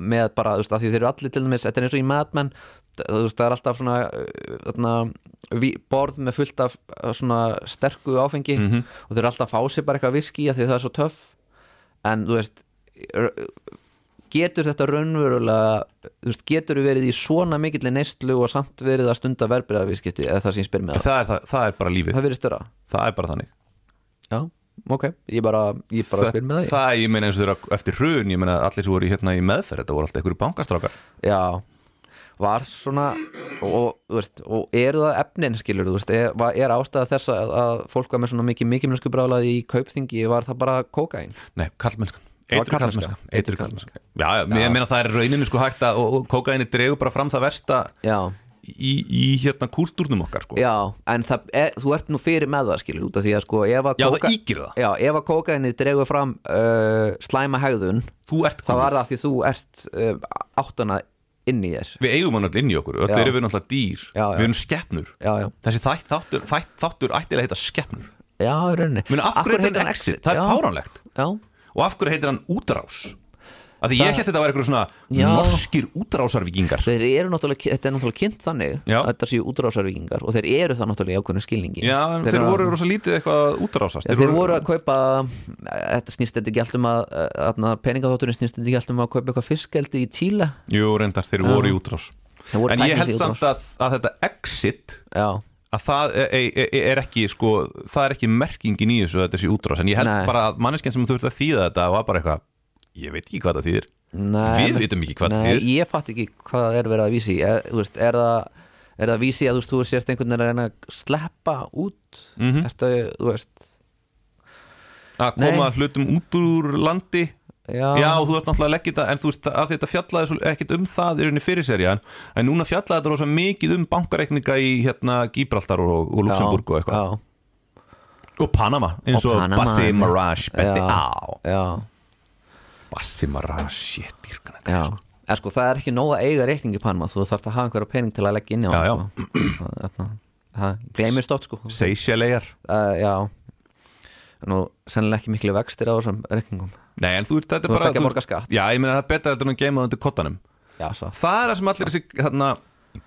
C: með bara, þú veist, að því þeir eru allir til dæmis, þetta er eins og í Mad Men þú veist, það er alltaf svona uh, þarna, ví- borð með fullt af uh, svona sterku áfengi og þeir eru alltaf að fá sér bara eitthvað viski að því það er svo töff en þú veist r- getur þetta raunverulega þú veist, getur við verið í svona mikill neistlu og samt verið að stunda verbreyðavískipti eða það sem ég spyr með það,
A: Það, er, það, það er bara lífið
C: það verið störa
A: það er bara þannig
C: já, ok, ég bara, ég bara spyr með
A: það,
C: það
A: það, ég meina eins og þeirra eftir hrun ég meina allir sem voru í, hérna, í meðferð þetta voru alltaf einhverju bankastrákar
C: Já var svona og, þú veist, og er það efnin skilur þú veist, er, var- er ástæða þess að, að fólk var með svona mikið mikilmennsku brálaði í kaupþingi var það bara kókain
A: nei, kallmennskan
C: var
A: Eitru kallmennska
C: karlmennska.
A: Eitru kallmennska Já, já, ég meina það er rauninu sko hægt að og, og kókaini dregur bara fram það versta
C: Já,
A: í, í hérna kúltúrnum okkar sko
C: já en það, er, þú ert nú fyrir með það skilur út af því að sko ef að
A: Já, það
C: kóka-
A: ýkir það.
C: Já, ef að kókainið dregur fram uh, slæma hegðun
A: Þú ert
C: þá
A: kúl.
C: var það af því þú ert uh, áttana inn í þér
A: Við eigum hann allir inn í okkur, öll
C: Já.
A: erum við náttúrulega dýr
C: Já, já.
A: Við erum skepnur
C: Já, já.
A: Þessi þætt, þáttur, þætt, þáttur ættilega heita skepnur
C: Já, í rauninni
A: Meni, af
C: Af
A: hverju heitir
C: heitir
A: hann exit? Það er fáránlegt
C: Já,
A: Og af hverju heitir hann útrás? Af því
C: Það-
A: ég held þetta var eitthvað svona
C: Já.
A: norskir útrásarvíkingar
C: þeir eru náttúrulega, þetta er náttúrulega kynnt þannig
A: Já.
C: að þetta séu útrásarvíkingar og þeir eru það náttúrulega í ákveðnu skilningi
A: Já, en þeir,
C: eru-
A: voru rosa lítið eitthvað að útrásast
C: þeir, voru að kaupa þetta snýst þetta ekki allt um að, að peningaþátturinn snýst þetta ekki allt um að kaupa eitthvað fiskeldi í Tíla
A: Jú, reyndar, þeir voru í útrás
C: Þeir voru
A: En ég
C: tæknist
A: held
C: í útrás.
A: samt að, að þetta exit
C: já,
A: að það e, er, er, er ekki sko, það er ekki merkingin í þessu að þetta sé útrás en ég held
C: Nei.
A: bara að manneskinn sem þurfti að þýða þetta var bara eitthvað, ég veit ekki hvað það þýðir
C: nei,
A: við vitum ekki hvað
C: nei,
A: það þýðir
C: ég fatt ekki hvað það er verið að vísi er, þú veist, er það er það að vísi að þú veist, þú sért einhvern veginn að reyna að sleppa út mm
A: Mhm.
C: -hmm. ertu, þú veist
A: að koma
C: Nei.
A: hlutum út úr landi
C: Já.
A: Já, þú ert náttúrulega að leggja þetta en þú veist að þetta fjallaði svo, ekkit um það í rauninni fyrir serja en, en núna fjallaði þetta rosa mikið um bankareikninga í hérna Gibraltar og, og Luxemburg og eitthvað
C: já,
A: og Panama, eins og,
C: Og Panama,
A: Bassi
C: einmitt.
A: Mirage benti
C: Já.
A: á
C: já,
A: Bassi Mirage, shit, dýrkan þetta
C: Já, en sko það er ekki nóg að eiga reikning í Panama þú þarf að hafa einhverja pening til að leggja inn á
A: Já,
C: hann, sko. Það- það gleymir stótt sko uh,
A: Seychelleyjar
C: Já, nú sennilega ekki miklu vextir á þessum reikningum
A: Nei, en þú veist, þetta er
C: Þú
A: bara
C: ert ekki að borga skatt.
A: Já, ég meina það er betra heldur en að geima það undir kottanum
C: Já, svo
A: það er það sem allir þessi þarna,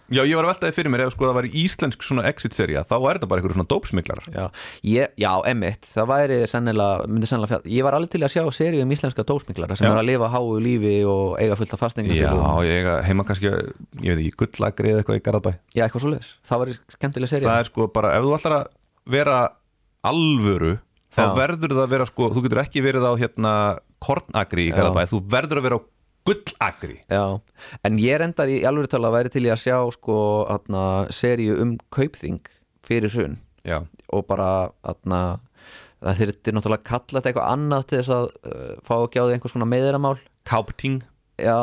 A: já ég var að velta því fyrir mér ef sko það var íslensk svona exit-sería þá er þetta bara einhverjum svona dópsmiklarar
C: Já, ég, já emmitt, það væri sennilega, myndi sennilega fjall Ég var alveg til að sjá seríu um íslenska dósmiklara sem
A: Já.
C: er að lifa háu lífi og eiga fullt af fastningar
A: já ég eiga heima kannski ég veit ekki gullagri eða eitthvað í Garðabæ
C: já, eitthvað svoleiðis, það væri skemmtilega seríu
A: það er sko bara ef þú ætlar að vera alvöru þá
C: Já.
A: verður það að vera sko þú getur ekki verið á hérna kornagri í Garðabæ þú verður að vera á gullagri
C: Já, en ég reyndar í alveg tala að væri til í að sjá sko, atna, seríu um kaupþing fyrir hrun
A: já,
C: og bara atna, það þurfti náttúrulega að kalla þetta eitthvað annað til þess að uh, fá ekki á því einhvers konar meðiramál
A: Kaupting
C: Já,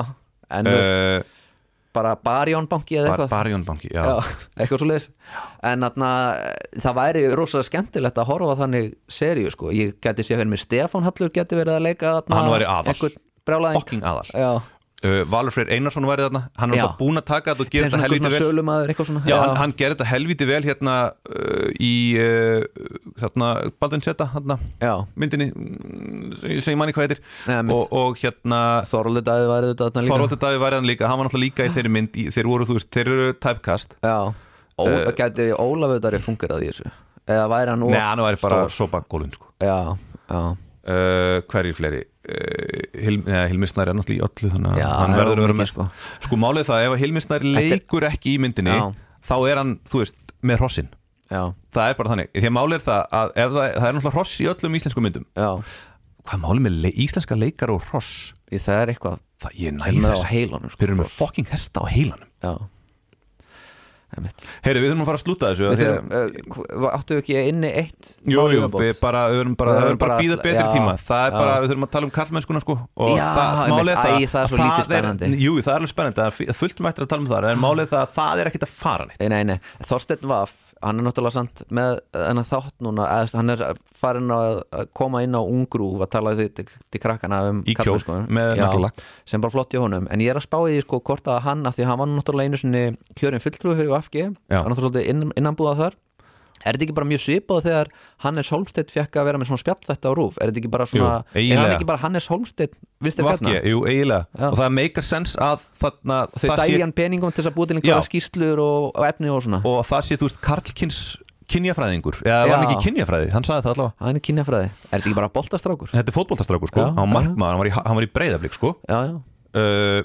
C: en uh,
A: uh,
C: bara barjónbanki eða
A: bar,
C: eitthvað
A: Barjónbanki já.
C: Já, eitthvað svo leiðis en atna, það væri rosalega skemmtilegt að horfa á þannig seríu sko. ég geti sé fyrir mér Stefán Hallur geti verið að leika atna,
A: Hann væri aðal.
C: einhvern brjálæðing.
A: fucking aðal
C: Já,
A: uh, Valur Freyr Einarsson væri þarna hann
C: Já.
A: er alltaf búin að taka þetta og
C: sem
A: gera þetta
C: svona einhver
A: helviti
C: svona
A: vel
C: sölumaður eitthvað svona
A: Já, hann, hann gerir þetta helviti vel hérna uh, í uh, þarna, Baldin Seta hérna,
C: Já.
A: myndinni mm, sem ég- sem ég manni hvað heitir
C: Nei, mynd.
A: og, og hérna
C: Þorvaldur Daði var auðvitað þarna líka
A: Þorvaldur Davi væri hann líka, hann var náttúrulega líka í þeirri mynd í, þeir voru, þú veist, þeir eru typecast
C: Já, Ó, uh, gæti Ólafur Daði fungerað í þessu eða væri hann of
A: Nei, hann væri bara
C: stór?
A: sopa gólun sko.
C: Já, já,
A: uh, hverjir fleiri uh, Hil, neða, Hilmisnæri er náttúrulega í öllu þannig að
C: Já,
A: hann
C: það er
A: verður að
C: mikið,
A: vera með
C: sko.
A: sko. málið er það, ef að Hilmisnæri
C: Þetta er-
A: leikur ekki í myndinni
C: Já.
A: þá er hann, þú veist, með hrossin
C: já,
A: það er bara þannig, því að málið er það að ef það, það er náttúrulega hross í öllum íslensku myndum
C: já
A: hvað er málið með le íslenska leikar og hross
C: Í það er eitthvað
A: það ég
C: Þeir eru
A: næði
C: með
A: þess
C: á heilanum, sko.
A: þeir eru með fucking hesta á heilanum
C: Já Einmitt.
A: heyri, við þurfum að fara að slúta þessu
C: Við
A: af því að-
C: þurfum, uh, hva- Áttu ekki inni eitt
A: Jú,
C: mál í
A: jú,
C: viðbót?
A: við bara, við erum bara,
C: Við
A: við
C: verðum
A: erum bara
C: bara
A: að býða
C: að-
A: betri
C: já,
A: tíma Það er
C: já.
A: bara, við þurfum að tala um kallmennskuna sko Og
C: Já,
A: það,
C: einmitt.
A: málið það
C: Æ, það er svo
A: að
C: lítið
A: það er-
C: spennandi. Mm.
A: Jú, það er alveg spennandi, það er fí- fullt um eftir að tala um það En málið er það að það er ekkert að fara neitt
C: Nei, nei, nei, Þorsteinn Vaff, hann er náttúrulega samt með hennar þátt núna, eða, þú veist, hann er farin að að koma inn á ungrúf að tala því til, til krakkana um
A: Í kjól,
C: karlmennskuna.
A: með
C: Já,
A: naglalakk.
C: sem bara flott í honum, en ég er að spá í því sko hvort að hann, af því hann var nú náttúrulega einu sinni kjörin fulltrúi fyrir AFG,
A: Já.
C: hann er náttúrulega inn, innanbúða þar Er þetta ekki bara mjög svipað þegar Hannes Holmstedt fekk að vera með svona spjall þetta á rúf? Er þetta ekki bara svona,
A: Jú, eiginlega.
C: er hann ekki bara Hannes Holmstedt vinstir
A: Vafki,
C: bjarnar?
A: jú, eiginlega
C: Já.
A: Og það meikar sens að þarna
C: Þau
A: það sé-
C: dæli hann peningum til þess að búið til einhverja
A: Já.
C: skýslur og, og efni og svona.
A: Og það sé, þú veist, karlkins kynjafræðingur Eða
C: Já.
A: var hann ekki kynjafræði, hann sagði það allavega
C: Hann er kynjafræði. Er þetta ekki bara boltastrákur?
A: Þetta er fótboltastrákur sko, hann
C: Já,
A: var
C: já.
A: markmaður, hann var í, hann var í breyðablík sko
C: Já, já.
A: uh,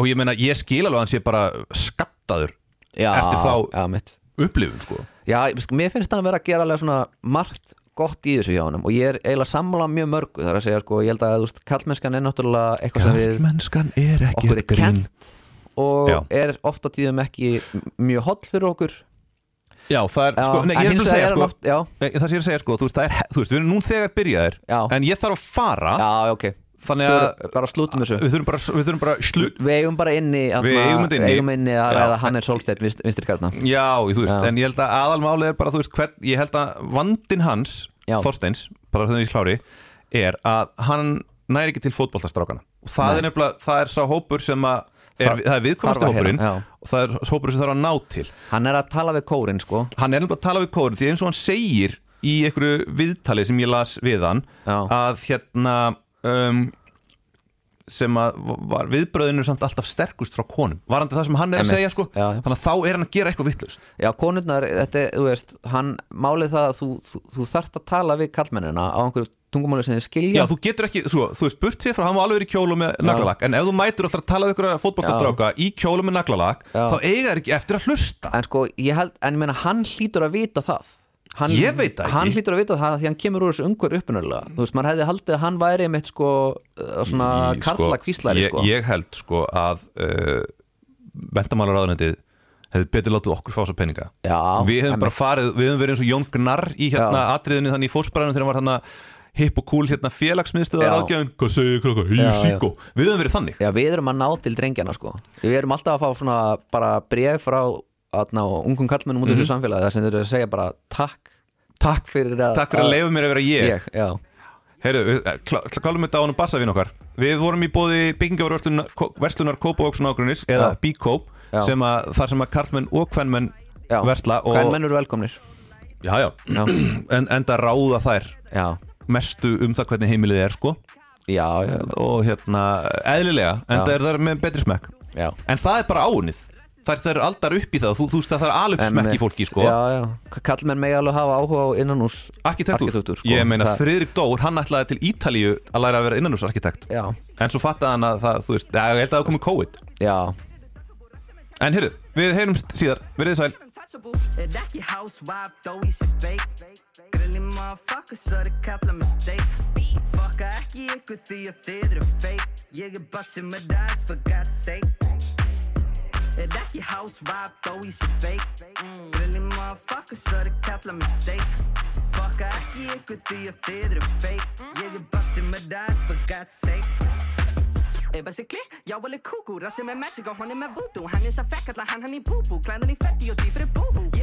A: Og ég meina, ég skil alveg að hann sé bara skattaður
C: já
A: Eftir þá-
C: já, mitt.
A: upplifun sko
C: já, ég- sko, mér finnst það að vera að gera alveg svona margt gott í þessu hjá honum og ég er eiginlega sammála mjög mörgu þar að segja sko, ég held að þú veist, kallmennskan er náttúrulega eitthvað sem við
A: Karlmennskan er ekki
C: okkur er kent og
A: Já.
C: er oft á tíðum ekki m- mjög holl fyrir okkur já,
A: Já, það er, sko, nei,
C: en
A: ég er
C: hins
A: bara að
C: vegar
A: segja,
C: er
A: sko,
C: hann oft já,
A: nei, það sem ég er að segja, sko, þú veist, það er, he- þú veist, við erum nú þegar byrjaðir,
C: Já.
A: en ég þarf að fara,
C: já, ok
A: þannig að
C: Þú- bara slútum þessu
A: við þurfum bara, við þurfum bara slu,
C: við eigum bara inni
A: Uh, Við eigum þetta inni.
C: eigum inni að
A: Já.
C: ræða Hannes Solstedt vinstri kartna
A: já, þú veist,
C: Já.
A: en ég held að aðalmálið er bara, þú veist, hvern, ég held að vandin hans,
C: Já.
A: Þorsteins, bara þegar ég klári, er að hann næri ekki til fótboltastrákana og það er nefnilega, það er sá hópur sem að er,
C: Þar-
A: það er viðkomast
C: þarf að heyra,
A: hópurinn
C: já.
A: og það er hópur sem þarf að ná til
C: hann er að tala við kórin sko
A: hann er nefnilega að tala við kórin því eins og hann segir í einhverju viðtali sem ég las við hann
C: Já.
A: að hérna um, sem að var viðbröðinu samt alltaf sterkust frá konum varandi það sem hann er að
C: Einmitt,
A: segja sko
C: já, já.
A: þannig að þá er hann að gera eitthvað vittlust
C: Já, konurnar, þetta, er, þú veist, hann málið það að þú, þú, þú þarft að tala við kallmennina á einhverju tungumáli sem þið
A: Já,
C: skilja
A: þú getur ekki, svo, þú veist, burt sér frá hann var alveg verið í kjólu með naglalakk en ef þú mætir alltaf að tala við ykkur fótboltastráka í kjólu með naglalakk þá eiga þær ekki eftir að hlusta
C: En sko, ég held, en ég meina, hann hlýtur að vita það hann,
A: Ég veit það ekki.
C: Hann hlýtur að vita það því hann kemur úr þessu umhver uppunulega Þú veist, maður hefði haldið að hann væri mitt sko, uh, svona
A: Í,
C: karla kvíslari
A: ég,
C: sko
A: ég held sko að uh, vendamálar áðunendið hefði betur látið okkur fá þessa peninga
C: Já,
A: við hefum
C: emmi.
A: bara farið, við hefum verið eins og Jón Gnarr í hérna atriðinu þannig í fórsparanum þegar hann var hann hipp og cool hérna félagsmiðstöðar
C: Já.
A: ágjöfin hvað segir krakka, í
C: Já, já.
A: síkó við hefum verið þannig,
C: Já, við erum að ná til drengjana sko Við erum alltaf að fá svona bara bref frá atna, ungum kallmennum út í þessu samfélagi þar sem þeir eru að segja bara takk Takk fyrir að,
A: Mhm. takk fyrir að leifa mér að vera ég,
C: ég Já,
A: heyrðu, við, eh, klá, klálum þetta á hann og bassa við okkar, við vorum í bóði byggingavarverslunar Kópavóksun ágrunnis eða
C: Já.
A: Bíkóp,
C: Já.
A: sem að þar sem að karlmenn og kvenmenn
C: já
A: versla og,
C: Hvern menn eru velkomnir
A: já, já,
C: Já,
A: en, enda ráða þær
C: já
A: mestu um það hvernig heimilið er sko
C: Já, já,
A: og hérna, eðlilega, en
C: Já.
A: það er það með betri smekk
C: já
A: En það er bara áunnið Það er aldar upp í það, þú, þú veist að það er alveg smekk í fólki sko.
C: eh, já, já. kallmenn megi alveg hafa áhuga á innanús
A: Arkitektúr,
C: Arkitektúr, sko.
A: ég meina
C: Það-
A: Friðrik Dór, hann ætlaði til Ítalíu að læra að vera innanúsarkitekt
C: já,
A: En svo fattaði hann að það, þú veist, ja, ég held að það komið COVID
C: já,
A: En heyrðu, við heyrumst síðar, verið sæl
E: untouchable. And that your housewife, though he should bake. Grilling motherfucker, so the couple mistake. Fuck, I ekki ykkur því að þið eru fake. Ég er busting my dice for God's sake. And that your housewife, though he should bake. Grilling motherfucker, so the couple mistake. Fuck, I ekki ykkur því að þið eru fake. Ég er busting my dice for God's sake. Eh, Basically, jag håller koko, rasse med magic och hon är med voodoo Han är så fräck att la han han i bobo, kläderna i fetti och driver i boho Ge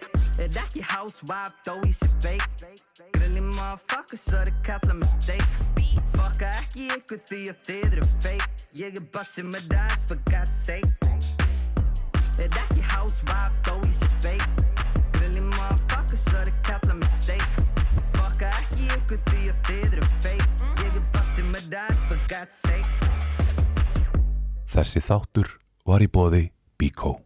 E: And that your housewife, though he should bake. Grilling motherfucker, so the couple mistake. Fuck, I ekki ykkur því að þið eru fake. Ég er busting my dice, for God's sake. And that your housewife, though he should bake. Grilling motherfucker, so the couple mistake. Fuck, I ekki ykkur því að þið eru fake. Ég er busting my dice, for God's sake.
A: Þessi þáttur var í bóði Bíkó